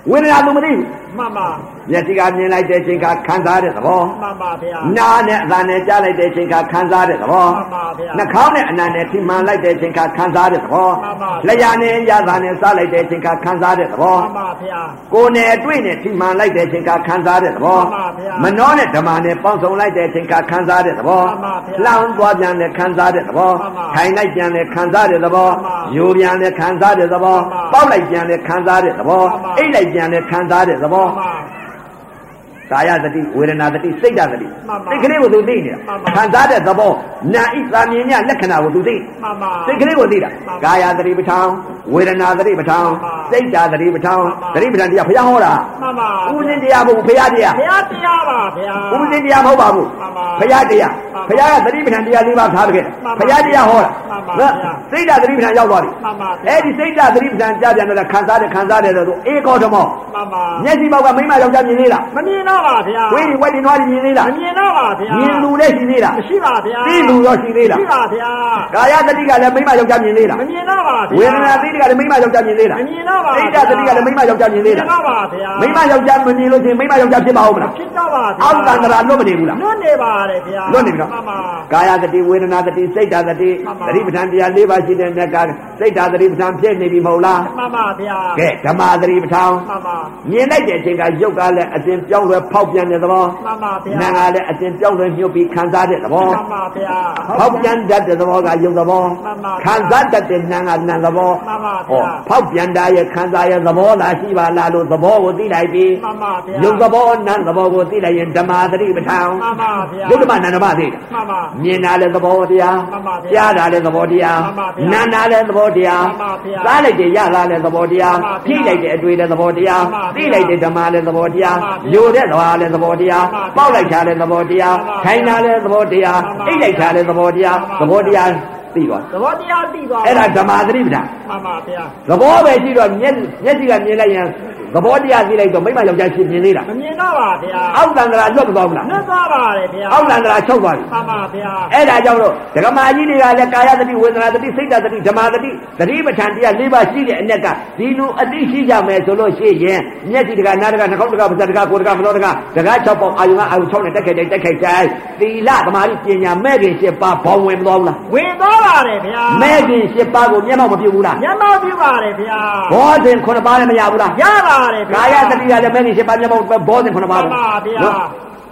Speaker 1: ဝေဒနာသူမသိဘူး
Speaker 2: မှန်ပါ
Speaker 1: မျက်စိကမြင်လိုက်တဲ့အချိန်ကခံစားတဲ့သဘော
Speaker 2: မှန်ပါဗျာ
Speaker 1: နားနဲ့အသံနဲ့ကြားလိုက်တဲ့အချိန်ကခံစားတဲ့သဘော
Speaker 2: မှန်ပါဗျာ
Speaker 1: နှာခေါင်းနဲ့အနံနဲ့ထိမှန်လိုက်တဲ့အချိန်ကခံစားတဲ့သဘော
Speaker 2: မှန်ပါဗျာ
Speaker 1: လျှာနဲ့ရသနဲ့စားလိုက်တဲ့အချိန်ကခံစားတဲ့သဘော
Speaker 2: မှန်ပါဗျာ
Speaker 1: ကိုယ်နဲ့အတွေ့နဲ့ထိမှန်လိုက်တဲ့အချိန်ကခံစားတဲ့သဘော
Speaker 2: မှန်ပါဗျာ
Speaker 1: မနှောနဲ့ဓမ္မနဲ့ပေါင်းစုံလိုက်တဲ့အချိန်ကခံစားတဲ့သဘော
Speaker 2: မှန်ပါဗျာ
Speaker 1: လောင်းသွားပြန်တဲ့ခံစားတဲ့သဘော
Speaker 2: မှန်ပါ
Speaker 1: ထိုင်လိုက်ပြန်တဲ့ခံစားတဲ့သဘော
Speaker 2: မှန်ပါ
Speaker 1: ယူပြန်တဲ့ခံစားတဲ့သဘော
Speaker 2: မှန်ပါ
Speaker 1: ပေါက်လိုက်ပြန်တဲ့ခံစားတဲ့သဘော
Speaker 2: မှန်ပါ
Speaker 1: အိတ်လိုက်ပြန်တဲ့ခံစားတဲ့သ
Speaker 2: မှ
Speaker 1: ဘော
Speaker 2: န်ပါ
Speaker 1: ကာယသတိဝေဒနာသတိစိတ်ဓာတ်သတိ
Speaker 2: မှန်ပါ
Speaker 1: စိတ်ကလေးကိုသူသိနေတာ
Speaker 2: မှန်ပါ
Speaker 1: ခံစားတဲ့သဘောနာဣသာမြင်ညလက္ခဏာကိုသူသိ
Speaker 2: မှန်ပါ
Speaker 1: စိတ်ကလေးကိုသိတာ
Speaker 2: မှန်ပါ
Speaker 1: ကာယသတိပဋ္ဌာန်ဝေဒနာသတိပဋ္ဌာန်
Speaker 2: မှန်ပါ
Speaker 1: စိတ်ဓာတ်သတိပဋ္ဌာန်
Speaker 2: မှန်ပါ
Speaker 1: သတိပဋ္ဌာန်တရားဘုရားဟောတာ
Speaker 2: မှန်ပါ
Speaker 1: ဦးဇင်းတရားမဟုတ်ဘူးဘုရားတရား
Speaker 2: ဘုရားတရားပါဗျာ
Speaker 1: ဦးဇင်းတရားမဟုတ်ပါဘူး
Speaker 2: မှန်ပါ
Speaker 1: ဘုရားတရား
Speaker 2: မှ
Speaker 1: ဘု
Speaker 2: န်ပါ
Speaker 1: ရားကသတိပဋ္ဌာန်တရားလေးပါးထားခဲ့
Speaker 2: မှန်ပါ
Speaker 1: ဘုရားတရားဟောတာ
Speaker 2: မှန်ပါ
Speaker 1: နော်
Speaker 2: ဗျာ
Speaker 1: စိတ်ဓာတ်သတိပဋ္ဌာန်ရောက်သွားပြီ
Speaker 2: မှန်ပါဗျာ
Speaker 1: အဲ့ဒီစိတ်ဓာတ်သတိပဋ္ဌာန်ကြားပြန်တော့လည်းခံစားတယ်ခံစားတယ်ဆိုတော့အေကောဓမော
Speaker 2: မှန်ပါ
Speaker 1: မျက်စိပေါက်ကမိမယောက်ျားမြင်သေးလား
Speaker 2: မမြင်တော့ပါဗျာ
Speaker 1: ဝိရိဝိုက်တင်နွားတွေမြင်သေးလား
Speaker 2: မမြင်တော့ပါဗျာ
Speaker 1: မြင်လူလည်းရှိသေးလား
Speaker 2: မရှိပါဗျာ
Speaker 1: သိလူရောရှိသေးလား
Speaker 2: ရှိပါဗျာ
Speaker 1: ကာယသတိကလည်းမိမယောက်ျားမြင်သေးလား
Speaker 2: မမြင်တော့ပါဗျာ
Speaker 1: ဝေဒနာသတိကလည်းမိမယောက်ျားမြင်သေးလား
Speaker 2: မမြင်တော့ပါ
Speaker 1: စိတ်ဓာတ်သတိကလည်းမိမယောက်ျားမြင်သေးလားမိမယောက်ျားမမြင်
Speaker 2: မမြင်တော့ပါဗျာ
Speaker 1: လို့ချင်းမိမယောက်ျားဖြစ်ပါဦးမလား
Speaker 2: ဖြစ်တော့ပါဗျာ
Speaker 1: အောက်တန္တရာလွတ်မနေဘူးလား
Speaker 2: လွတ်နေပါတယ်ဗျာ
Speaker 1: လွတ်နေပြီနော်
Speaker 2: မှန်ပါ
Speaker 1: ကာယသတိဝေဒနာသတိစိတ်ဓာတ်သတိ
Speaker 2: မှန်ပါ
Speaker 1: သတိပဋ္ဌာန်တရား၄ပါးရှိတဲ့မြတ်ကစိတ်ဓာတ်သတိပဋ္ဌာန်ဖြစ်နေပြီမဟုတ်လား
Speaker 2: မှန်ပါဗျာ
Speaker 1: ကဲဓမ္မသတိပဋ္ဌာန်
Speaker 2: မှန်ပါ
Speaker 1: မြင်လိုက်တဲ့အချိန်ကရုပ်ကလည်းအစဉ်ပြောင်းလဲဖောက်ပြန်တဲ့သဘော
Speaker 2: မှန်ပါဗျာ
Speaker 1: နာကလည်းအစဉ်ပြောင်းလဲညှုပ်ပြီးခံစားတဲ့သဘော
Speaker 2: မှန်ပါဗျာ
Speaker 1: ဖောက်ပြန်တတ်တဲ့သဘောကယုံသဘော
Speaker 2: မှန်ပါဗျာ
Speaker 1: ခံစားတတ်တဲ့နာငါနာသဘော
Speaker 2: မှန်ပါဗျာ
Speaker 1: ဟောဖောက်ပြန်တာရဲ့ခံစားရဲ့သဘောလားရှိပါလားလို့သဘောကိုသိလိုက်ပြီ
Speaker 2: မှန်ပါဗျာ
Speaker 1: ယုံသဘောနာသဘောကိုသိလိုက်ရင်ဓမ္မသတိပဋ္ဌာန်
Speaker 2: မှန်ပါဗျာ
Speaker 1: ယုတ်ဓမ္မနာဓမ္မသိတာ
Speaker 2: မှန်ပါ
Speaker 1: မြင်တာလည်းသဘောတရား
Speaker 2: မှန်ပါဗျာ
Speaker 1: ကြားတာလည်းသဘောတရား
Speaker 2: မှန်ပါဗျာ
Speaker 1: နာတာလည်းသဘောတရား
Speaker 2: မှန်ပါဗျာ
Speaker 1: စားလိုက်တဲ့ရလာလည်းသဘောတရား
Speaker 2: မှန်ပါဗျာ
Speaker 1: ဖြိလိုက်တဲ့အတွေ့လည်းသဘောတရား
Speaker 2: မှန်ပါဗျာ
Speaker 1: သိလိုက်တဲ့ဓမ္မလည်းသဘောတရား
Speaker 2: မှန်ပါဗျာ
Speaker 1: ယိုတဲ့သွားလည်းသဘောတရား
Speaker 2: မှန်ပါဗျာ
Speaker 1: ပေါက်လိုက်တာလည်းသဘောတရား
Speaker 2: မှ
Speaker 1: ထို
Speaker 2: န်ပါဗျာ
Speaker 1: င်တာလည်းသဘောတရား
Speaker 2: မှန်ပါဗျာ
Speaker 1: အိတ်လိုက်တာလည်းသဘောတရား
Speaker 2: မှ
Speaker 1: သ
Speaker 2: န်ပါ
Speaker 1: ဘောတ
Speaker 2: ဗျာ
Speaker 1: ရားသိသွား
Speaker 2: သဘောတရားသိသွား
Speaker 1: အဲ့ဒါဓမ္မသတိပဋ္ဌာန်
Speaker 2: မှန်ပါဗျာ
Speaker 1: သဘောပဲရှိတော့မျက်မျက်စိကမြင်လိုက်ရင်သဘောတရားသိလိုက်တော့မိမယောက်ျားရှိမြင်သေးတာ
Speaker 2: မမြင်တော့ပါဗျာ
Speaker 1: အောက်တန္တရာလွတ်မသွားဘူးလား
Speaker 2: လွတ်သွားပါတယ်ဗျာ
Speaker 1: အောက်တန္တရာချုပ်သွားပြီ
Speaker 2: မှန်ပါဗျာ
Speaker 1: အဲ့ဒါကြောင့်လို့ဓမ္မကြီးတွေကလည်းကာယသတိဝေဒနာသတိစိတ်ဓာတ်သတိဓမ္မသတိသတိပဋ္ဌာန်တရား၄ပါးရှိတဲ့အ ਨੇ ကဒီလိုအတိရှိကြမယ်ဆိုလို့ရှိရင်မျက်စိတကနားတကနှာခေါင်းတကပါးစပ်တကကိုယ်တကမလို့တကတက၆ပေါက်အာယုံကအာယုံ၆နဲ့တက်ခိုက်တိုင်းတက်ခိုက်တိုင်းသီလဓမ္မကြီးပညာမဲ့ခင်၈ပါးဘောင်ဝင်မသွားဘူးလား
Speaker 2: ဝင်သွားပါတယ်ဗျာ
Speaker 1: မဲ့ခင်၈ပါးကိုမျက်မှောက်မပြုတ်ဘူးလား
Speaker 2: ညမောက်ပြပါတယ်ဗျာ
Speaker 1: ဘောဓင်9ပါးလည်းမရဘူးလား
Speaker 2: ရပါတယ်ဗျာ
Speaker 1: ကာယတတိကလည်းမင်းရှင်ပါမျက်မှောက်ဘောတင်ခုနပါ
Speaker 2: မှန်ပါဗျာ
Speaker 1: နော်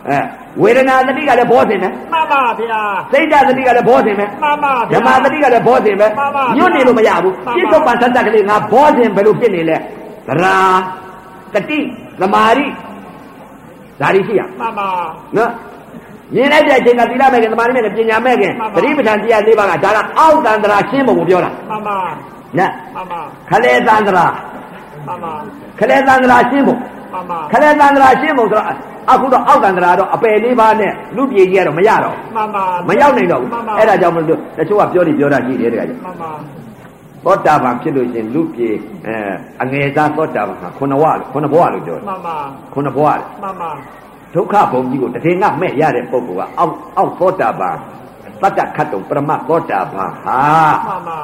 Speaker 1: အဲဝေဒနာတတိကလည်းဘောတင်မယ်
Speaker 2: မှန်ပါဗျာ
Speaker 1: စိတ်ဓာတ်တတိကလည်းဘောတင်မယ်
Speaker 2: မှန်ပါ
Speaker 1: ဓ
Speaker 2: ဗျာ
Speaker 1: မ္မတတိကလည်းဘောတင်မယ်
Speaker 2: မှန်ပါဗျာ
Speaker 1: ညွတ်နေလို့မရဘူး
Speaker 2: မှန်ပါ
Speaker 1: ပြစ္ဆုတ်ပန်သတ္တကလေးငါဘောတင်ဘယ်လိုဖြစ်နေလဲသရာတတိသမာဓိဓာရီရှိရ
Speaker 2: မှန်ပါ
Speaker 1: နော်မြင်လိုက်တဲ့အချိန်ကသီလမဲ့ခင်သမာဓိမဲ့ခင်ပညာမဲ့ခင်
Speaker 2: မှန်ပါ
Speaker 1: သတိပဋ္ဌာန်တရား၄ပါးကဒါကအောက်တန္တရာရှင်းပုံကိုပြောတာ
Speaker 2: မှန်ပါ
Speaker 1: နော်
Speaker 2: မှန်ပါ
Speaker 1: ခလေတန္တရာ
Speaker 2: မှန်ပါ
Speaker 1: ခလေတန္တရာရှင်းပုံ
Speaker 2: မှန်ပါ
Speaker 1: ခလဲတန္တရာရှင်းပုံဆိုတော့အခုတော့အောက်တန္တရာတော့အပယ်လေးပါးနဲ့လူပြေကြီးကတော့မရတော့
Speaker 2: မှန်ပါ
Speaker 1: ဘူးမရောက်နိုင်တော့ဘူး
Speaker 2: မှန်ပါ
Speaker 1: အဲ့ဒါကြောင့်မလို့တချို့ကပြောနေပြောတာရှိတယ်တခါကျ
Speaker 2: မှန်ပါ
Speaker 1: သောတာပန်ဖြစ်လို့ရှိရင်လူပြေအဲအငယ်သားသောတာပန်ဟာခုနဝလို့ခုနဘဝလို့ပြောတယ်
Speaker 2: မှန်ပါ
Speaker 1: ခုနဘဝလေ
Speaker 2: မှန်ပါ
Speaker 1: ဒုက္ခဘုံကြီးကိုတည်ငါမဲ့ရတဲ့ပုဂ္ဂိုလ်ကအောက်အောက်သောတာပန်တတ္တခတ်တုံပရမတ်သောတာပန်ဟာ
Speaker 2: မှန်ပါ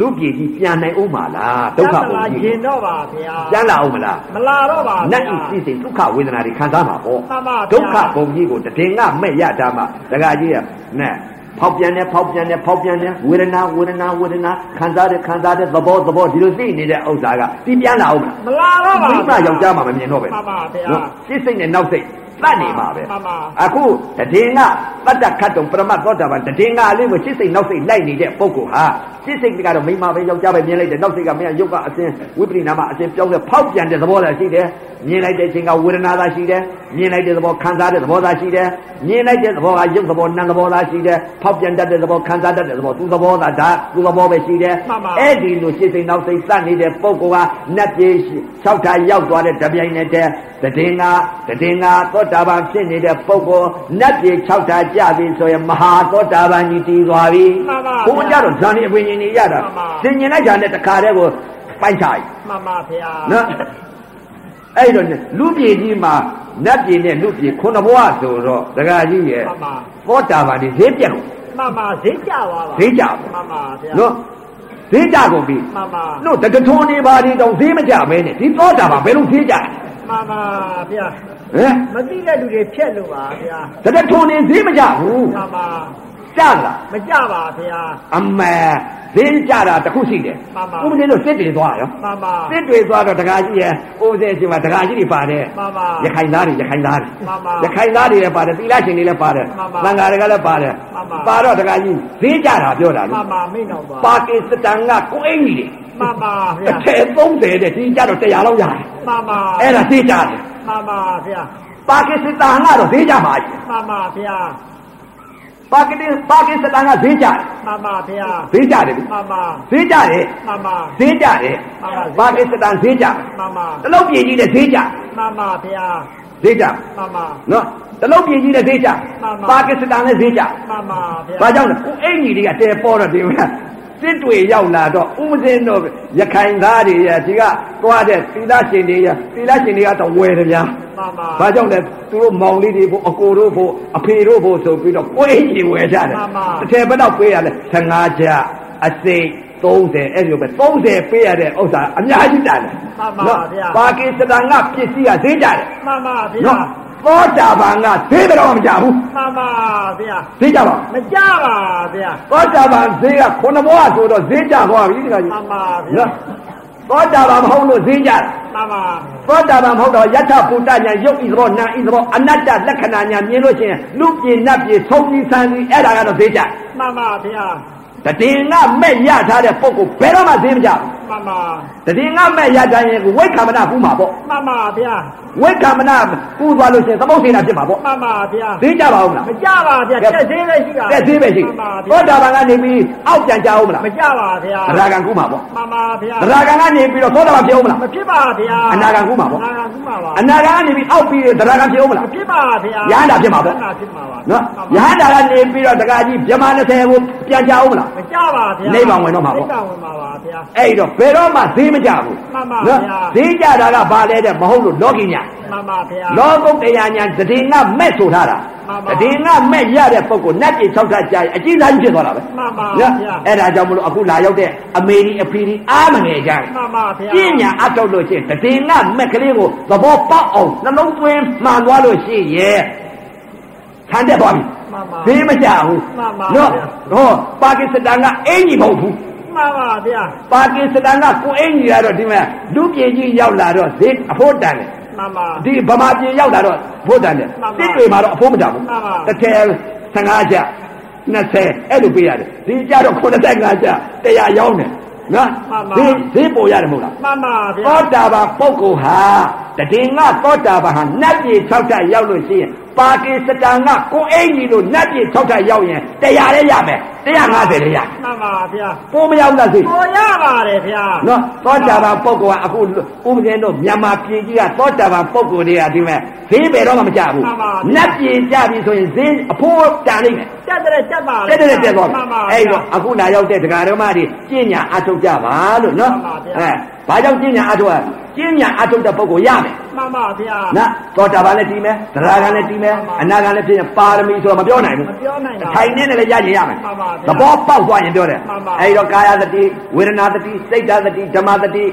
Speaker 1: လူပြေကြီးပြန်နိုင်ဦးမှာလားဒုက္ခဘုံ
Speaker 2: လာ
Speaker 1: ကြီး
Speaker 2: ရင်တော့ပါဗျာ
Speaker 1: ပြန်လာဦးမလား
Speaker 2: မလာတော့ပါဗျာ
Speaker 1: နတ်ဤစိစိဒုက္ခဝေဒနာတွေခံစားမှာပေါ့
Speaker 2: မှန်ပါဗျာ
Speaker 1: ဒုက္ခဘုံကြီးကိုတည်ငါမဲ့ရတာမှဒကာကြီးကနဲ့ဖောက်ပြန်တယ်ဖောက်ပြန်တယ်ဖောက်ပြန်တယ်ဝေဒနာဝေဒနာဝေဒနာခံစားတယ်ခံစားတယ်သဘောသဘောဒီလိုသိနေတဲ့ဥစ္စာကဒီပြန်လာဦးမလား
Speaker 2: မလာတော့ပါ
Speaker 1: မိမယောက်ျားမှမမြင်တော့ပဲ
Speaker 2: မှန်ပါဗျာ
Speaker 1: ရှင်းစိတ်နဲ့နောက်စိတ်တတ်နေမှာပဲ
Speaker 2: မှန်ပါ
Speaker 1: အခုတည်င်းကတတ္တခတ်တုံပရမတ်သောတာပန်တည်င်းကအလေးကိုရှင်းစိတ်နောက်စိတ်လိုက်နေတဲ့ပုဂ္ဂိုလ်ဟာရှင်းစိတ်ကတော့မိမပဲယောက်ျားပဲမြင်လိုက်တယ်နောက်စိတ်ကမင်းကရုပ်ကအစဉ်ဝိပရိနာမအစဉ်ပြောင်းလဲဖောက်ပြန်တဲ့သဘောလည်းရှိတယ်မြင်လိုက်တဲ့အချိန်ကဝေဒနာသာရှိတယ်မြင်လိုက်တဲ့သဘောခံစားတဲ့သဘောသာရှိတယ်မြင်လိုက်တဲ့သဘောကရုပ်သဘောနာမ်သဘောသာရှိတယ်ဖောက်ပြန်တတ်တဲ့သဘောခံစားတတ်တဲ့သဘောသူ့သဘောသာဒါသူ့သဘောပဲရှိတယ်
Speaker 2: မှန်ပါ
Speaker 1: အဲ့ အဲ့ဒီလိုရှင်းစိမ်နောက်စိမ်စနေတဲ့ပုံကနတ်ပြေ၆ထာရောက်သွားတဲ့တပြိုင်နက်တည်းတည်ငါတည်ငါသောတာပန်ဖြစ်နေတဲ့ပုံကနတ်ပြေ၆ထာကြပြီဆိုရင်မဟာသောတာပန်ကြီးတည်သွားပြီ
Speaker 2: မှန်ပါ
Speaker 1: ဘုန်းကြတော့ဇန်နေအဝင်ရှင်ကြီးရတာ
Speaker 2: မှန်ပါ
Speaker 1: ရှင်ရှင်လိုက်တာနဲ့တခါတည်းကိုပိုက်ချာကြီး
Speaker 2: မှန်ပါဗျာ
Speaker 1: နော်အဲ့တော့လူပြေကြီးမှာနတ်ပြေနဲ့လူပြေခုနှစ်ဘဝဆိုတော့ဒကာကြီးရဲ့
Speaker 2: မှန်ပါ
Speaker 1: သောတာပန်ဒီဈေးပြက်ကုန်
Speaker 2: မှန်ပါဈေးကြပါပါ
Speaker 1: ဈေးကြ
Speaker 2: မှန်ပါဗျာ
Speaker 1: နော်ဈေးကြကုန်ပြီ
Speaker 2: မှန်ပါ
Speaker 1: လို့တက္ကထုံနေပါဒီတော့ဈေးမကြပဲနဲ့ဒီသောတာပါဘယ်လိုဈေးကြလဲ
Speaker 2: မှန်ပါဗျာ
Speaker 1: ဟမ်
Speaker 2: မသိတဲ့လူတွေဖြက်လို့ပါဗျာ
Speaker 1: တက္ကထုံနေဈေးမကြဘူး
Speaker 2: မှန်ပါ
Speaker 1: ကြလား
Speaker 2: မကြပါဗျာ
Speaker 1: အမှန်ဈေးကြတာတစ်ခုရှိတယ်
Speaker 2: မှန်ပါ
Speaker 1: ဥပဒေလို့စစ်တွေသွားရော
Speaker 2: မှန်ပါ
Speaker 1: စစ်တွေသွားတော့ဒကာကြီးရယ်ဥပဒေရှင်မှာဒကာကြီးတွေပါတယ်
Speaker 2: မှန်ပါ
Speaker 1: ရခိုင်သားတွေရခိုင်သားတွေ
Speaker 2: မှန်ပါ
Speaker 1: ရခိုင်သားတွေလည်းပါတယ်သီလရှင်တွေလည်းပါတယ်
Speaker 2: မှန်ပါ
Speaker 1: သံဃာတွေကလည်းပါတယ်
Speaker 2: မှန်ပါ
Speaker 1: ပါတော့ဒကာကြီးဈေးကြတာပြောတာ
Speaker 2: မှ
Speaker 1: လေ
Speaker 2: န်ပါမိတ်တော်ပါ
Speaker 1: ပါကစ္စတန်ကကိုအင်ကြီးတွေ
Speaker 2: မှန်ပါ
Speaker 1: အ
Speaker 2: ဗျာ
Speaker 1: ထက်30တဲ့ဒီကြတော့100လောက်ရတယ်
Speaker 2: မှန်ပါ
Speaker 1: အဲ့ဒါဈေးကြတယ်
Speaker 2: မှန်ပါဗျာ
Speaker 1: ပါကစ္စတန်ကတော့ဈေးကြပါကြီး
Speaker 2: မှန်ပါဗျာ
Speaker 1: ပါကစ္စပါကစ္စတန်ကဈေးကြတယ်
Speaker 2: မှန်ပါဗျာ
Speaker 1: ဈေးကြတယ်
Speaker 2: မှန်ပါ
Speaker 1: ဈေးကြတယ်
Speaker 2: မှန်ပါ
Speaker 1: ဈေးကြတယ်
Speaker 2: မှန်ပါ
Speaker 1: ပါကစ္စတန်ဈေးကြ
Speaker 2: မှန်ပါ
Speaker 1: တလုတ်ပြည်ကြီးနဲ့ဈေးကြ
Speaker 2: မှန်ပါဗျာ
Speaker 1: ဈေးကြ
Speaker 2: မှန်ပါ
Speaker 1: နော်တလုတ်ပြည်ကြီးနဲ့ဈေးကြ
Speaker 2: မှန်ပါ
Speaker 1: ပါကစ္စတန်နဲ့ဈေးကြ
Speaker 2: မှန်ပါဗျာ
Speaker 1: ဘာကြောင့်လဲကိုအိမ်ကြီးတွေကတဲပေါ်တော့ဒီမှာစစ်တွေရောက်လာတော့ဥမစင်းတော့ရခိုင်သားတွေရဒီကသွားတဲ့သီလရှင်တွေရသီလရှင်တွေကတော့ဝယ်တယ်ဗျာ
Speaker 2: မှန်ပါ
Speaker 1: ။ဘာကြောင့်လဲသူတို့မောင်လေးတွေဖို့အကိုတို့ဖို့အဖေတို့ဖို့ဆိုပြီးတော့ကိုယ်အင်ကြီးဝယ်ကြတယ်။တစ်ထည်ဘက်တော့ပေးရလဲ15ကျအစိတ်30အဲ့ဒီလိုပဲ30ပေးရတဲ့ဥစ္စာအများကြီးတန်တယ်။ပါကစ္စတန်ကပစ္စည်းကဈေးကြတယ်
Speaker 2: မှန်ပါ
Speaker 1: ။
Speaker 2: ဗျာ
Speaker 1: နော်။သောတာပန်ကဈေးဘယ်တော့မှမကြဘူး
Speaker 2: မှန်ပါဗျာ
Speaker 1: ။ဈေးကြပါဘူး
Speaker 2: မကြပါဗျာ
Speaker 1: ။သောတာပန်ဈေးကခုနဘဝဆိုတော့ဈေးကြသွားပြီဒီကကြီး
Speaker 2: မှန်ပါ
Speaker 1: ။
Speaker 2: ဗျာ
Speaker 1: နော်။သောတာပန်မဟုတ်လို့ဈေးကြတယ်
Speaker 2: မှန်ပါ
Speaker 1: သောတာပန်မဟုတ်တော့ယထာဘူတညာယုတ်ဤသဘောနာဤသဘောအနတ္တလက္ခဏာညာမြင်လို့ချင်းလူပြင်းနတ်ပြင်းဆုံးပြီးဆန်းပြီးအဲ့ဒါကတော့ဈေးကြ
Speaker 2: မှန်ပါဗျာ
Speaker 1: တတိယငါမဲ့ရထားတဲ့ပုဂ္ဂိုလ်ဘယ်တော့မှဈေးမကြဘူး
Speaker 2: မှန်ပါ
Speaker 1: တတိယငါမဲ့ရထားရင်ကိုဝိက္ခမနာပူးမှာပေါ့
Speaker 2: မှန်ပါဗျာ
Speaker 1: ဝိက္ခမနာပူးသွားလို့ချင်းသမုတ်စေတာဖြစ်မှာပေါ့
Speaker 2: မှန်ပါဗျာ
Speaker 1: ဈေးကြပါဦးမလား
Speaker 2: မကြပါဗျာတက်သေးလေးရှိတာ
Speaker 1: တဲ့ဈေးပဲရှိ
Speaker 2: မှန်ပါဗျာ
Speaker 1: သောတာပန်ကနေပြီးအောက်ပြန်ကြအောင်မလား
Speaker 2: မကြပါဗျာ
Speaker 1: အရာကံကူးမှာပေါ့
Speaker 2: မှန်ပါဗျာ
Speaker 1: အရာကံကနေပြီးတော့သောတာပန်ဖြစ်အောင်မလား
Speaker 2: မဖြစ်ပါဗျာ
Speaker 1: အနာဂတ်ကူးမှာပေါ့
Speaker 2: အနာဂတ်ကူးမှာပါ
Speaker 1: အနာကံကနေပြီးအောက်ပြီးတော့အရာကံဖြစ်အောင်မလား
Speaker 2: မဖြစ်ပါဗျာ
Speaker 1: ရဟန္တာဖြစ်မှာပေါ့
Speaker 2: ရဟန္တာဖြစ်မှာပါ
Speaker 1: နော်ရ
Speaker 2: မှန်ပါ
Speaker 1: ဟန္တာကနေပြီးတော့တကကြီးဗြဟ္မာ20ကိုပြန်ကြအောင်မလား
Speaker 2: မကြပါဗျာ
Speaker 1: နိဗ္ဗာန်ဝင်တော့မှာပေါ့
Speaker 2: နိဗ္ဗာန်ဝင်မှာပါဗျာ
Speaker 1: အဲ့တော့ဘယ်တော့မှဈေးမကြဘူး
Speaker 2: မှန်ပါ
Speaker 1: နော်
Speaker 2: ဗျာ
Speaker 1: ဈေးကြတာကဘာလဲတဲ့မဟုတ်လို့လောကီညာ
Speaker 2: မှန်ပါဗျာ
Speaker 1: လောကုတ်တရားညာတည်ငါမဲ့ဆိုထားတာ
Speaker 2: မှန်ပါ
Speaker 1: တည်ငါမဲ့ရတဲ့ပုဂ္ဂိုလ်နတ်ပြည်၆ထပ်ကြာရင်အကြီးစားကြီးဖြစ်သွားတာပဲ
Speaker 2: မှန်ပါဗျာ
Speaker 1: အဲ့ဒါကြောင့်မလို့အခုလာရောက်တဲ့အမေဒီအဖေဒီအားမငယ်ကြဘူး
Speaker 2: မှန်ပါဗျာ
Speaker 1: ပညာအထုတ်လို့ရှိရင်တည်ငါမဲ့ကလေးကိုသဘောပေါက်အောင်နှလုံးသွင်းမှန်သွားလို့ရှိရဲ့ခံတက်သွားပြီ
Speaker 2: မှန်
Speaker 1: ဈေးမ
Speaker 2: ပါ
Speaker 1: ကြဘူး
Speaker 2: မှန်ပါဗျာ
Speaker 1: နော်ဟောပါကစ္စတန်ကအင်ကြီးမဟုတ်ဘူး
Speaker 2: မှန်ပါဗျာ
Speaker 1: ပါကစ္စတန်ကကိုအင်ကြီးကတော့ဒီမှာလူပြည်ကြီးရောက်လာတော့ဈေးအဖို့တန်တယ်
Speaker 2: မှန်ပါ
Speaker 1: ဒီဗမာပြည်ရောက်လာတော့အဖို့တန်တယ်
Speaker 2: မှန်ပါ
Speaker 1: စစ်တွေမှာတော့အဖို့မတန်ဘူး
Speaker 2: မှန်ပါ
Speaker 1: တစ်ထည်15ကျ20အဲ့လိုပေးရတယ်ဒီကျတော့95ကျ100ရောင်းတယ်နော်ဈေးဈေးပေါ်ရတယ်မဟုတ်လား
Speaker 2: မှန်ပါ
Speaker 1: သောတာ
Speaker 2: ဗျာ
Speaker 1: ပန်ပုဂ္ဂိုလ်ဟာတည်ငါသောတာပန်ဟာနတ်ပြည်၆ထပ်ရောက်လို့ရှိရင် ပါကစ္စတန်ကကိုယ်အိမ်ကြီးလို့နတ်ပြည်၆ထပ်ရောက်ရင်တရားလည်းရမယ်150လည်းရမယ်
Speaker 2: မှန်ပါဗျာ
Speaker 1: ပိုမရောက်တာစိတ်
Speaker 2: ဟောရပါတယ်ဗျာ
Speaker 1: နော်သောတာပန်ပုဂ္ဂိုလ်ကအခုဥပဒေတော့မြန်မာပြည်ကြီးကသောတာပန်ပုဂ္ဂိုလ်တွေကဒီမဲ့ဈေးပဲတော့မှမကြဘူးနတ်ပြည်ကြပြီဆိုရင်ဈေးအဖိုးတန်နိုင်မယ်
Speaker 2: တက်တဲ့တက်ပါ
Speaker 1: တက်တက်တက်သွား
Speaker 2: မှန်ပါ
Speaker 1: အဲ့
Speaker 2: ဗျာ
Speaker 1: တော့အခုလာရောက်တဲ့ဒကာဓမ္မတွေကျင့်ညာအထုတ်ကြပါလို့နော်
Speaker 2: မှန်ပါဗျာ
Speaker 1: အဲဘာကြောင့်ကျင့်ညာအထုတ်ရကျင့်ညာအထုတ်တဲ့ပုဂ္ဂိုလ်ရမယ်
Speaker 2: မှန်ပါဗျာ
Speaker 1: နော်သောတာပန်လည်းတီးမယ်သရဂံလည်းတီးမယ်
Speaker 2: မှန်ပါ
Speaker 1: အနာဂံလည်းဖြစ်ရင်ပါရမီဆိုတော့မပြောနိုင်ဘူး
Speaker 2: မပြောနိုင်ပါဘူး
Speaker 1: ထိုင်နေနဲ့လည်းရကြရမယ်
Speaker 2: မှန်ပါဗျာ
Speaker 1: သဘောပေါက်သွားရင်ပြောတယ်
Speaker 2: မှန်ပါ
Speaker 1: အဲ့တော့ကာယသတိဝေဒနာသတိစိတ်ဓာတ်သတိဓမ္မသတိ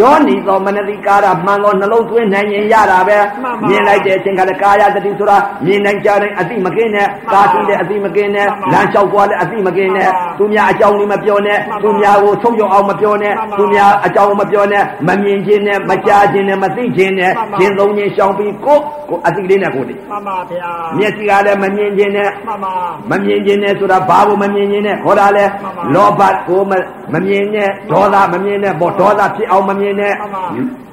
Speaker 1: ယောနီသောမနတိကာရမှန်သောနှလုံးသွင်းနိုင်ရင်ရတာပဲ
Speaker 2: မှန်ပါ
Speaker 1: မြင်လိုက်တဲ့အချိန်ကလည်းကာယသတိဆိုတာမြင်နိုင်ကြတဲ့အတိမကင်းနဲ့
Speaker 2: မှန်ပါ
Speaker 1: ကာတိတဲ့အတိမကင်းနဲ့
Speaker 2: မှန်ပါ
Speaker 1: လမ်းလျှောက်သွားတဲ့အတိမကင်းနဲ့
Speaker 2: မှန်ပါ
Speaker 1: သူ သူများအကြောင်းလေးမပြောနဲ့
Speaker 2: မှန်ပါ
Speaker 1: သူများကိုဆုံးယုံအောင်မပြောနဲ့
Speaker 2: မှန်ပါ
Speaker 1: သူများအကြောင်းမပြောနဲ့မမြင်ခြင်းနဲ့မကြားခြင်းနဲ့မသိခြင်းနဲ့
Speaker 2: မှန်ပါ
Speaker 1: ခြင်းသုံးခြင်းရှောင်ပြီးကိုယ့်ကိုယ်အသိလေးနဲ့ကိုယ်တည်း
Speaker 2: မှန်ပါဗျာ
Speaker 1: မျက်စိကလည်းမမြင်ခြင်းနဲ့
Speaker 2: မှန်ပါ
Speaker 1: မမြင်ခြင်းနဲ့ဆိုတာဘာကိုမမြင်ခြင်းနဲ့ခေါ်တာလဲ
Speaker 2: မှန်ပါ
Speaker 1: လောဘကိုမမမြင်နဲ့ဒေါသမမြင်နဲ့ဘောဒေါသဖြစ်အောင်မမြင်နဲ့
Speaker 2: မှန်ပါ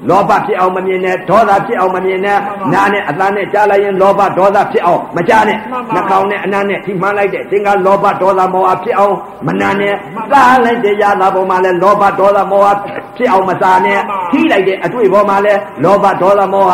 Speaker 1: လောဘဖြစ်အောင်မမြင်နဲ့ဒေါသဖြစ်အောင်မမြင်နဲ့
Speaker 2: မှန်ပါ
Speaker 1: နားနဲ့အသားနဲ့ကြားလိုက်ရင်လောဘဒေါသဖြစ်အောင်မကြားနဲ့
Speaker 2: မှန်
Speaker 1: နှာ
Speaker 2: ပါ
Speaker 1: ခေါင်းနဲ့အနားနဲ့ထိမှန်လိုက်တဲ့အချိန်ကလောဘဒေါသမောဟဖြစ်အောင်မနာနဲ့
Speaker 2: မှန်ပါ
Speaker 1: စားလိုက်တဲ့ရာသာပေါ်မှာလဲလောဘဒေါသမောဟဖြစ်အောင်မစားနဲ့
Speaker 2: မှန်ပါ
Speaker 1: ထိလိုက်တဲ့အတွေ့ပေါ်မှာလဲလောဘဒေါသမောဟ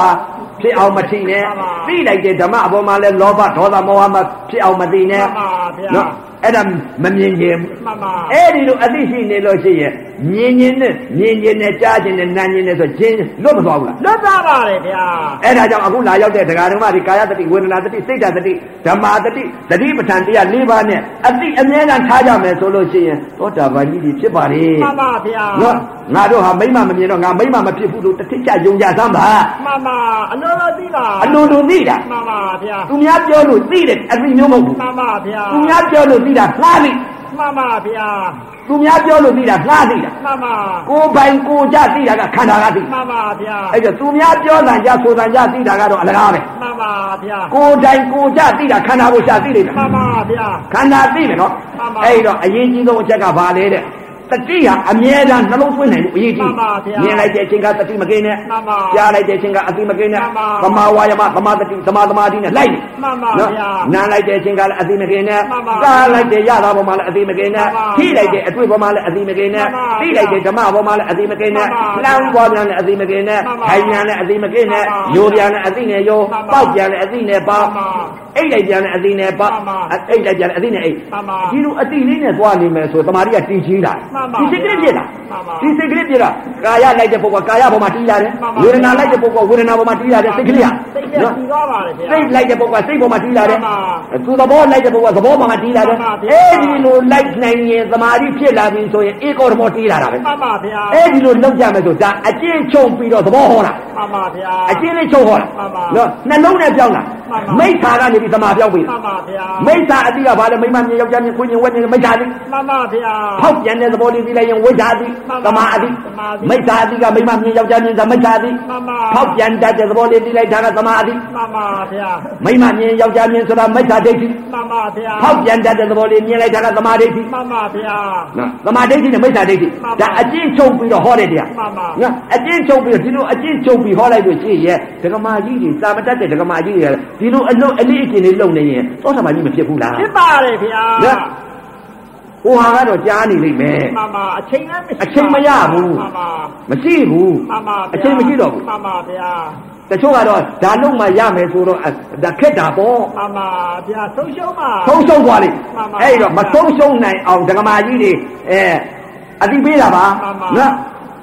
Speaker 1: ဖြစ်အောင်မထိနဲ့
Speaker 2: မှန်ပါ
Speaker 1: သိလိုက်တဲ့ဓမ္မအပေါ်မှာလဲလောဘဒေါသမောဟမဖြစ်အောင်မသိနဲ့
Speaker 2: မှန်ပါဗျာ
Speaker 1: နော်အဲ့ဒါမမြင်ခြင်း
Speaker 2: မှန်ပါ
Speaker 1: အဲ့ဒီလိုအသိရှိနေလို့ရှိရင်မြင်ခြင်းနဲ့မြင်ခြင်းနဲ့ကြားခြင်းနဲ့နားခြင်းနဲ့ဆိုခြင်းလွတ်မသွားဘူးလား
Speaker 2: လွတ်သားပါတယ်ဗျာ
Speaker 1: အဲ့ဒါကြောင့်အခုလာရောက်တဲ့ဒကာဓမ္မတွေကာယတတိဝေဒနာတတိစိတ်ဓာတ်တတိဓမ္မာတတိတတိပဋ္ဌာန်တရား၄ပါးနဲ့အတိအမြဲတမ်းထားကြမယ်ဆိုလို့ရှိရင်သောတာပန်ကြီးတွေဖြစ်ပါလေ
Speaker 2: မှန်ပါဗျာ
Speaker 1: နော်ငါတို့ဟာမိမ့်မမမြင်တော့ငါမိမ့်မမဖြစ်ဘူးလို့တတိကျယုံကြသမ်းပါ
Speaker 2: မှန်ပါအလိုလိုသိလား
Speaker 1: အလိုလိုသိတာ
Speaker 2: မှန်ပါဗျာ
Speaker 1: သူများပြောလို့သိတယ်အသိမျိုးမဟုတ်ဘူး
Speaker 2: မှန်ပါဗျာ
Speaker 1: သူများပြောလို့သိတာလှသိ
Speaker 2: မှန်ပါဗျာ
Speaker 1: သူများပြောလို့သိတာလှသိတာ
Speaker 2: မှန်ပါ
Speaker 1: ကိုယ်ပိုင်ကိုယ်ကြသိတာကခန္ဓာကသိ
Speaker 2: မှန်ပါဗျာ
Speaker 1: အဲ့ဒါသူများပြောတာကြဆိုတာကြသိတာကတော့အလကားပဲ
Speaker 2: မှန်ပါဗျာ
Speaker 1: ကိုယ်တိုင်ကိုယ်ကြသိတာခန္ဓာကိုယ်ရှာသိနေတာ
Speaker 2: မှန်ပါဗျာ
Speaker 1: ခန္ဓာသိမယ်နော်
Speaker 2: မှန်ပါ
Speaker 1: အဲ့တော့အရေးကြီးဆုံးအချက်ကဘာလဲတဲ့တတိဟာအမြဲတမ်းနှလုံးသွင်းနိုင်မှုအရေးကြီး
Speaker 2: မှန်ပါဗျာ
Speaker 1: မြင်လိုက်တဲ့အချိန်ကတတိမကိန်းနဲ့
Speaker 2: မှန်ပါ
Speaker 1: ကြားလိုက်တဲ့အချိန်ကအတိမကိန်းနဲ့
Speaker 2: မှန်ပါ
Speaker 1: သမာဝါယမသမာတတိသမာသမာဓိနဲ့လိုက်နေ
Speaker 2: မှန်ပါဗျာ
Speaker 1: နားလိုက်တဲ့အချိန်ကလည်းအတိမကိန်းနဲ့
Speaker 2: မှန်ပါ
Speaker 1: စားလိုက်တဲ့ရတာပေါ်မှာလည်းအတိမကိန်းနဲ့
Speaker 2: မှန်ပါ
Speaker 1: ထိလိုက်တဲ့အတွေ့ပေါ်မှာလည်းအတိမကိန်းနဲ့
Speaker 2: မှန်ပါ
Speaker 1: သိလိုက်တဲ့ဓမ္မပေါ်မှာလည်းအတိမကိန်းနဲ့
Speaker 2: မှ
Speaker 1: လှ
Speaker 2: န်
Speaker 1: မ်း
Speaker 2: ပါ
Speaker 1: ပေါ်ပြန်လည်းအတိမကိန်းနဲ့
Speaker 2: မှန်ပါ
Speaker 1: ခိုင်ပြန်လည်းအတိမကိန်းနဲ့
Speaker 2: မှန်ပါ
Speaker 1: ယိုပြန်လည်းအတိနဲ့ယို
Speaker 2: မှန်ပါ
Speaker 1: ပေါက်ပြန်လည်းအတိနဲ့ပေါက်
Speaker 2: မှန်ပါ
Speaker 1: အိတ်လိုက်ပြန်လည်းအတိနဲ့ပေါက်
Speaker 2: မှန်ပါ
Speaker 1: အိတ်လိုက်ပြန်လည်းအတိနဲ့အိတ်
Speaker 2: မှန်ပါ
Speaker 1: ဒီလိုအတိလေးနဲ့သွားနေမယ်ဆိုတမာရီကတည်ကြီးတာ
Speaker 2: မှန်ပါ
Speaker 1: ဒီစိတ်ကလေးဖြစ်တာ
Speaker 2: မှန်ပါ
Speaker 1: ဒီစိတ်ကလေးဖြစ်တာကာယလိုက်တဲ့ပုဂ္ဂိုလ်ကကာယပေါ်မှာတည်ရတယ်
Speaker 2: မှန်ပါ
Speaker 1: ဝေဒနာလိုက်တဲ့ပုဂ္ဂိုလ်ကဝေဒနာပေါ်မှာတည်ရတယ်စိတ်ကလေးက
Speaker 2: စိတ်ကလေး
Speaker 1: နော်
Speaker 2: ပြီးသွားပါတယ်ဗျာ
Speaker 1: စိတ်လိုက်တဲ့ပုဂ္ဂိုလ်ကစိတ်ပေါ်မှာတည်ရတယ်
Speaker 2: မှန်
Speaker 1: သူသဘောလိုက်တဲ့ပုဂ္ဂိုလ်ကသဘောပေါ်မှာတည်ရတယ်
Speaker 2: မှန်ပါဗျာ
Speaker 1: အဲဒီလိုလိုက်နိုင်ရင်တမာရီဖြစ်လာပြီဆိုရင်ဧကောဓမောတည်လာတာပဲ
Speaker 2: မှန်ပါဗျာ
Speaker 1: အဲဒီလိုလောက်ကြမယ်ဆိုဒါအကျင့်ချုပ်ပြီးတော့သဘောဟောတာ
Speaker 2: မှန်ပါဗျာ
Speaker 1: အကျင့်လေးချုပ်ဟောတာ
Speaker 2: မှန်ပါ
Speaker 1: နော်နှလုံးနဲ့ပြောင်းတာ
Speaker 2: မှန်ပါ
Speaker 1: မိစ္ဆာကနေပြီးတမာပြောင်းပြီး
Speaker 2: မှန်ပါဗျာ
Speaker 1: မိစ္ဆာအတိကဘာလဲမိမမြင်ယောက်ျားမြင်ခွေးမြင်ဝက်မြင်မိစ္ဆာလေး
Speaker 2: မှန်ပါဗျာ
Speaker 1: ဖောက်ပြန်တဲ့သဘောလေးသိလိုက်ရင်ဝိဇ္ဇာသည်
Speaker 2: မှန်ပါ
Speaker 1: သမာအသည်
Speaker 2: သမာဓိ
Speaker 1: မိစ္ဆာအသည်ကမိမမြင်ယောက်ျားမြင်သမိစ္ဆာသည်
Speaker 2: မှန်ပါ
Speaker 1: ဖောက်ပြန်တတ်တဲ့သဘောလေးသိလိုက်တာကသမာအသည်
Speaker 2: မှန်ပါဗျာ
Speaker 1: မိမမြင်ယောက်ျားမြင်ဆိုတာမိစ္ဆာဒိဋ္ဌိ
Speaker 2: မှန်ပါဗျာ
Speaker 1: ဖောက်ပြန်တတ်တဲ့သဘောလေးမြင်လိုက်တာကသမာဒိဋ္ဌိ
Speaker 2: မှန်ပါဗျာ
Speaker 1: နော်သမာဒိဋ္ဌိနဲ့မိစ္ဆာဒိဋ္ဌိ
Speaker 2: မှန်ပါ
Speaker 1: ဒါအကျင့်ချုပ်ပြီးတော့ဟောတဲ့တရား
Speaker 2: မှန်ပါ
Speaker 1: နော်အကျင့်ချုပ်ပြီးတော့ဒီလိုအကျင့်ချုပ်ပြီးဟောလိုက်လို့ရှိရဲ့ဒကမာကြီးတွေစာမတတ်တဲ့ဒကမာကြီးတွေကဒီလိုအလုံးအလေးအကျင့်လေးလုံနေရင်သောတာပန်ကြီးမဖြစ်ဘူးလား
Speaker 2: ဖြစ်ပါတယ်ဗျာ
Speaker 1: နော်ဟိုဟာကတော့ကြားနေလိမ့်မယ်
Speaker 2: မှန်ပါအချိန်လည်းမရှိ
Speaker 1: အချိန်မရဘူး
Speaker 2: မှန်ပါ
Speaker 1: မရှိဘူး
Speaker 2: မှန်ပါဗျာ
Speaker 1: အချိန်မရှိတော့ဘူး
Speaker 2: မှန်ပါဗျာ
Speaker 1: တချို့ကတော့ဒါလုံးမှရမယ်ဆိုတော့အဲဒါခက်တာပေါ့
Speaker 2: မှန်ပါဗျာဆုံးရှုံးပါ
Speaker 1: ဆုံးရှုံးသွားလိမ့်
Speaker 2: မှန်ပါ
Speaker 1: အဲ့တော့မဆုံးရှုံးနိုင်အောင်ဒကမာကြီးတွေအဲအတိပေးတာပါ
Speaker 2: မှန်ပါ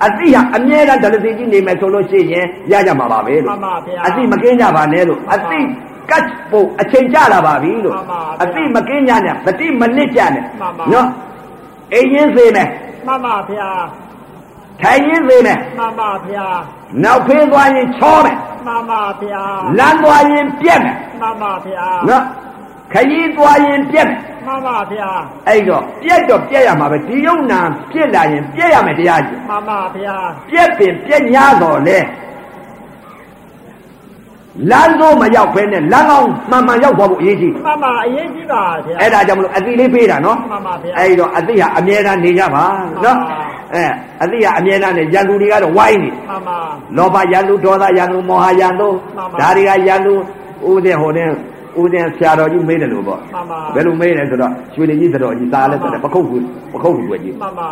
Speaker 1: အတိဟာအမြဲတမ်းဒလစီကြီးနေမယ်ဆိုလို့ရှိရင်ရကြမှာပါပဲလို့
Speaker 2: မှန်ပါဗျာ
Speaker 1: အတိမကင်းကြပါနဲ့လို့အတိကတ်ဖို့အချိန်ကြလာပါပြီလို့
Speaker 2: မှန်ပါဗျာ
Speaker 1: အတိမကင်းကြနဲ့ဗတိမနစ်ကြနဲ့
Speaker 2: မှန်ပါ
Speaker 1: နော်အိမ်ရင်းစေမယ်
Speaker 2: မှန်ပါဗျာ
Speaker 1: ထိုင်ရင်းစေမယ်
Speaker 2: မှန်ပါဗျာ
Speaker 1: နောက်ဖေးသွားရင်ချောမယ်
Speaker 2: မှန်ပါဗျာ
Speaker 1: လမ်းသွားရင်ပြက်မယ်
Speaker 2: မှန်ပါဗျာ
Speaker 1: နော်ခရီးသွားရင်ပြက်မယ်
Speaker 2: မှန်ပါဗျာ
Speaker 1: အဲ့တော့ပြက်တော့ပြက်ရမှာပဲဒီယုံနာပြက်လာရင်ပြက်ရမယ်တရားကြီး
Speaker 2: မှန်ပါဗျာ
Speaker 1: ပြက်ပင်ပြက်ညာတော့လေလမ်းတော့မရောက်ဖဲနဲ့လမ်းကောင်းမှန်မှန်ရောက်သွားဖို့အရေးကြီး
Speaker 2: မှန်ပါအရေးကြီးပါဗျာ
Speaker 1: အဲ့ဒါကြောင့်မလို့အတိလေးပေးတာနော်
Speaker 2: မှန်ပါဗျာ
Speaker 1: အဲ့တော့အတိဟာအမြဲတမ်းနေကြပါနော်
Speaker 2: မှန်ပါ
Speaker 1: အဲအတိဟာအမြဲတမ်းနေရန်သူတွေကတော့ဝိုင်းနေတယ်
Speaker 2: မှန်ပါ
Speaker 1: လောဘယန္တုဒေါသယန္တုမောဟယန္တု
Speaker 2: မှန်ပါ
Speaker 1: ဒါတွေကယန္တုဥဒေဟိုတဲ့ ဦးဇင်းဆရာတော်ကြီးမေးတယ်လို့ပေါ့
Speaker 2: မှန်ပါ
Speaker 1: ဘယ်လိုမေးလဲဆိုတော့ရွှေလင်းကြီးသတော်ကြီးသားလဲဆိုတော့ပခုတ်ကူပခုတ်ကူပဲကြီး
Speaker 2: မမ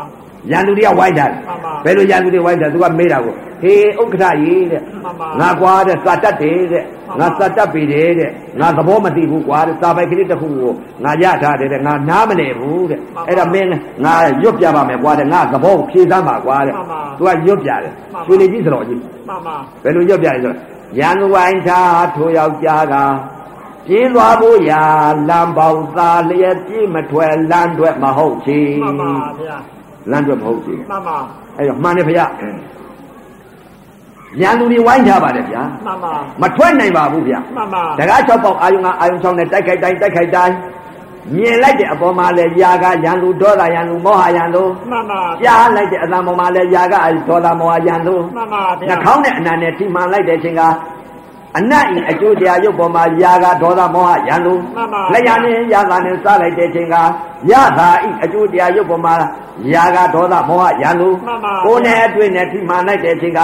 Speaker 1: ရန်သူတွေကဝိုင်းတာလေ
Speaker 2: မှန်ပါ
Speaker 1: ဘယ်လိုရန်သူတွေဝိုင်းတာသူကမေးတာကိုဟေးဥက္ကဋ္ဌကြီးတဲ့
Speaker 2: မှန်ပါ
Speaker 1: ငါကွာတဲ့စာတတ်တယ်တဲ့
Speaker 2: မှ
Speaker 1: ငါ
Speaker 2: န်ပါ
Speaker 1: စာတတ်ပြီတယ်တဲ့ငါသဘောမသိဘူးကွာတဲ့စာပိုက်ကလေးတစ်ခုကိုငါရထားတယ်တဲ့ငါနားမလည်ဘူးတဲ့
Speaker 2: မှန်ပါ
Speaker 1: အဲ့ဒါမင်းငါရွတ်ပြပါမယ်ကွာတဲ့ငါသဘောကိုဖြေစမ်းပါကွာတဲ့
Speaker 2: မှန်ပါ
Speaker 1: သူကရွတ်ပြတယ်
Speaker 2: မှန်ပါ
Speaker 1: ရွှေနေကြီးစတော်ကြီး
Speaker 2: မမ
Speaker 1: ဘယ်လိုရွတ်ပြလဲဆိုတော့ရန်သူဝိုင်းသာထိုယောက်ျားကပြေးလွားဖို့ရာလမ်းပေါက်သားလျက်ပြေးမထွက်လမ်းထွက်မဟုတ်ချေ
Speaker 2: မမဗျာ
Speaker 1: လမ်းထွက်မဟုတ်ချေ
Speaker 2: မမ
Speaker 1: အဲ့တော့မှန်တယ်ဗျာရန်သူတွေဝိုင်းကြပါတယ်ဗျာ
Speaker 2: မှန်ပါ
Speaker 1: မထွက်နိုင်ပါဘူးဗျာ
Speaker 2: မမ
Speaker 1: တကား၆ပေါက်အာယုံကအာယုံ၆နဲ့တိုက်ခိုက်တိုင်းတိုက်ခိုက်တိုင်းမြင်လိုက်တဲ့အပေါ်မှာလဲຢာကရန်သူဒေါသရန်သူမောဟရန်သူ
Speaker 2: မမ
Speaker 1: ကြားလိုက်တဲ့အသံပေါ်မှာလဲຢာကဒေါသမောဟရန်သူ
Speaker 2: မမဗျာ
Speaker 1: နှာခေါင်းနဲ့အနံနဲ့ထိမှန်လိုက်တဲ့အချိန်ကအနတ်ဤအကျိုးတရားရုပ်ပေါ်မှာຢာကဒေါသမောဟရန်သူလက်ရနဲ့ຢာသာနဲ့စားလိုက်တဲ့အချိန်ကယသာဤအကျိုးတရားရုပ်ပေါ်မှာຢာကဒေါသမောဟရန်သူ
Speaker 2: မမ
Speaker 1: ကိုယ်နဲ့အတွေ့နဲ့ထိမှန်လိုက်တဲ့အချိန်က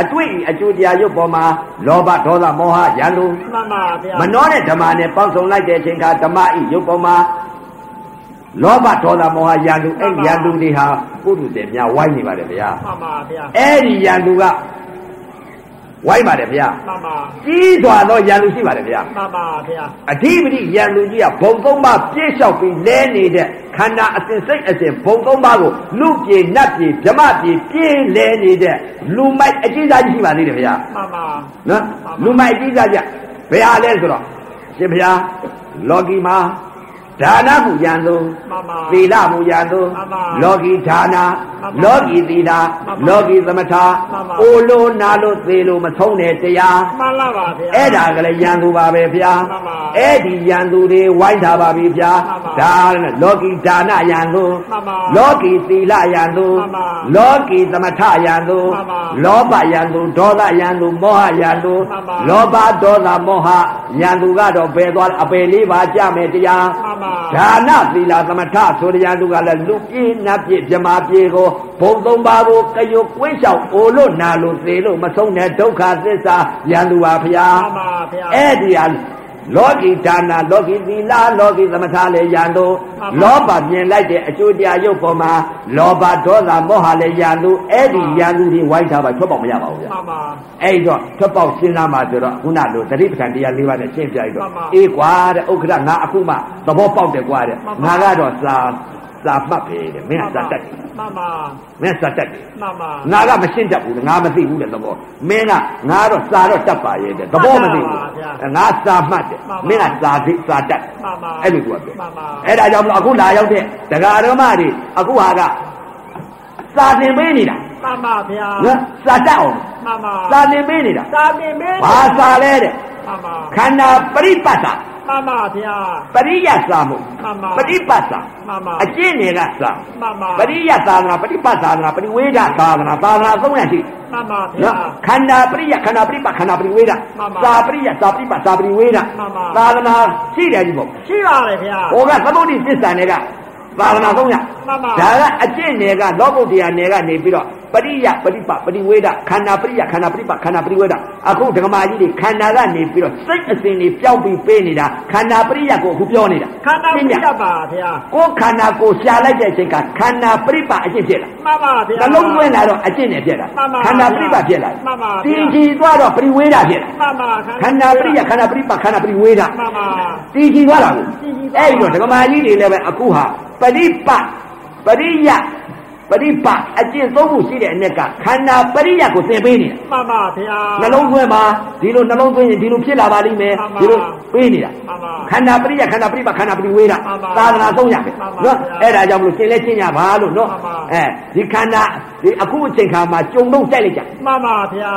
Speaker 1: အတွေ့အကျိုးတရားရုပ်ပေါ်မှာလောဘဒေါသမောဟရန်လို
Speaker 2: မမဗျာ
Speaker 1: မနှောတဲ့ဓမ္မနဲ့ပေါင်းစုံလိုက်တဲ့အချိန်ကဓမ္မဤရုပ်ပေါ်မှာလောဘဒေါသမောဟရန်လိုအဲ့ဒီရန်လိုတွေဟာပုထုဇဉ်များဝိုင်းနေပါတယ်ဗျာ
Speaker 2: မမဗျာ
Speaker 1: အဲ့ဒီရန်လိုကဝိုင်းပါတယ်ဗျာ
Speaker 2: မမ
Speaker 1: ကြီးစွာသောရန်လိုရှိပါတယ်ဗျာ
Speaker 2: မမဗျာ
Speaker 1: အဓိပတိရန်လိုကြီးကဘုံသုံးပါးပြည့်လျှောက်ပြီးလဲနေတဲ့ခန္ဓာအစဉ်စိတ်အစဉ်ဘုံသုံးပါးကိုလူပြေနတ်ပြေဗြဟ္မပြေပြည့်လဲနေတဲ့လူမိုက်အကြီးစားကြီးရှိပါသေးတယ်ဗျာ
Speaker 2: မမ
Speaker 1: နော်လူမိုက်ကြီးကြကြဘယ်ဟာလဲဆိုတော့ရှင်ဘုရားလောကီမှာဒါနမူရန်သူ
Speaker 2: မှန်ပါ
Speaker 1: သီလမူရန်သူ
Speaker 2: မှန်ပါ
Speaker 1: လောကီဒါနာ
Speaker 2: မှန်ပါ
Speaker 1: လောကီသီလ
Speaker 2: မှန်ပါ
Speaker 1: လောကီသမထ
Speaker 2: မှန်ပါ
Speaker 1: အိုလိုနာလိုသေလိုမဆုံးတဲ့တရား
Speaker 2: မှန်လားပါဗျာ
Speaker 1: အဲ့ဒါကလည်းရန်သူပါပဲဗျာ
Speaker 2: မှန်ပါ
Speaker 1: အဲ့ဒီရန်သူတွေဝိုင်းထားပါပြီဗျာ
Speaker 2: မှ
Speaker 1: ဒါ
Speaker 2: န်ပါ
Speaker 1: နဲ့လောကီဒါနရန်သူ
Speaker 2: မှန်ပါ
Speaker 1: လောကီသီလရန်သူ
Speaker 2: မှန်ပါ
Speaker 1: လောကီသမထရန်သူ
Speaker 2: မှန်ပါ
Speaker 1: လောဘရန်သူဒေါသရန်သူမောဟရန်သူ
Speaker 2: မှန်ပါ
Speaker 1: လောဘဒေါသမောဟညာသူကတော့ပယ်သွားအပယ်လေးပါကြမယ်တရား
Speaker 2: မမ
Speaker 1: ဒါနသီလသမထဆိုတဲ့ညာသူကလည်းလူပြေနတ်ပြေမြမာပြေကိုဘုံသုံးပါးကိုကယုတ်ကွင်းလျှောက်အိုလို့နာလို့သေလို့မဆုံးတဲ့ဒုက္ခသစ္စာညာသူပါဖျား
Speaker 2: မမဗျာ
Speaker 1: အဲ့ဒီဟာလောကီဒါနလောကီသီလလောကီသမထလည်းညာသူ
Speaker 2: မှန်ပါ
Speaker 1: လောဘမြင်လိုက်တဲ့အကျိုးတရားရုပ်ပေါ်မှာလောဘဒေါသမောဟလည်းညာသူအဲ့ဒီ
Speaker 2: မှ
Speaker 1: ညာ
Speaker 2: န်ပါ
Speaker 1: သူတွေဝိုင်းထားပါထွက်ပေါက်မရပါဘူးဗျာ
Speaker 2: မမ
Speaker 1: အဲ့တော့ထွက်ပေါက်ရှင်းလာမှဆိုတော့ခုနလိုသတိပဋ္ဌာန်တရား၄ပါးနဲ့ရှင်းပြလိုက်တော့
Speaker 2: မှန်ပါ
Speaker 1: အေးကွာတဲ့ဥက္ကဋငါအခုမှသဘောပေါက်တယ်ကွာတဲ့
Speaker 2: မှန်ပါ
Speaker 1: ငါကတော့စာစာပတ်ပဲတဲ့မင်းကစာတတ်တယ်
Speaker 2: မမ
Speaker 1: မင်းကစာတတ်တယ်
Speaker 2: မမ
Speaker 1: ငါကမရှင်းတတ်ဘူးတဲ့ငါမသိဘူးတဲ့သဘောမင်းကငါတော့စာတော့တတ်ပါရဲ့တဲ့သဘောမသိဘူး
Speaker 2: မှန်ပါဗျာ
Speaker 1: ငါစာမှတ်တယ်
Speaker 2: မှန်ပါ
Speaker 1: မင်းကစာသိစာတတ်တယ်
Speaker 2: မမ
Speaker 1: အဲ့လိုသူကပြော
Speaker 2: မမ
Speaker 1: အဲ့ဒါကြောင့်မလို့အခုလာရောက်တဲ့ဒကာဓမ္မတွေအခုဟာကစာသင်ပေးနေတာ
Speaker 2: မမဗျာ
Speaker 1: နော်စာတတ်အောင်
Speaker 2: မမ
Speaker 1: စာသင်ပေးနေတာ
Speaker 2: သာမင်မင်း
Speaker 1: ဘာစာလဲတဲ့
Speaker 2: မမ
Speaker 1: ခန္ဓာပရိပတ်တာ
Speaker 2: မမဗျာ
Speaker 1: ပရိယတ်သာမဟုတ်
Speaker 2: မှန်ပါ
Speaker 1: ပရိပတ်တာ
Speaker 2: မမ
Speaker 1: အကျင့်တွေကသာ
Speaker 2: မမ
Speaker 1: ပရိယတ်သာသနာပရိပတ်သာသနာပရိဝေဒသာသနာသာသနာသုံးရရှိ
Speaker 2: မမဗျာ
Speaker 1: နော်ခန္ဓာပရိယတ်ခန္ဓာပရိပတ်ခန္ဓာပရိဝေဒ
Speaker 2: မှန်ပါ
Speaker 1: သာပရိယတ်သာပရိပတ်သာပရိဝေဒ
Speaker 2: မှန်ပါ
Speaker 1: သာသနာရှိတယ်ကြီးပေါ့
Speaker 2: ရှိပါလေဗျာ
Speaker 1: ဟောကသမုဒိသစ္စာတွေကသာသနာသုံးရ
Speaker 2: မှန်ပါ
Speaker 1: ဒါကအကျင့်တွေကလောကုတ္တရာတွေကနေပြီးတော့ပရိယတ်ပရိပတ်ပရိဝေဒခန္ဓာပရိယတ်ခန္ဓာပရိပတ်ခန္ဓာပရိဝေဒအခုဓမ္မကြီးတွေခန္ဓာကနေပြီးတော့စိတ်အစဉ်တွေပျောက်ပြီးပေးနေတာခန္ဓာပရိယတ်ကိုအခုပြောနေတာ
Speaker 2: ခန္ဓာပြရပါဗျာ
Speaker 1: ကိုယ်ခန္ဓာကိုယ်ရှာလိုက်တဲ့အချိန်ကခန္ဓာပြိပအကျင့်ဖြစ်လာ
Speaker 2: မမဗျာ
Speaker 1: နှလုံးသွင်းလာတော့အကျင့်နဲ့ဖြစ်လာ
Speaker 2: မှန်ပါ
Speaker 1: ခန္ဓာပြိပဖြစ်လာ
Speaker 2: မှန်ပါ
Speaker 1: တည်ကြည်သွားတော့ပရိဝေဒဖြစ်လာ
Speaker 2: မမ
Speaker 1: ခန္ဓာပြိယခန္ဓာပြိပခန္ဓာပြိဝေဒ
Speaker 2: မမ
Speaker 1: တည်ကြည်သွားတာကို
Speaker 2: တည်ကြည်သွား
Speaker 1: အဲ့ဒီတော့ဓမ္မကြီးတွေလည်းပဲအခုဟာပရိပပရိယပရိပအကျင့်သုံးခုရှိတဲ့အ ਨੇ ကခန္ဓာပရိယကိုသင်ပေးနေတာ
Speaker 2: မမဗျာ
Speaker 1: နှလုံးသွင်းပါဒီလိုနှလုံးသွင်းရင်ဒီလိုဖြစ်လာပါလိမ့်မယ်
Speaker 2: မှန်ပါ
Speaker 1: ဒီလိုပေးနေတာ
Speaker 2: မှန်ပါ
Speaker 1: ခန္ဓာပရိယခန္ဓာပရိပခန္ဓာပရိဝေဒ
Speaker 2: မှန်ပါ
Speaker 1: သာသနာဆုံးရမယ်
Speaker 2: မှန်ပါ
Speaker 1: နော်
Speaker 2: ဗျာ
Speaker 1: အဲ့ဒါကြောင့်မလို့ရှင်းလဲရှင်းရပါလို့နော်
Speaker 2: မှန်ပါ
Speaker 1: အဲဒီခန္ဓာဒီအခုအချိန်ခါမှာကြုံတော့ကြိုက်လိုက်ကြ
Speaker 2: မမဗျာ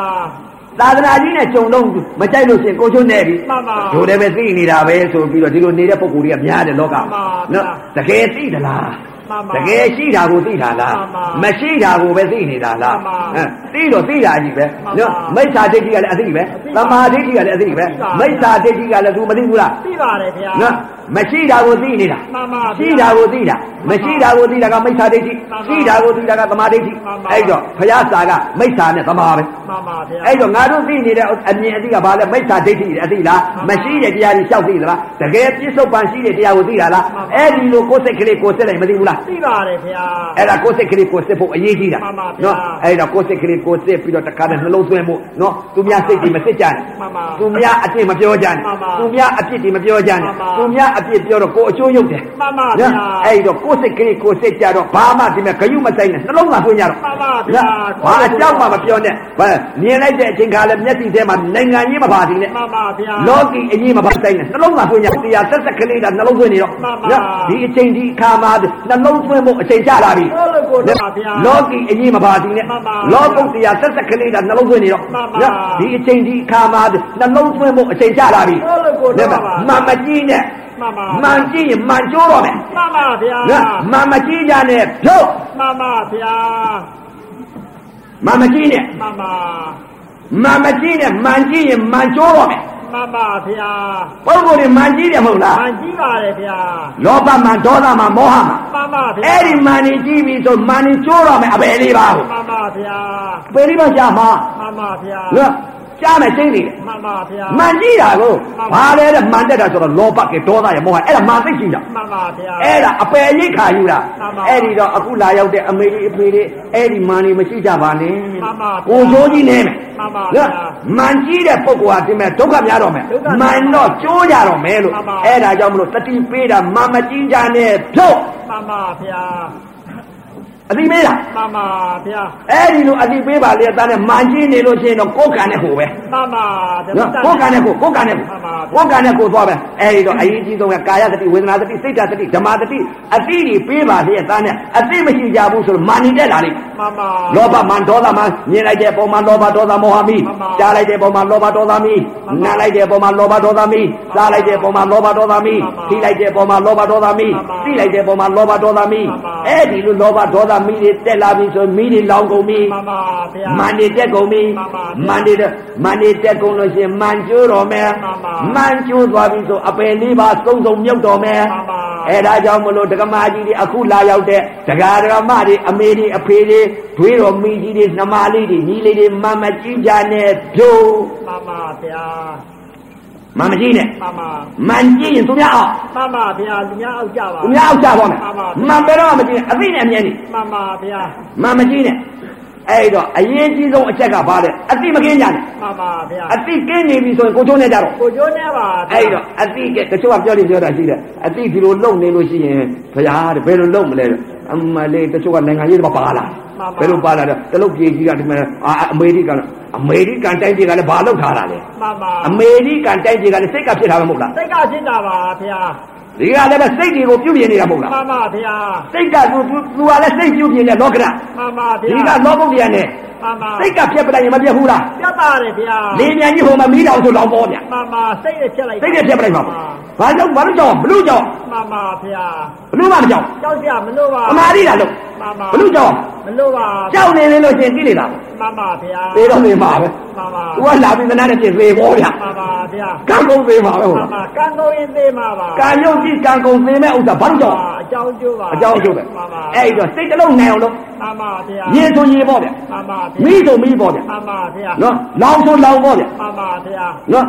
Speaker 1: သာသနာကြီးနဲ့ကြုံတော့မကြိုက်လို့ရှရင်ကိုချွတ်နေပြီ
Speaker 2: မှန်ပါ
Speaker 1: ဒိုတယ်ပဲသိနေတာပဲဆိုပြီးတော့ဒီလိုနေတဲ့ပုံကိုယ်တွေကများတယ်လောက
Speaker 2: မှန်ပါ
Speaker 1: နော်
Speaker 2: ဗျာ
Speaker 1: တကယ်သိသလား
Speaker 2: မှန်ပါ
Speaker 1: တကယ်ရှိတာကိုသိတာလား
Speaker 2: မှန်ပါ
Speaker 1: မရှိတာကိုပဲသိနေတာလား
Speaker 2: မှန်ပါ
Speaker 1: ဟမ်သိတော့သိတာကြီးပဲ
Speaker 2: မှန်
Speaker 1: နော်
Speaker 2: ပါ
Speaker 1: မိစ္ဆာဒိဋ္ဌိကလည်းအသိပဲ
Speaker 2: အသိ
Speaker 1: သ
Speaker 2: ပါ
Speaker 1: မာဓိဋ္ဌိကလည်းအသိပဲ
Speaker 2: သိပါ
Speaker 1: မိစ္ဆာဒိဋ္ဌိကလည်း तू မသိဘူးလား
Speaker 2: သိပါတယ်ခင်ဗျာ
Speaker 1: နော်မရှိတာကိုသိနေတာ
Speaker 2: မှန်ပါဗျာ
Speaker 1: ရှိတာကိုသိတာမရှိတာကိုသိတာကမိစ္ဆာဒိဋ္ဌိ
Speaker 2: မှန်ပါ
Speaker 1: ရှိတာကိုသိတာကသမာဓိဋ္ဌိ
Speaker 2: မှန်ပါ
Speaker 1: အဲ့တော့ဘုရားစာကမိစ္ဆာနဲ့သမာပဲ
Speaker 2: မှန်ပါဗျာ
Speaker 1: အဲ့တော့ငါတို့သိနေတဲ့အမြင်အသိကဘာလဲမိစ္ဆာဒိဋ္ဌိအသိလားမ
Speaker 2: မှန်ပါ
Speaker 1: ရှိတဲ့တရားကြီးရှောက်သိသလားတကယ်ပြစ္ဆုတ်ပန်ရှိတဲ့တရားကိုသိတာလား
Speaker 2: မှန်ပါ
Speaker 1: အဲ့ဒီလိုကိုယ်စိတ်ကလေးကိုယ်စိတ်လိုက်မသိဘူးလား
Speaker 2: သိပါတယ်ခင်ဗျာ
Speaker 1: အဲ့ဒါကိုယ်စိတ်ကလေးကိုယ်စစ်ဖို့အရေးကြီးတာ
Speaker 2: မှန်ပါဗျာ
Speaker 1: အဲ့ဒါကိုယ်စိတ်ကလေးကိုယ်စစ်ပြီးတော့တခါတည်းနှလုံးသွင်းဖို့နော်သူများစိတ်တွေမစစ်ကြနဲ့
Speaker 2: မှန်ပါ
Speaker 1: သူများအပြစ်မပြောကြနဲ့
Speaker 2: မှန်ပါ
Speaker 1: သူများအပြစ်တွေမပြောကြ
Speaker 2: မှ
Speaker 1: နဲ့
Speaker 2: န်ပါ
Speaker 1: သူများအပြစ်ပြောတော့ကိုယ်အကျိုးရုပ်တယ်
Speaker 2: မှန်ပါဗျာ
Speaker 1: အဲ့တော့ကိုယ်စိတ်ကလေးကိုယ်စစ်ကြတော့ဘာမှဒီမဲ့ဂယုမဆိုင်နဲ့နှလုံးသာသွင်းကြတော့
Speaker 2: မှန်ပါဗျာ
Speaker 1: နော်ဘာအကြောက်မှမပြောနဲ့ဘာမြင်လိုက်တဲ့အချိန်ခါလဲမျက်စိထဲမှာနိုင်ငံကြီးမပါသေးနဲ့
Speaker 2: မှန်ပါဗျာ
Speaker 1: လောကီအကြီးမပါဆိုင်နဲ့နှလုံးသာသွင်းကြတရားဆက်ဆက်ကလေးကနှလုံးသွင်းနေတော့
Speaker 2: မှန်ပါ
Speaker 1: နော်ဒီအချိန်ဒီအခါမှာနှလုံးသွင်းဖို့အချိန်ကျလာပြီ
Speaker 2: ဟုတ်လို့ကိုတော့ပါဗျာ
Speaker 1: လောကီအရေးမပါသေးနဲ့
Speaker 2: မှန်ပါ
Speaker 1: လောကုတ်တရားဆက်ဆက်ကလေးကနှလုံးသွင်းနေတော့
Speaker 2: မှန်ပါ
Speaker 1: နော်ဒီအချိန်ဒီအခါမှာနှလုံးသွင်းဖို့အချိန်ကျလာပြီ
Speaker 2: ဟုတ်လို့ကိုတော့ပါ
Speaker 1: မှန်မကြည့်နဲ့
Speaker 2: မှန်ပါ
Speaker 1: မှန်ကြည့်ရင်မှန်ကျိုးတော့မယ်
Speaker 2: မှန်ပါဗျာ
Speaker 1: နော်မှန်မကြည့်ကြနဲ့ဖြုတ်
Speaker 2: မှန်ပါဗျာ
Speaker 1: မှန်မကြည့်နဲ့
Speaker 2: မှန်ပါ
Speaker 1: မှန်မကြည့်နဲ့မှန်ကြည့်ရင်မှန်ကျိုးတော့မယ်
Speaker 2: မှန်ပါဗျာ
Speaker 1: ပုဂ္ဂိုလ်တွေမှန်ကြည့်တယ်မဟုတ်လား
Speaker 2: မှန်ကြည့်ပါတယ်ဗျာ
Speaker 1: လောဘမှန်ဒေါသမှန်မောဟမှန်
Speaker 2: မှန်ပါဗျာ
Speaker 1: အဲ့ဒီမှန်နေကြည့်ပြီဆိုမှန်နေကျိုးတော့မယ်အပေလေးပါကို
Speaker 2: မှန်ပါဗျာ
Speaker 1: အပေလေးပါရှာမှာ
Speaker 2: မှန်ပါဗျာ
Speaker 1: နော်ကြားမယ်သိနေတယ်
Speaker 2: မှန်ပါဗျာ
Speaker 1: မှန်ကြည့်တာကို
Speaker 2: မှန်ပါ
Speaker 1: ဘာလဲတဲ့မှန်တက်တာဆိုတော့လောဘကဒေါသရမောဟအဲ့ဒါမှန်သိကြည့်တာ
Speaker 2: မှန်ပါဗျာ
Speaker 1: အဲ့ဒါအပယ်ရိတ်ခါယူတာ
Speaker 2: မှန်ပါ
Speaker 1: အဲ့ဒီတော့အခုလာရောက်တဲ့အမေလေးအဖေလေးအဲ့ဒီမှန်နေမရှိကြပါနဲ့
Speaker 2: မှန်ပါ
Speaker 1: ကိုယ်ရိုးကြီးနေမယ်
Speaker 2: မှန်ပါ
Speaker 1: နော်မှန်ကြည့်တဲ့ပုဂ္ဂိုလ်ဟာဒီမဲ့ဒုက္ခများတော့မယ်
Speaker 2: ဒုက္ခများ
Speaker 1: မှန်တော့ကြိုးကြတော့မယ်လို့
Speaker 2: မှန်ပါ
Speaker 1: အဲ့ဒါကြောင့်မလို့တတိပေးတာမှန်မကြည့်ကြနဲ့ဖြုတ်
Speaker 2: မှန်ပါဗျာ
Speaker 1: အသိမေးလား
Speaker 2: မှန်ပါဗျာ
Speaker 1: အဲ့ဒီလိုအသိပေးပါလေအသားနဲ့မှန်ကြည့်နေလို့ရှိရင်တော့ကိုယ်ကံနဲ့ဟိုပဲ
Speaker 2: မှန်ပါဗျာ
Speaker 1: နော်ကိုယ်ကံနဲ့ကိုယ်ကိုယ်ကံနဲ့ကိုယ်
Speaker 2: မှန်ပါဗျာ
Speaker 1: ကိုယ်ကံနဲ့ကိုယ်သွားပဲအဲဒီတော့အရေးကြီးဆုံးကကာယသတိဝေဒနာသတိစိတ်ဓာတ်သတိဓမ္မသတိအတိတွေပေးပါလေအသားနဲ့အတိမရှိကြဘူးဆိုတော့မာနေတက်လာလိမ့်မယ်
Speaker 2: မှန်ပါ
Speaker 1: လောဘမန်ဒေါသမန်မြင်လိုက်တဲ့ပုံမှာလောဘဒေါသမောဟမိ
Speaker 2: မှန်ပါ
Speaker 1: ကြားလိုက်တဲ့ပုံမှာလောဘဒေါသမိ
Speaker 2: မှန်ပါ
Speaker 1: နားလိုက်တဲ့ပုံမှာလောဘဒေါသမိစားလိုက်တဲ့ပုံမှာလောဘဒေါသမိ
Speaker 2: မှန်ပါ
Speaker 1: ထိလိုက်တဲ့ပုံမှာလောဘဒေါသမိ
Speaker 2: မှန်ပါ
Speaker 1: သိလိုက်တဲ့ပုံမှာလောဘဒေါသမိ
Speaker 2: မှန်ပါ
Speaker 1: အဲဒီလိုလောဘဒေါသမိတွေတက်လာပြီဆိုရင်မိတွေလောင်ကုန်ပြီ
Speaker 2: မှန်ပါဗျာ
Speaker 1: မန္တေတက်ကုန်ပြီ
Speaker 2: မှန်ပါဗျာ
Speaker 1: မန္တေတက်မန္တေတက်ကုန်လို့ရှရင်မန်ကျိုးတော်မယ်
Speaker 2: မှန်ပါ
Speaker 1: မန်ကျိုးသွားပြီဆိုအပယ်လေးပါသုံးဆုံးမြုပ်တော်မယ်
Speaker 2: မှန်ပါ
Speaker 1: အဲဒါကြောင့်မလို့ဒကမာကြီးတွေအခုလာရောက်တဲ့ဒကာဒကမတွေအမေတွေအဖေတွေတွေးတော်မိကြီးတွေနှမလေးတွေညီလေးတွေမမကြီးကြနဲ့ဖြိုး
Speaker 2: မှန်ပါဗျာ
Speaker 1: မမကြီးနဲ့
Speaker 2: မှန်ပါ
Speaker 1: မန်ကြီးရင်သူများအောင်
Speaker 2: မှန်ပါဗျာလူများအောက်ကြပါ
Speaker 1: သူများအောင်ချပါမယ်
Speaker 2: မှန်ပါ
Speaker 1: မန်ပဲတော့မကြီးနဲ့အသိနဲ့အမြင်နဲ့
Speaker 2: မှန်ပါဗျာ
Speaker 1: မမကြီးနဲ့အဲ့တော့အရင်ကြီးဆုံးအချက်ကဘာလဲအသိမကင်းကြနဲ့
Speaker 2: မှန်ပါဗျာ
Speaker 1: အတိကင်းနေပြီဆိုရင်ကိုချိုးနေကြတော့
Speaker 2: ကိုကျိုးနေပါဗျာ
Speaker 1: အဲ့တော့အတိကတချို့ကပြောလို့ပြောတာရှိတယ်အတိဒီလိုလုံနေလို့ရှိရင်ဘုရားတဲ့ဘယ်လိုလုံမလဲအမလေးတချို့ကနိုင်ငံရေးတော့ပါလာဘယ်လိုပါလာတော့တလုတ်ပြေကြီးကဒီမှာအာအမေရိကန်အမေရိကန်တိုင်းပြည်ကလည်းဘာလုပ်ထားတာလဲ
Speaker 2: မှန်ပါ
Speaker 1: အမေရိကန်တိုင်းပြည်ကလည်းစိတ်ကဖြစ်တာပဲမဟုတ်လား
Speaker 2: စိတ်ကဖြစ်တာပါဗျာ
Speaker 1: ဒီကလည်းပဲစိတ်တွေကိုပြုတ်ပြင်းနေတာမဟုတ်လား
Speaker 2: မှန်ပါဗျာ
Speaker 1: စိတ်ကသူသူသူကလည်းစိတ်ပြုတ်ပြင်းနေလောကရ
Speaker 2: မှန်ပါဗျာ
Speaker 1: ဒီကလောဘုတ်တရားနဲ့
Speaker 2: မှန်ပါ
Speaker 1: စိတ်ကဖြစ်ပလိုက်ရင်မပြတ်ဘူးလား
Speaker 2: ပြတ်ပါတယ်ဗျာ
Speaker 1: လေမြန်ကြီးဟိုမှာမိတော်ဆိုလောင်ပေါ်ဗျ
Speaker 2: မှန်ပါစိတ်နဲ့ဖြတ်လိုက်
Speaker 1: စိတ်နဲ့ဖြစ်ပလိုက်ပါဘာကြောင့်ဘာလို့ကြောင့်ဘလို့ကြောင့်
Speaker 2: မှန်ပါဗျာ
Speaker 1: ဘလို့မှမကြောက်
Speaker 2: ကြောက်ကြမလို့ပါ
Speaker 1: အမာရီလားလို့
Speaker 2: မှန်ပါ
Speaker 1: ဘလို့ကြောက်
Speaker 2: မလို့ပါ
Speaker 1: ကြောက်နေလေလို့ရှင်ကြည့်နေတာ
Speaker 2: မှန်ပါဗျာ
Speaker 1: ပေသေးတော့နေမှာပဲ
Speaker 2: မှန်ပါ
Speaker 1: သူကလာပြီးမနာတဲ့ပြင်သေးဘောဗျာ
Speaker 2: မှန်ပါဗျာ
Speaker 1: ကံကုန်သေးပါပဲဟို
Speaker 2: မှန်ပါကံကုန်ရင်သေးမှာပါ
Speaker 1: ကံရုပ်ကြည့်ကံကုန်သေးမဲ့ဥစ္စာဘာလို့ကြောက်
Speaker 2: အကြောင်းကျိုးပါ
Speaker 1: အကြောင်းအကျိုးပဲ
Speaker 2: မှန်ပါ
Speaker 1: အဲ့တော့စိတ်တစ်လုံးနိုင်အောင်လို့
Speaker 2: မှန်ပါဗျာ
Speaker 1: ရေဆိုရေပေါ့ဗျာ
Speaker 2: မှန်ပါ
Speaker 1: မိ
Speaker 2: ဗျာ
Speaker 1: ဆိုမိပေါ့ဗျာ
Speaker 2: မှန်ပါဗျာ
Speaker 1: နော်လောင်ဆိုလောင်ပေါ့ဗျာ
Speaker 2: မှန်ပါဗျာ
Speaker 1: နော်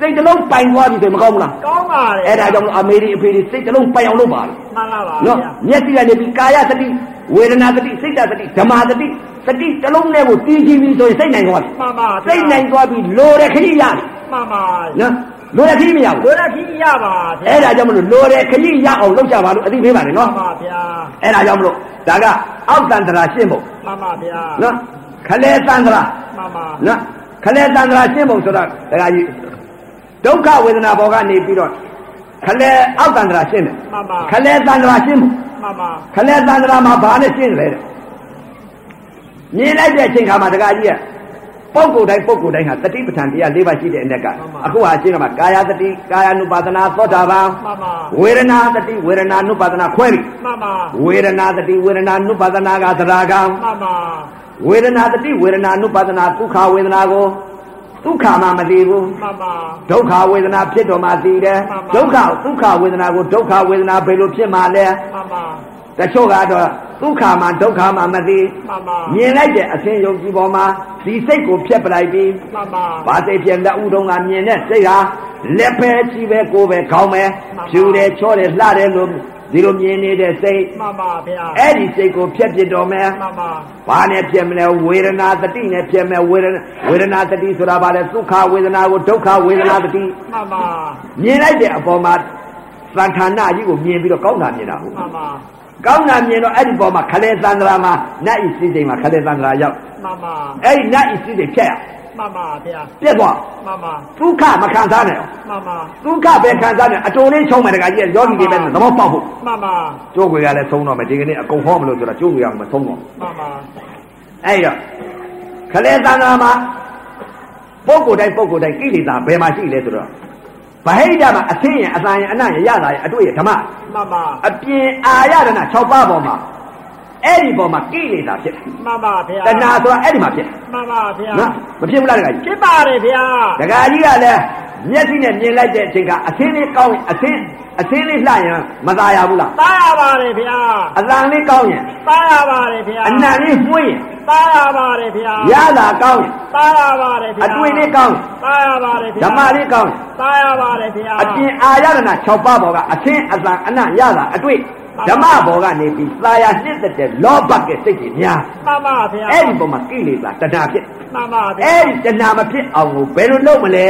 Speaker 1: စိတ်တစ်လုံးပိုင်သွားပြီဆိုရင်မကောင်းဘူးလား
Speaker 2: ကောင်းပါတယ်
Speaker 1: အဲ့ဒါကြောင့်မလို့အမေရိအဖေတွေစိတ်တစ်လုံးပိုင်အောင်လုပ်ပါလေ
Speaker 2: မှန်လားပါ
Speaker 1: နော်
Speaker 2: ဗျာ
Speaker 1: မျက်စိကနေပြီးကာယသတိဝေဒနာသတိစိတ်ဓာတ်သတိဓမ္မသတိသတိတစ်လုံးနဲ့ကိုတည်ကြည်ပြီးဆိုရင်စိတ်နိုင်သွားပြီ
Speaker 2: မှန်ပါဗျာ
Speaker 1: စိတ်နိုင်သွားပြီလိုတဲ့ခရီးရပြီ
Speaker 2: မှန်ပါ
Speaker 1: နော်လိုတဲ့ခရီးမရဘူး
Speaker 2: ကိုရခီရပါဗျာ
Speaker 1: အဲ့ဒါကြောင့်မလို့လိုတဲ့ခရီးရအောင်လုပ်ကြပါလို့အသိပေးပါတယ်
Speaker 2: မှ
Speaker 1: နော်
Speaker 2: န်ပါဗျာ
Speaker 1: အဲ့ဒါကြောင့်မလို့ဒါကအောက်တန္တရာရှင်းဖို့
Speaker 2: မှန်ပါဗျာ
Speaker 1: နော်ခလေတန္တရာ
Speaker 2: မှန်ပါ
Speaker 1: နော်ခလေတန္တရာရှင်းဖို့ဆိုတာဒါကကြီးဒုက္ခဝေဒနာဘောကနေပြီးတော့ခလေအောက်တန္တရာရှင်းတယ်
Speaker 2: မှန်ပါ
Speaker 1: ခလေတန္တရာရှင်းဖို့
Speaker 2: မှန်ပါ
Speaker 1: ခလဲသန္တရာမှာဘာနဲ့ရှင်းလဲတဲ့မြင်လိုက်တဲ့အချိန်ခါမှာတကကြီးက ပုဂ္ဂိုလ်တိုင်းပုဂ္ဂိုလ်တိုင်းဟာတတိပဋ္ဌာန်တရား၄ပါးရှိတဲ့အ ਨੇ ကအခုဟာရှင်းကမှာကာယတတိကာယ ानु ပါဒနာသောတာပန်
Speaker 2: မှန်ပါ
Speaker 1: ဝေဒနာတတိဝေဒနာ ानु ပါဒနာခွဲပြီ
Speaker 2: မှန်ပါ
Speaker 1: ဝေဒနာတတိဝေဒနာ ानु ပါဒနာကသရာကံ
Speaker 2: မှန်ပါ
Speaker 1: ဝေဒနာတတိဝေဒနာ ानु ပါဒနာဒုက္ခဝေဒနာကိုဒုက္ခမှမသိဘူး
Speaker 2: မှန်ပါ
Speaker 1: ဒုက္ခဝေဒနာဖြစ်တော်မှာသိတယ်
Speaker 2: မှန်ပါ
Speaker 1: ဒုက္ခဒုက္ခဝေဒနာကိုဒုက္ခဝေဒနာဘယ်လိုဖြစ်မှာလဲ
Speaker 2: မှန်ပါ
Speaker 1: တချို့ကတော့ဒုက္ခမှဒုက္ခမှမသိ
Speaker 2: မှန်ပါ
Speaker 1: မြင်လိုက်တဲ့အခြင်းယုံကြည်ပေါ်မှာဒီစိတ်ကိုဖျက်ပလိုက်ပြီး
Speaker 2: မှန်ပါ
Speaker 1: ဗာစိတ်ပြန်လက်ဥတုံးကမြင်တဲ့စိတ်ဟာလက်ပဲကြီးပဲကိုယ်ပဲခေါင်းပဲဖြူတယ်ချောတယ်လှတယ်လို့ဒီလိုမြင်နေတဲ့စိတ်
Speaker 2: မှန်ပါဗျာ
Speaker 1: အဲ့ဒီစိတ်ကိုဖျက်ပစ်တော်မယ်
Speaker 2: မှန်ပါ
Speaker 1: ဘာနဲ့ဖျက်မလဲဝေဒနာတတိနဲ့ဖျက်မယ်ဝေဒနာဝေဒနာတတိဆိုတာဘာလဲဒုက္ခဝေဒနာကိုဒုက္ခဝေဒနာတတိ
Speaker 2: မှန်ပါ
Speaker 1: မြင်လိုက်တဲ့အပေါ်မှာသံဌာနကြီးကိုမြင်ပြီးတော့ကောင်းတာမြင်တာဟုတ်
Speaker 2: မှန်ပါ
Speaker 1: ကောင်းတာမြင်တော့အဲ့ဒီပေါ်မှာခလေသန္တရာမှာနတ်ဤစိစိမ်မှာခလေသန္တရာရောက်
Speaker 2: မှန်ပါ
Speaker 1: အဲ့ဒီနတ်ဤစိစိမ်ဖြတ်ရ
Speaker 2: မှန်ပါဗျာ
Speaker 1: ပြက်သွား
Speaker 2: မှန်ပါ
Speaker 1: ဒုက္ခမခံစားနဲ့
Speaker 2: မှန်ပါ
Speaker 1: ဒုက္ခပဲခံစားနေအတူလေးချုံးမယ်တကကြီးကယောဂီတွေပဲသဘောပေါက်ဖို့
Speaker 2: မှန်ပါ
Speaker 1: ကျိုးကွေကလည်းသုံးတော့မယ်ဒီကနေ့အကုန်ဟောမလို့ဆိုတော့ကျိုးကွေကမသုံးတော့ဘူး
Speaker 2: မှန်ပါ
Speaker 1: အဲ့ဒီတော့ခလေသန္တရာမှာပုဂ္ဂိုလ်တိုင်းပုဂ္ဂိုလ်တိုင်းကိလေသာဘယ်မှာရှိလဲဆိုတော့ဗဟိတမှာအသိရင်အသာရင်အနရင်ရတာရင်အတွေ့ရင်ဓမ္မ
Speaker 2: မှန်ပါ
Speaker 1: အပြင်အာရဒနာ6ပါးပေါ်မှာအဲ့ဒီပေါ်မှာကိလေသာဖြစ်တယ်
Speaker 2: မှန်ပါဗျာ
Speaker 1: တဏှာဆိုတာအဲ့ဒီမှာဖြစ်
Speaker 2: မှန်ပါဗျာ
Speaker 1: နော်မဖြစ်ဘူးလားဒကာကြီး
Speaker 2: ဖြစ်ပါတယ်ဗျာ
Speaker 1: ဒကာကြီးကလည်းမျက်စိနဲ့မြင်လိုက်တဲ့အချိန်ကအသင်းလေးကောင်းရင်အသင်းအသင်းလေးလှရင်မသာရဘူးလား
Speaker 2: တားရပါတယ်ဗျာ
Speaker 1: အသံလေးကောင်းရင်
Speaker 2: တားရပါတယ်ဗျာ
Speaker 1: အနံလေးမှွေးရင်
Speaker 2: တားရပါတယ်ဗျာ
Speaker 1: ရတာကောင်းရင်
Speaker 2: တားရပါတယ်ဗျာ
Speaker 1: အတွေ့လေးကောင်းရင်
Speaker 2: တားရပါတယ်ဗျာ
Speaker 1: ဓမ္မလေးကောင်းရင်
Speaker 2: တားရပါတယ်ဗျာ
Speaker 1: အပြင်အာရဒနာ6ပါးပေါ်ကအသင်းအသံအနံရတာအတွေ့ဓမ္မဘောကနေပြီးသာယာနှစ်သက်တဲ့လောဘကစိတ်ကြီးများ
Speaker 2: မှန်ပါဗျာ
Speaker 1: အဲ့ဒီပုံမှာကိလေသာတဏှာဖြစ်
Speaker 2: မှန်ပါဗျာ
Speaker 1: အဲ့ဒီတဏှာမဖြစ်အောင်ကိုဘယ်လိုလုပ်မလဲ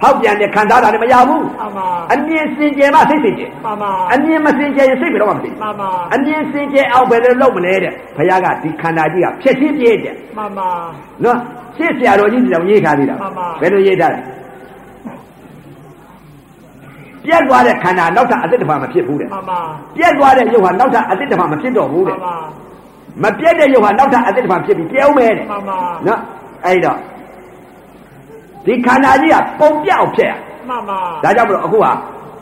Speaker 1: ဖောက်ပြန်တဲ့ခံစားတာလည်းမရဘူး
Speaker 2: မှန်ပါ
Speaker 1: အမြင်စင်ကြယ်မှစိတ်စင်ကြယ်
Speaker 2: မှန်ပါ
Speaker 1: အမြင်မစင်ကြယ်ရင်စိတ်ဘယ်တော့မှမစင်
Speaker 2: မှန်ပါ
Speaker 1: အမြင်စင်ကြယ်အောင်ဘယ်လိုလုပ်မလဲတဲ့ဘုရားကဒီခန္ဓာကြီးကဖြည့်ရှင်းပြည့်တဲ့
Speaker 2: မှန်ပါ
Speaker 1: နော်ရှင်းဆရာတော်ကြီးတောင်ရေးထားသေးတာ
Speaker 2: မှန်ပါ
Speaker 1: ဘယ်လိုရေးထားလဲပြက်သွားတဲ့ခန္ဓာနောက်ထပ်အတိတ်တစ်ပါမဖြစ်ဘူးတဲ့
Speaker 2: မှန်ပါ
Speaker 1: ပြက်သွားတဲ့ရုပ်ဟာနောက်ထပ်အတိတ်တစ်ပါမဖြစ်တော့ဘူး
Speaker 2: မှ
Speaker 1: တဲ့
Speaker 2: န်ပါ
Speaker 1: မပြက်တဲ့ရုပ်ဟာနောက်ထပ်အတိတ်တစ်ပါဖြစ်ပြီးပြဲဦးမယ်တဲ့
Speaker 2: မှန်ပါ
Speaker 1: နော်အဲ့တော့ဒီခန္ဓာကြီးကပုံပြောက်ဖြစ်ရ
Speaker 2: မှန်ပါ
Speaker 1: ဒါကြောင့်မလို့အခုဟာ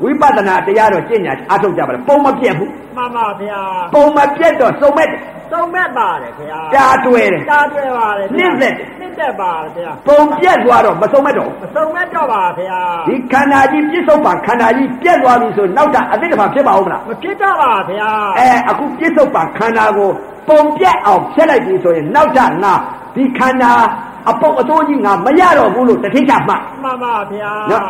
Speaker 1: ဝိပဿနာတရားတော်ကျင့်ညာအထုတ်ကြပါလေပုံမပြက်ဘူး
Speaker 2: မှန်ပါဗျာ
Speaker 1: ပုံမပြက်တော့စုံမဲ့တယ်
Speaker 2: သုံးမဲ့ပါတယ်ဗျာ
Speaker 1: ကြာတွဲတယ်
Speaker 2: တားတွေ့ပါတယ်ဗျာ
Speaker 1: နှိမ့်သက်တယ်
Speaker 2: နှင်းသက်ပါတယ်ဗျာ
Speaker 1: ပုံပြက်သွားတော့မစုံမဲ့တော့ဘူး
Speaker 2: မသုံးမဲ့တော့ပါဗျာ
Speaker 1: ဒီခန္ဓာကြီးပြစ္ဆုတ်ပံခန္ဓာကြီးပြက်သွားပြီဆိုနောက်တာအတိတ်ကဘာဖြစ်ပါဦးမလား
Speaker 2: မဖြစ်တော့ပါဗျာ
Speaker 1: အဲအခုပြစ္ဆုတ်ပံခန္ဓာကိုပုံပြက်အောင်ဖြတ်လိုက်ပြီဆိုရင်နောက်တာငါဒီခန္ဓာအပုတ်အသိုးကြီးငါမရတော့ဘူးလို့တတိချမှတ်
Speaker 2: မှန်ပါဗျာ
Speaker 1: နော်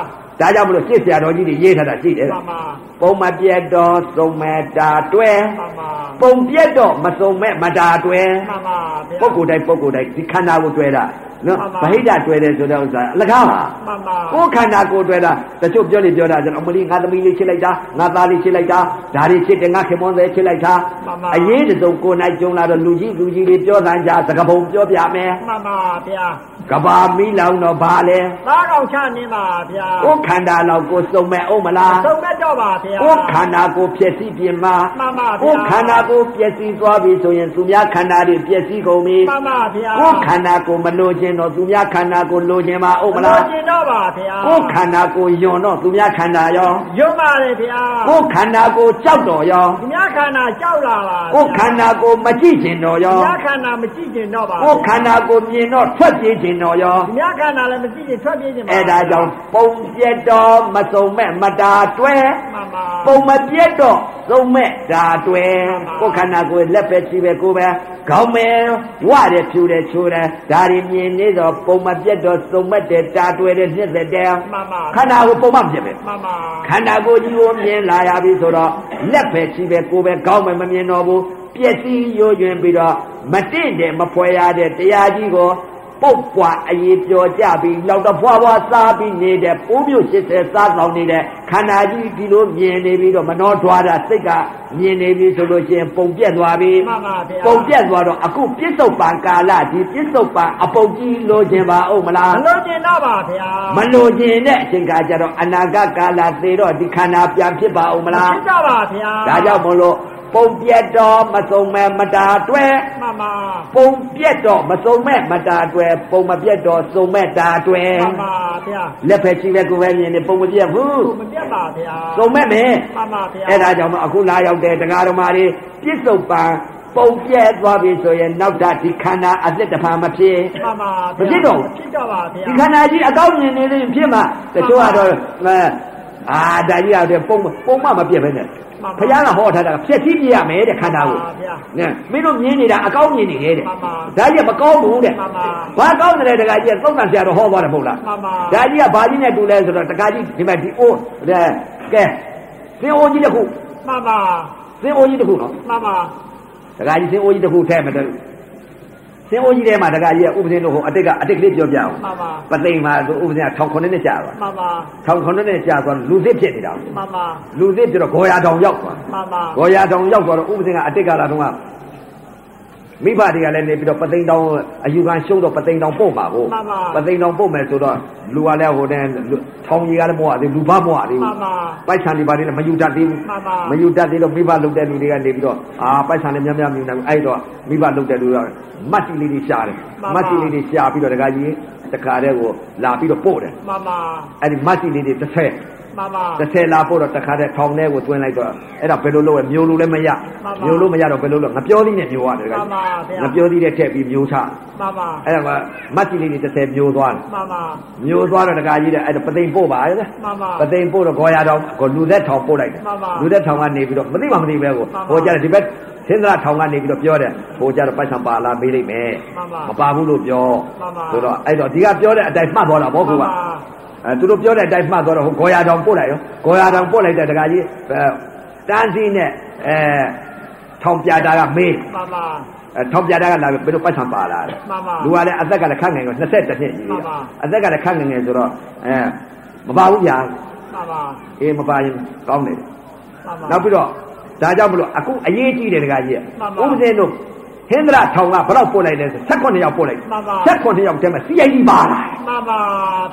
Speaker 1: ဒါကြောင့်မလို့ရှင်းဆရာတော်ကြီးတွေရေးထားတာရှိတယ်
Speaker 2: မှ
Speaker 1: လား
Speaker 2: န်ပါ
Speaker 1: ပုံမပြတ်တော့စုံမဲ့တာတွဲ
Speaker 2: မှန်ပါ
Speaker 1: ပုံပြတ်တော့မစုံမဲ့မတာတွဲ
Speaker 2: မှန်ပါဗျာ
Speaker 1: ပုဂ္ဂိုလ်တိုင်းပုဂ္ဂိုလ်တိုင်းဒီခန္ဓာကိုတွဲတာနော်
Speaker 2: မှန်ပါ
Speaker 1: ဗဟိတတွဲတယ်ဆိုတဲ့ဥစ္စာအလကားပါ
Speaker 2: မှန်ပါ
Speaker 1: ကိုယ်ခန္ဓာကိုယ်တွဲတာတချို့ပြောနေပြောတာကျွန်တော်အမလီငါသမီးလေးချစ်လိုက်တာငါသားလေးချစ်လိုက်တာဒါတွေချစ်တယ်ငါခင်မွန်းသေးချစ်လိုက်တာ
Speaker 2: မှန်ပါ
Speaker 1: အရေးတစ်စုံကိုယ်နိုင်ကြုံလာတော့လူကြီးလူကြီးတွေပြောတိုင်းကြသကပုံပြောပြမယ်
Speaker 2: မှန်ပါဗျာ
Speaker 1: ကဘာမီးလောင်တော့ဘာလဲ
Speaker 2: သားကောင်ချနေပါဗျာ
Speaker 1: ကိုယ်ခန္ဓာလောက်ကိုယ်စုံမဲ့အောင်မလား
Speaker 2: သုံးမဲ့တော့ပါဗျာ
Speaker 1: ကိုယ်ခန္ဓာကိုယ်ပျက်စီးပြင်မှာ
Speaker 2: မှန်ပါဗျာ
Speaker 1: ကိုယ်ခန္ဓာကိုယ်ပျက်စီးသွားပြီဆိုရင်သူများခန္ဓာတွေပျက်စီးကုန်ပြီ
Speaker 2: မှန်ပါဗျာ
Speaker 1: ကိုယ်ခန္ဓာကိုယ်မလိုချင်တော့သူများခန္ဓာကိုယ်လိုချင်ပါဟုတ်မ
Speaker 2: မ
Speaker 1: လား
Speaker 2: လို့ကျင်တော့ပါဗျာ
Speaker 1: ကိုယ်ခန္ဓာကိုယ်ယွံတော့သူများခန္ဓာရော
Speaker 2: ရုပ်ပါလေဗျာ
Speaker 1: ကိုယ်ခန္ဓာကိုယ်ကြောက်တော့ရော
Speaker 2: ခမည်းခန္ဓာကြောက်လာပါ
Speaker 1: ကိုယ်ခန္ဓာကိုယ်မကြည့်ချင်တော့
Speaker 2: ခ
Speaker 1: ရော
Speaker 2: မည်းခန္ဓာမကြည့်ကျင်တော့ပါ
Speaker 1: ကိုယ်ခန္ဓာကိုယ်မြင်တော့ထွက်ပြေးချင်တော့ရော
Speaker 2: ခမည်းခန္ဓာလည်းမကြည့်ကျင်ထွက်ပြေးကျင်ပါ
Speaker 1: အဲ့ဒါကြောင့်ပုံပြက်တော့မစုံမဲ့မတာတွဲ
Speaker 2: မှန်ပါ
Speaker 1: ပုံမပြတ်တော့သုံးမဲ့ဒါတွေ့ကိုယ်ခန္ဓာကိုယ်လက်ပဲကြည့်ပဲကိုယ်ပဲခေါင်းပဲဝရဲဖြူတယ်ချိုးတယ်ဒါတွေမြင်နေတော့ပုံမပြတ်တော့သုံးမဲ့တယ်ဒါတွေ့တယ်နှစ်သက်တယ်
Speaker 2: မှန်ပါ
Speaker 1: ခန္ဓာကိုယ်ပုံမပြတ်ပဲ
Speaker 2: မှန်ပါ
Speaker 1: ခန္ဓာကိုယ်ကြီးကိုမြင်လာရပြီဆိုတော့လက်ပဲကြည့်ပဲကိုယ်ပဲခေါင်းပဲမမြင်တော့ဘူးပျက်စီးရိုးရွင်ပြီးတော့မတင့်တယ်မဖွဲရတဲ့တရားကြီးကိုပုတ်ပွားအေးပြောကြပြီးလောက်တော့ဖွာဖွာစားပြီးနေတဲ့ပိုးမျိုး80စားဆောင်နေတဲ့ခန္ဓာကြီးဒီလိုမြင်နေပြီးတော့မနှောထွားတာစိတ်ကမြင်နေပြီဆိုလို့ရှိရင်ပုံပြက်သွားပြီ
Speaker 2: မှန်ပါဗျာ
Speaker 1: ပုံပြက်သွားတော့အခုပြစ္ဆုတ်ပံကာလဒီပြစ္ဆုတ်ပံအပုတ်ကြီးလိုချင်ပါဦးမလား
Speaker 2: မလို့ကျင်တော့ပါဗျာ
Speaker 1: မလိုချင်တဲ့အချိန်ကကြတော့အနာဂတ်ကာလသေတော့ဒီခန္ဓာပြန်ဖြစ်ပါဦးမလား
Speaker 2: ဖြစ်တော့ပါဗျာ
Speaker 1: ဒါကြောင့်မလို့ ပုံပြတ်တော်မစုံမဲ့မတာအတွက်
Speaker 2: မှန်ပါ
Speaker 1: ပုံပြတ်တော်မစုံမဲ့မတာအတွက်ပုံမပြတ်တော်စုံမဲ့တာအတွက်
Speaker 2: မှန်ပါဗျာ
Speaker 1: လက်ဖက်ရှိပဲကိုယ်ပဲမြင်နေပုံမပြတ်ဘူး
Speaker 2: မပြတ်ပါဗျာ
Speaker 1: စုံမဲ့မယ်
Speaker 2: မှန်ပါဗျာ
Speaker 1: အဲ့ဒါကြောင့်မအခုလာရောက်တဲ့တရားတော်မာတွေပြစ္ဆုတ်ပံပုံပြဲသွားပြီဆိုရင်နောက်တာဒီခန္ဓာအသက်တစ်ဖန်မဖြစ်
Speaker 2: မှန်ပါ
Speaker 1: မဖြစ်တော့ဘူး
Speaker 2: ဖြစ်တော့ပါဗျာ
Speaker 1: ဒီခန္ဓာကြီးအကောင်းမြင်နေရင်ဖြစ်မှာတချို့ကတော့အဲအာဒါကြီးရတဲ့ပုံပုံမမပြည့်ပဲနဲ့ဘုရားကဟောထားတာကဖြည့်ကြည့်ပြရမယ်တဲ့ခန္ဓာကို
Speaker 2: မှန်ပါဗျာ
Speaker 1: နဲမင်းတို့မြင်နေတာအကောင်းမြင်နေတယ်တဲ့
Speaker 2: မှန်ပါ
Speaker 1: ဒါကြီးကမကောင်းဘူးတဲ့
Speaker 2: မှန်ပါ
Speaker 1: ဘာကောင်းတယ်တကကြီးကသုံးတန်ဆရာတော်ဟောသွားတယ်မဟုတ်လား
Speaker 2: မှန်ပါ
Speaker 1: ဒါကြီးကဘာကြီးနဲ့တူလဲဆိုတော့တကကြီးဒီမှာဒီအိုးအဲကဲသင်အိုးကြီးတစ်ခု
Speaker 2: မှန်ပါ
Speaker 1: သင်အိုးကြီးတစ်ခုနော်
Speaker 2: မှန်ပါ
Speaker 1: ဒကာကြီးစင်အိုးကြီးတစ်ခုထဲမှာတည်းစင်အိုးကြီးထဲမှာဒကာကြီးကဥပဒေလို့ဟိုအတိတ်ကအတိတ်ကလေးပြောပြအောင်
Speaker 2: မှန်ပါ
Speaker 1: ပသိမ်မှာသူဥပဒေက1900နဲ့ကြာသွား
Speaker 2: မှန်ပါ
Speaker 1: 1900နဲ့ကြာသွားလူသစ်ဖြစ်နေတာ
Speaker 2: မှန်ပါ
Speaker 1: လူသစ်ပြတော့ဂေါ်ရတောင်ရောက်သွား
Speaker 2: မှန်ပါ
Speaker 1: ဂေါ်ရတောင်ရောက်သွားတော့ဥပဒေကအတိတ်ကလာတော့ကမိဘတွေကလည်းနေပြီးတော့ပသိမ်တောင်အယူခံရှုံးတော့ပသိမ်တောင်ပို့မှာကိုပသိမ်တောင်ပို့မယ်ဆိုတော့လူကလည်းဟိုတန်းထောင်ကြီးကလည်းမဟုတ်သေးလူဘာမဟုတ်သေး
Speaker 2: မှ
Speaker 1: ဘူး
Speaker 2: န်ပါ
Speaker 1: ပိုက်ဆံတွေပါလေမယူတတ်သေးဘူး
Speaker 2: မှန်ပါ
Speaker 1: မယူတတ်သေးလို့မိဘလုတ်တဲ့လူတွေကနေပြီးတော့အာပိုက်ဆံတွေများများမယူနိုင်ဘူးအဲ့တော့မိဘလုတ်တဲ့လူတွေကမတ်တီလေးတွေရှာတယ်မတ်တီလေးတွေရှာပြီးတော့တခါကြီးတခါတည်းကိုလာပြီးတော့ပို့တယ်
Speaker 2: မှန်ပါ
Speaker 1: အဲ့ဒီမတ်တီလေးတွေတစ်ဆယ်
Speaker 2: မှန်ပါ
Speaker 1: တစ်ဆယ်လာပို့တော့တခါတည်းထောင်ထဲကိုသွင်းလိုက်တော့အဲ့ဒါဘယ်လိုလုပ်ရမျိုးလို့လည်းမရ
Speaker 2: မှန်ပါ
Speaker 1: မျိုးလို့မရတော့ဘယ်လိုလုပ်ငါပြောသေးနဲ့မျိုးရတယ်တခါ
Speaker 2: မှန်ပါဗျာ
Speaker 1: ငါပြောသေးတဲ့ထည့်ပြီးမျိုးချ
Speaker 2: မှန်ပါ
Speaker 1: အဲ့ဒါကမတ်တီလေးတွေတစ်ဆယ်မျိုးသွားတယ်
Speaker 2: မှန်ပါ
Speaker 1: မျိုးသွားတော့တခါကြီးတဲ့အဲ့ဒါပသိမ်ပို့ပါရဲ့လား
Speaker 2: မှန်ပါ
Speaker 1: ပသိမ်ပို့တော့ခေါ်ရတော့ကိုလူသက်ထောင်ပို့လိုက်တယ်
Speaker 2: မှန်ပါ
Speaker 1: လူသက်ထောင်ကနေပြီးတော့မသိမှမသိပဲကို
Speaker 2: မှန်ပါ
Speaker 1: ဟိုကြတယ်ဒီဘက်သင်္ဒရာထောင်ကနေပြီးတော့ပြောတယ်ဟိုကြတော့ပိုက်ဆံပါလာမေးလိုက်မယ်
Speaker 2: မှန်
Speaker 1: မ
Speaker 2: ပါ
Speaker 1: ပါဘူးလို့ပြော
Speaker 2: မှန်ပါ
Speaker 1: ဆိုတော့အဲ့တော့ဒီကပြောတဲ့အတိုင်းမှတ်သွားတာဗော
Speaker 2: မှ
Speaker 1: ကူ
Speaker 2: န်
Speaker 1: က
Speaker 2: ပါ
Speaker 1: အဲသူတို့ပြောတဲ့အတိုင်းမှတ်သွားတော့ဟိုခေါ်ရတော့ပို့လိုက်ရောခေါ်ရတော့ပို့လိုက်တဲ့တကကြီးအဲတန်းစီနဲ့အဲထောင်ပြတာကမေး
Speaker 2: မှန်ပါ
Speaker 1: အဲထောင်ပြတာကလာပြီးဘယ်လိုပိုက်ဆံပါလာတယ်
Speaker 2: မှန်ပါ
Speaker 1: လူကလည်းအသက်ကလည်းခန့်ငယ်တော့20တစ်နှစ်ကြီး
Speaker 2: မှန်ပါ
Speaker 1: အသက်ကလည်းခန့်ငယ်ငယ်ဆိုတော့အဲမပါဘူးဗျာ
Speaker 2: မှန်ပါ
Speaker 1: အေးမပါရင်ကောင်းတယ်
Speaker 2: မှန်ပါ
Speaker 1: နောက်ပြီးတော့ဒါကြောင့်မလို့အခုအရေးကြီးတယ်တခါကြီးက
Speaker 2: မှန်ပါ
Speaker 1: ဥပဒေတို့ဟင်္ဒရာထောင်ကဘယ်တော့ပို့လိုက်လဲဆို16ရောက်ပို့လိုက်
Speaker 2: မှန်ပါ
Speaker 1: 16ရောက်တည်းမှာ CID ပါလာတယ်
Speaker 2: မှန်ပါ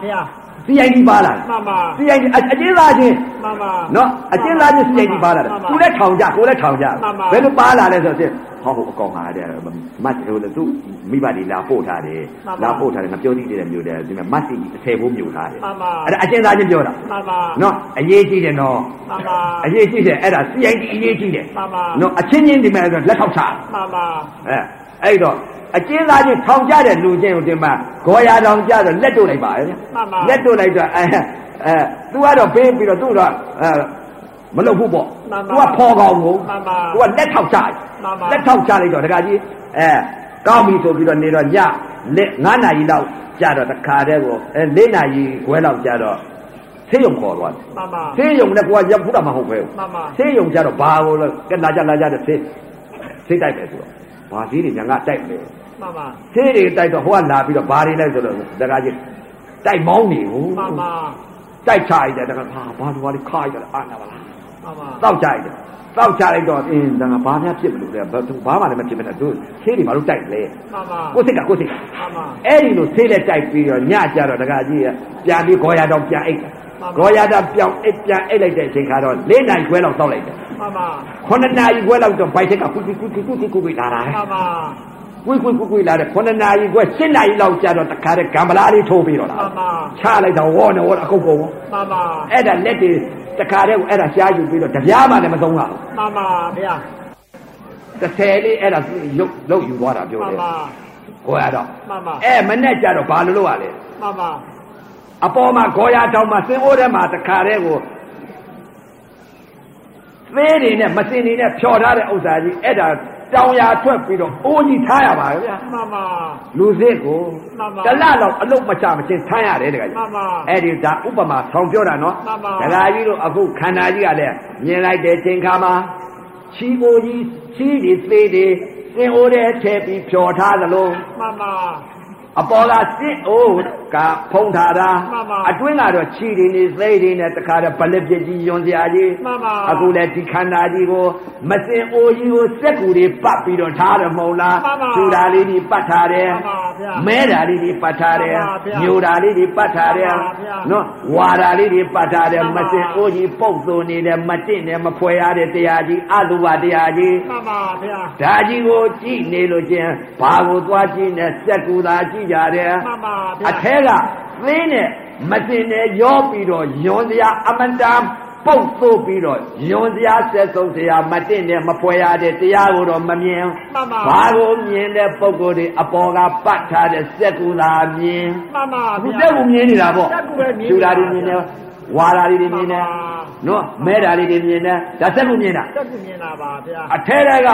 Speaker 2: ဗျာ
Speaker 1: CID ပါလာတယ်
Speaker 2: မှန်ပါ
Speaker 1: CID အအကျဉ်းသားချင်း
Speaker 2: မှန်ပါ
Speaker 1: နော်အကျဉ်းသားချင်း CID ပါလာတယ်
Speaker 2: မှန်
Speaker 1: ကိုလည်းထောင်ကြကိုလည်းထောင်ကြ
Speaker 2: မှန်ပါ
Speaker 1: ဘယ်လိုပါလာလဲဆိုတော့ဟောဟိုအကောင်ဟာတဲ့မတ်ဟိုလည်းသူမိဘတွေလာပို့ထားတယ်
Speaker 2: မှန်ပါ
Speaker 1: လာပို့ထားတယ်ငါပြောကြည့်တယ်မျိုးတယ်ဒီမှာမတ်စီကြီးတစ်ထည်ဖို့မျိုးထားတယ်
Speaker 2: မှန်ပါ
Speaker 1: အဲ့ဒါအကျဉ်းသားချင်းပြောတာ
Speaker 2: မှန်ပါ
Speaker 1: နော်အရေးကြီးတယ်နော်
Speaker 2: မှန်ပါ
Speaker 1: အရေးကြီးတယ်အဲ့ဒါ CID အရေးကြီးတယ်
Speaker 2: မှန်ပါ
Speaker 1: နော်အချင်းချင်းဒီမဲ့ဆိုလက်ထောက်ချ
Speaker 2: မှန်ပါ
Speaker 1: အဲအဲ့တော့အကျဉ်းသားချင်းထောင်ကြတဲ့လူချင်းကိုဒီမှာဂေါ်ရတောင်ကြတော့လက်တို့လိုက်ပါရဲ့
Speaker 2: မှန်ပါ
Speaker 1: လက်တို့လိုက်တော့အဲအဲ तू ကတော့ပေးပြီးတော့ तू တော့အဲမလုပ်ဘူးပေါ့ तू ကဖော်ကောင်ကို
Speaker 2: မှန်ပါ
Speaker 1: तू ကလက်ထောက်ချ
Speaker 2: မှန်ပါ
Speaker 1: လက်ထောက်ချလိုက်တော့တခါကြီးအဲကောင်းပြီဆိုပြီးတော့နေတော့ညလက်9နာရီလောက်ကြတော့တခါတည်းကိုအဲ4နာရီခွဲလောက်ကြတော့ဆေးရုံခေါ်သွားတယ်
Speaker 2: မှန်ပါ
Speaker 1: ဆေးရုံနဲ့ကိုကရောက်ဘူးတာမဟုတ်ပဲ
Speaker 2: မှန်ပါ
Speaker 1: ဆေးရုံကြတော့ဘာကိုလဲကဲလာကြလာကြတဲ့ဆေးဆေးတိုက်ပဲဆိုတော့ဘာသေးတွေညာကတိုက်ပဲ
Speaker 2: မှန်ပါ
Speaker 1: ဆေးတွေတိုက်တော့ဟိုကလာပြီးတော့ဘာတွေလဲဆိုတော့တကားကြီးတိုက်မောင်းနေဘူး
Speaker 2: မှန်ပါ
Speaker 1: တိုက်ချလိုက်တယ်တကားဘာဘာလိုဘာလဲခါရတယ်အာနာပါလား
Speaker 2: မှန်ပါ
Speaker 1: တောက်ချလိုက်တယ်တောက်ချလိုက်တော့အင်းတကားဘာများဖြစ်မလို့လဲဘာဘာမှလည်းမဖြစ်မနဲ့သူဆေးတွေဘာလို့တိုက်လဲ
Speaker 2: မှန်ပါ
Speaker 1: ကိုစိတ်ကကိုစိတ်က
Speaker 2: မှန်ပါ
Speaker 1: အဲ့ဒီလိုဆေးလက်တိုက်ပြီးတော့ညကြတော့တကားကြီးကပြန်ပြီးခေါ်ရတော့ပြန်အိတ်တယ်
Speaker 2: မှန်ပါ
Speaker 1: ခေါ်ရတော့ပြန်အိတ်ပြန်အိတ်လိုက်တဲ့အချိန်ခါတော့၄နိုင်ခွဲလောက်တောက်လိုက်တယ်
Speaker 2: မှန်ပါ
Speaker 1: ခொနနာရီခွဲလောက်တော့ဘိုက်ထက်ကကွီကွီကွီကွီကွီကွီကွီလာတာ
Speaker 2: မှန်ပါ
Speaker 1: ကွီကွီကွီကွီလာတယ်ခொနနာရီခွဲ၈နာရီလောက်ကြာတော့တခါတည်းဂံပလာလေးထိုးပြီးတော့လာ
Speaker 2: မှန်ပါ
Speaker 1: ချလိုက်တော့ဝေါ်နေဝေါ်အကုတ်ကုန်
Speaker 2: မှန်ပါ
Speaker 1: အဲ့ဒါလက်တွေတခါတည်းကိုအဲ့ဒါရှားယူပြီးတော့တပြားမှလည်းမသုံးရဘူး
Speaker 2: မှန်ပါဗျာ
Speaker 1: တစ်ဆယ်လေးအဲ့ဒါရုပ်လုတ်ယူသွားတာပြော
Speaker 2: မှ
Speaker 1: တ
Speaker 2: န်
Speaker 1: ယ်
Speaker 2: ပါ
Speaker 1: ဟိုရတော့
Speaker 2: မှန်ပါ
Speaker 1: အဲ့မနဲ့ကြာတော့ဘာလို့လုပ်ရလဲ
Speaker 2: မှန်ပါ
Speaker 1: အပေါ်မှာခေါ်ရတောင်းမှာစင်အိုးထဲမှာတခါတည်းကိုသေးတွေနဲ့မစင်တွေနဲ့ဖြော်ထားတဲ့ဥစ္စာကြီးအဲ့ဒါတောင်းရထွက်ပြီးတော့အိုးကြီးထားရပါဗျာ
Speaker 2: မှန်ပါ
Speaker 1: လူစစ်ကို
Speaker 2: မှန်ပါ
Speaker 1: တလလောက်အလုတ်မချမချင်းဆမ်းရတယ်တကယ်ကြီး
Speaker 2: မှန်ပါ
Speaker 1: အဲ့ဒီဒါဥပမာဆောင်ပြောတာနော်
Speaker 2: မှန်ပါ
Speaker 1: ဒကာကြီးတို့အခုခန္ဓာကြီးကလည်းမြင်လိုက်တဲ့ချိန်ခါမှာချီအိုကြီးချီတွေသေးတွေစင်အိုးတဲ့ထည့်ပြီးဖြော်ထားသလို
Speaker 2: မှန်ပါ
Speaker 1: အပေါ်ကစစ်အိုး ကဖုံးထားတာ
Speaker 2: မှန်ပါ
Speaker 1: အတွင်းကတော့ခြေတွေနေသိတွေနဲ့တခါတော့ဗလက်ပြက်ကြီးယွန်စရာကြီး
Speaker 2: မှန်ပါ
Speaker 1: အခုလည်းဒီခန္ဓာကြီးကိုမစင်အိုကြီးကိုစက်ကူတွေပတ်ပြီးတော့ထားတယ်မဟုတ်လားကျူတာလေးတွေပတ်ထားတယ်
Speaker 2: ပါဗျာ
Speaker 1: မဲဓာလေးတွေပတ်ထားတယ်
Speaker 2: မှန်ပါဗျာ
Speaker 1: ညိုဓာလေးတွေပတ်ထားတယ်
Speaker 2: မှန်ပါဗျာ
Speaker 1: နော်ဝါဓာလေးတွေပတ်ထားတယ်
Speaker 2: မှ
Speaker 1: မ
Speaker 2: န်ပါ
Speaker 1: စင်အိုးကြီးပုတ်သွန်နေတယ်မတင့်တယ်မဖွဲရတဲ့တရားကြီးအလိုပါတရားကြီး
Speaker 2: မှန်ပါဗျာ
Speaker 1: ဓာကြီးကိုကြည့်နေလို့ချင်းဘာကိုသွားကြည့်နေစက်ကူသာကြည့်ကြတယ်
Speaker 2: မှန်ပါဗျာ
Speaker 1: အထဲကသင်းနဲ့မတင်နဲ့ရောပြီးတော့ယွန်စရာအမန္တန်ပုတ်သွတ်ပြီးတော့ယွန်စရာဆက်ဆုံးစရာမတင့်နဲ့မဖွဲရတဲ့တရားကိုတော့မမြင်
Speaker 2: မှန်ပါ
Speaker 1: ဘာကိုမြင်တဲ့ပုံကိုယ်တွေအပေါ်ကပတ်ထားတဲ့စက်ကူသာမြင်
Speaker 2: မှန်ပါ
Speaker 1: အခု
Speaker 2: ဗျာ
Speaker 1: စက်ကူမြင်နေတာပေါ့
Speaker 2: စက်ကူပဲမြင်နေတာ
Speaker 1: ယူဓာတွေမြင်တယ်ဝါဓာတွေမြင်တယ်
Speaker 2: မှန်ပါ
Speaker 1: နော်မဲဓာတွေမြင်တယ်ဒါစက်ကူမြင်တာ
Speaker 2: တက်ကူမြင်တာပါဗျာ
Speaker 1: အထဲထဲက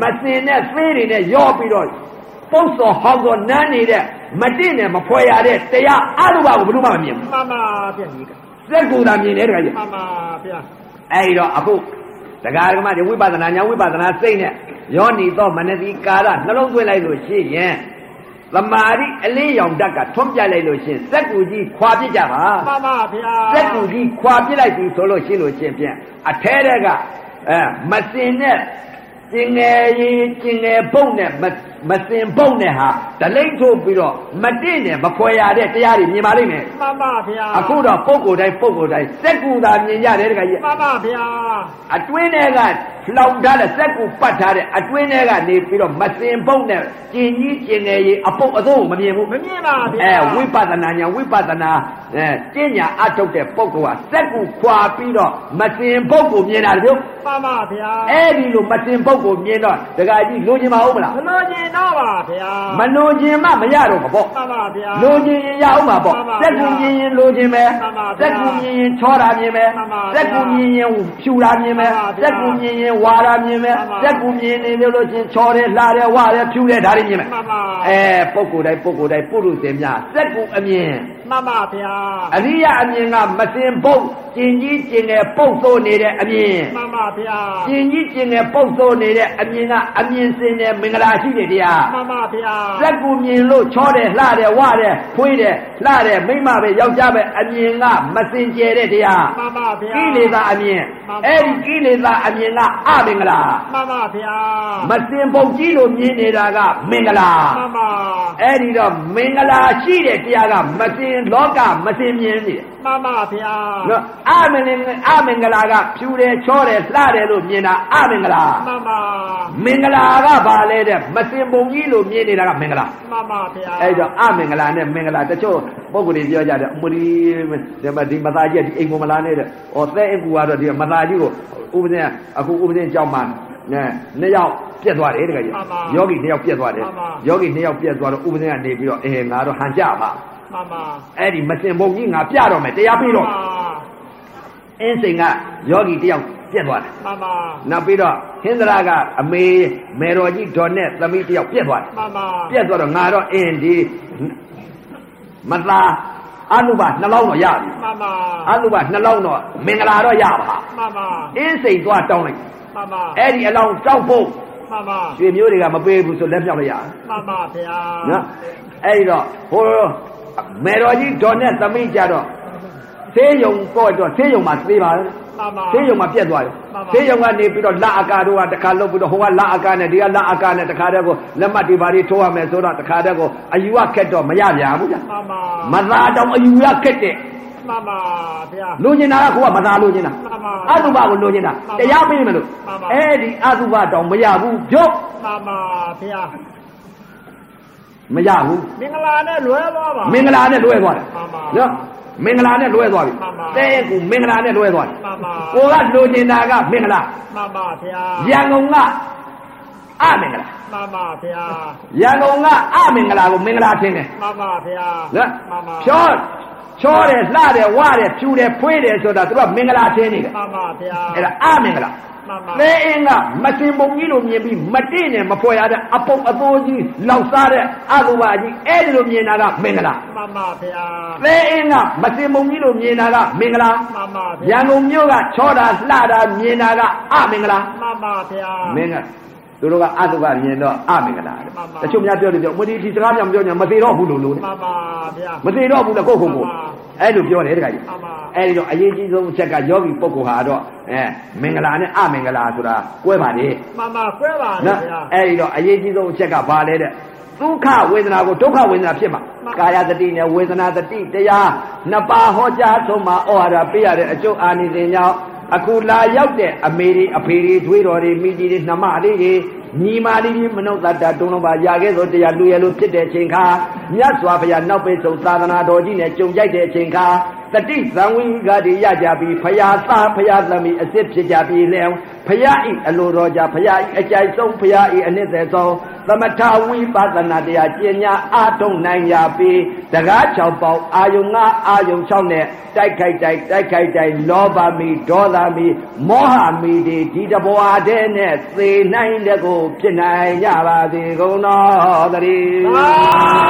Speaker 1: မစင်တဲ့သေးတွေနဲ့ရောပြီးတော့ပုတ်စော်ဟောက်စော်နန်းနေတဲ့မတင့်နဲ့မဖွဲရတဲ့တရားအရုပကိုဘယ်သူမှမမြင်ဘူး
Speaker 2: မှန်ပါဗျာဒီက
Speaker 1: စက်ကူသာမြင်တယ်တခါကြီး
Speaker 2: မှန်ပါဗျာ
Speaker 1: အဲဒီတော့အခုတရားဓမ္မတွေဝိပဿနာညာဝိပဿနာစိတ်နဲ့ယောနီတော့မနတိကာရနှလုံးသွင်းလိုက်လို့ရှိရင်သမာဓိအလေးရောင်ဓာတ်ကထွန်းပြလိုက်လို့ရှိရင်စက်ကူကြီးခွာပြစ်ကြပါ
Speaker 2: မှန်ပါဗျာ
Speaker 1: စက်ကူကြီးခွာပြစ်လိုက်ပြီဆိုလို့ရှိလို့ချင်းဖြင့်အထဲတဲ့ကအဲမစင်နဲ့ကျင်ငယ်ရင်ကျင်ငယ်ပုံနဲ့မမစင်ပုံနဲ့ဟာဒလိမ့်ထိုးပြီးတော့မတင့်နဲ့မဖွယ်ရတဲ့တရားတွေမြင်ပါလိမ့်မယ်
Speaker 2: မှန်ပါဗျာ
Speaker 1: အခုတော့ပုံကိုယ်တိုင်းပုံကိုယ်တိုင်းစက်ကူသာမြင်ရတယ်တခါကြီး
Speaker 2: မှန်ပါဗျာ
Speaker 1: အတွင်းထဲကလောင်ထားတဲ့စက်ကူပတ်ထားတဲ့အတွင်းထဲကနေပြီးတော့မစင်ပုတ်နဲ့ကျင်ကြီးကျင်ငယ်ရေအပုတ်အဆုံးကိုမမြင်ဘူး
Speaker 2: မမြင်ပါဗျာ
Speaker 1: အဲဝိပဿနာညာဝိပဿနာအဲကျင့်ညာအထုတ်တဲ့ပုဂ္ဂိုလ်ကစက်ကူခွာပြီးတော့မစင်ပုတ်ကိုမြင်တာတပြုတ်
Speaker 2: မှန်ပါဗျာ
Speaker 1: အဲဒီလိုမစင်ပုတ်ကိုမြင်တော့ဒကာကြီးလိုချင်ပါဦးမလား
Speaker 2: မလို့မြင်တော့ပါဗျာ
Speaker 1: မလိုချင်မှမရတော့ဘူးပေါ့
Speaker 2: မှန်ပါဗျာ
Speaker 1: လိုချင်ရင်ရအောင်ပါပေါ့
Speaker 2: မှန်ပါ
Speaker 1: စက်ကူမြင်ရင်လိုချင်မယ်
Speaker 2: မှန်ပါဗျာ
Speaker 1: စက်ကူမြင်ရင်ချောတာမြင်မယ်
Speaker 2: မှန်ပါဗျာ
Speaker 1: စက်ကူမြင်ရင်ဖြူတာမြင်မယ်
Speaker 2: မှန်ပါဗျာ
Speaker 1: စက်ကူမြင်ရင်ဝါတာမြင်မယ်
Speaker 2: မှန်ပါ
Speaker 1: စက်ကူမြင်နေလို့ချင်းချောတယ်လှတယ်ဝါတယ်ဖြူတယ်ဒါတွေမြင်မယ်
Speaker 2: မှန်ပါ
Speaker 1: အဲပုဂ္ဂိုလ်တိုင်းပုဂ္ဂိုလ်တိုင်းပုရုษင်များစက်ကူအမြင်
Speaker 2: မှန်ပါဗျာ
Speaker 1: အရိယအမြင်ကမစင်ပုတ်ကျင်ကြီးကျင်ငယ်ပုတ်သို့နေတဲ့အမြင်
Speaker 2: မှန်ပါဗျာ
Speaker 1: ကျင်ကြီးကျင်ငယ်ပုတ်သို့နေတဲ့အမြင်ကအမြင်စင်တဲ့မင်္ဂလာရှိတဲ့တရား
Speaker 2: မှန်ပါဗျာ
Speaker 1: ဇက်ကူမြင်လို့ချောတယ်လှတယ်ဝတယ်ဖွေးတယ်လှတယ်မိမပဲယောက်ျားပဲအမြင်ကမစင်ကြယ်တဲ့တရား
Speaker 2: မှန်ပါဗျာ
Speaker 1: ကိလေသာအမြင်
Speaker 2: မှန်ပါ
Speaker 1: အဲ့ဒီကိလေသာအမြင်ကအမင်္ဂလာ
Speaker 2: မှန်ပါဗျာ
Speaker 1: မစင်ပုတ်ကြီးလို့မြင်နေတာကမင်္ဂလာ
Speaker 2: မှန်ပါ
Speaker 1: အဲ့ဒီတော့မင်္ဂလာရှိတဲ့တရားကမစင်လောကမစင်မြင်နေတယ်
Speaker 2: မှန်ပါဗျာ
Speaker 1: နော်အမင်္ဂလာအမင်္ဂလာကဖြူတယ်ချောတယ်လှတယ်လို့မြင်တာအမင်္ဂလာ
Speaker 2: မှန်ပါ
Speaker 1: မင်္ဂလာကဘာလဲတဲ့မစင်ပုံကြီးလို့မြင်နေတာကမင်္ဂလာ
Speaker 2: မှန်ပါဗျာ
Speaker 1: အဲ့တော့အမင်္ဂလာနဲ့မင်္ဂလာတချို့ပုံကိုယ်တွေပြောကြတယ်အမလီဒီမဒီမသားကြီးကဒီအိမ်ကိုမလာနဲ့တဲ့။အော်သဲအကူကတော့ဒီမသားကြီးကိုဥပဒေကအခုဥပဒေကြောင့်မှနဲနှစ်ယောက်ပြက်သွားတယ်တကယ်ကြီး။ယောဂီနှစ်ယောက်ပြက်သွားတယ်။ယောဂီနှစ်ယောက်ပြက်သွားတော့ဥပဒေကနေပြီးတော့အဲငါတော့ဟန်ကြပါ
Speaker 2: မှန်ပါ
Speaker 1: ။အဲ့ဒီမစင်ပုံကြီးငါပြတော့မယ်တရားပြီးတော့
Speaker 2: မှ
Speaker 1: အင်းစိန်ကယောဂီတစ်ယောက်ပြက်သွားတယ်
Speaker 2: န်ပါ
Speaker 1: ။နောက်ပြီးတော့ဟင်္ဒရာကအမေမေတော်ကြီးဒေါ်နဲ့သမီးတစ်ယောက်ပြက်သွားတယ်
Speaker 2: မှန်ပါ
Speaker 1: ပြက်သွားတော့ငါတော့အင်းဒီမသာအနုဘနှလုံးတော့ရပြီ
Speaker 2: မှန်ပါ
Speaker 1: အနုဘနှလုံးတော့မင်္ဂလာတော့ရပါ
Speaker 2: မှန်ပါ
Speaker 1: အင်းစိန်သွားတောင်းလိုက်
Speaker 2: မှန်ပါ
Speaker 1: အဲ့ဒီအလောင်းတောက်ဖို့
Speaker 2: မှန်ပါ
Speaker 1: ရွှေမျိုးတွေကမပေးဘူးဆိုလက်ပြောင်းလိုက်ရအောင်
Speaker 2: မှန်ပါဗျာ
Speaker 1: နော်အဲ့ဒီတော့ဟိုမေတော်ကြီးဒေါ်နဲ့သမီးကြတော့သေးယုံပေါ့တော့သေးယုံမှာသေးပါလား
Speaker 2: မှန်ပါ
Speaker 1: သေးယုံမှာပြက်သွားတယ်
Speaker 2: မှန်ပါ
Speaker 1: သေးယုံကနေပြီးတော့လက်အကာတို့ကတစ်ခါလုတ်ပြီးတော့ဟိုကလက်အကာနဲ့ဒီကလက်အကာနဲ့တစ်ခါတည်းကိုလက်မှတ်ဒီပါတွေထိုးရမယ်ဆိုတော့တစ်ခါတည်းကိုအယူကခက်တော့မရပြန်ဘူးဗျာ
Speaker 2: မှန်ပါ
Speaker 1: မသာတောင်အယူကခက်တဲ့
Speaker 2: မှန်ပါဗျာ
Speaker 1: လူညင်တာကကိုကမသာလူညင်တာ
Speaker 2: မှန်ပါ
Speaker 1: အတုပကိုလူညင်တာ
Speaker 2: မှန်ပါ
Speaker 1: တရားပေးမလို့
Speaker 2: မှန်ပါ
Speaker 1: အဲ့ဒီအတုပတောင်မရဘူးညော့
Speaker 2: မှန်ပါဗျာ
Speaker 1: မရဘူး
Speaker 2: မင်္ဂလာနဲ့လွဲသွားပါ
Speaker 1: မင်္ဂလာနဲ့လွဲသွားတယ်
Speaker 2: မှန်ပါ
Speaker 1: နော်မင်္ဂလာနဲ့လွဲသွားပြီ
Speaker 2: မှန်ပါ
Speaker 1: တဲ့ကူမင်္ဂလာနဲ့လွဲသွားတယ်
Speaker 2: မှန်ပါ
Speaker 1: ကိုကလူညင်တာကမင်္ဂလာ
Speaker 2: မှန်ပါဗျာ
Speaker 1: ရန်ကုန်ကအမင်္ဂလာ
Speaker 2: မှန်ပါဗျာ
Speaker 1: ရန်ကုန်ကအမင်္ဂလာကိုမင်္ဂလာထင်တယ်
Speaker 2: မှန်ပါဗျာ
Speaker 1: နော်
Speaker 2: မှန်ပါ
Speaker 1: ဖြောချောတယ်လှတယ်ဝတယ်ဖြူတယ်ဖွေးတယ်ဆိုတာသူကမင်္ဂလာထင်နေတယ်
Speaker 2: မှန်ပါဗျာ
Speaker 1: အဲ့ဒါအမင်္ဂလာ
Speaker 2: မှန်ပါ
Speaker 1: သဲအင်းကမတင်ပုံကြီးလိုမြင်ပြီးမတင့်နဲ့မဖွဲ့ရတဲ့အပုပ်အသောကြီးလောက်စားတဲ့အသုဘကြီးအဲ့ဒီလိုမြင်တာကမင်္ဂလာ
Speaker 2: မှန်ပါဗျာ
Speaker 1: သဲအင်းကမတင်ပုံကြီးလိုမြင်တာကမင်္ဂလာ
Speaker 2: မှန်ပါ
Speaker 1: ရ
Speaker 2: ဗျာ
Speaker 1: န်ကုန်မြို့ကချောတာလှတာမြင်တာကအမင်္ဂလာ
Speaker 2: မှန်ပါဗျာ
Speaker 1: မင်္ဂလာ သူတို့ကအတုကမြင်တော့အမင်္ဂလာတဲ့
Speaker 2: မှန်ပါ
Speaker 1: တချို့များပြောတယ်ပြောမဒီဒီစကားများမပြောညာမသေးတော့ဘူးလို့လို့
Speaker 2: မှန်ပါဗျာ
Speaker 1: မသေးတော့ဘူးလေကိုယ့်ကိုယ်ကိုယ်
Speaker 2: မှန်ပါ
Speaker 1: အဲ့လိုပြောတယ်တခါကြီး
Speaker 2: မှန်ပါ
Speaker 1: အဲ့ဒီတော့အရေးကြီးဆုံးအချက်ကယောဂီပုဂ္ဂိုလ်ဟာတော့အဲမင်္ဂလာနဲ့အမင်္ဂလာဆိုတာကွဲပါတယ်
Speaker 2: မှန်ပါကွဲပါလေ
Speaker 1: နော်
Speaker 2: ဗျာ
Speaker 1: အဲ့ဒီတော့အရေးကြီးဆုံးအချက်ကဘာလဲတဲ့ဒုက္ခဝေဒနာကိုဒုက္ခဝေဒနာဖြစ်မှာ
Speaker 2: မှန်ပါ
Speaker 1: ကာယတတိနဲ့ဝေဒနာတတိတရားနှစ်ပါးဟောကြားဆုံးမှာဩဟာရပေးရတဲ့အကျုပ်အာနိသင်ကြောင့်အခုလာရောက်တဲ့အမေတွေအဖေတွေတွေးတော်တွေမိကြီးတွေနှမလေးတွေညီမလေးတွေမနုဿတ္တတုံးလုံးပါရခဲ့သောတရားလူရလို့ဖြစ်တဲ့အချိန်ခါမြတ်စွာဘုရားနောက်ပိတ်ဆုံးသာသနာတော်ကြီးနဲ့ကြုံကြိုက်တဲ့အချိန်ခါတတိဇံဝိကတိရကြပြီးဖရာသာဖရာသမီးအစ်စ်ဖြစ်ကြပြီးလဲဖရာဤအလိုတော်ကြဖရာဤအကြိုက်ဆုံးဖရာဤအနစ်သက်ဆုံး သမထဝိပဿနာတရားကျင့်ညာအာထုံနိုင်ရပြီတကား6ပေါက်အာယုံ9အာယုံ6နဲ့တိုက်ခိုက်တိုက်တိုက်ခိုက်တိုက်လောဘမီဒေါသမီမောဟမီတွေဒီတဘွားတဲ့နဲ့သေနိုင်တဲ့ကိုဖြစ်နိုင်ကြပါစေကုန်တော်သတည်း
Speaker 2: သာ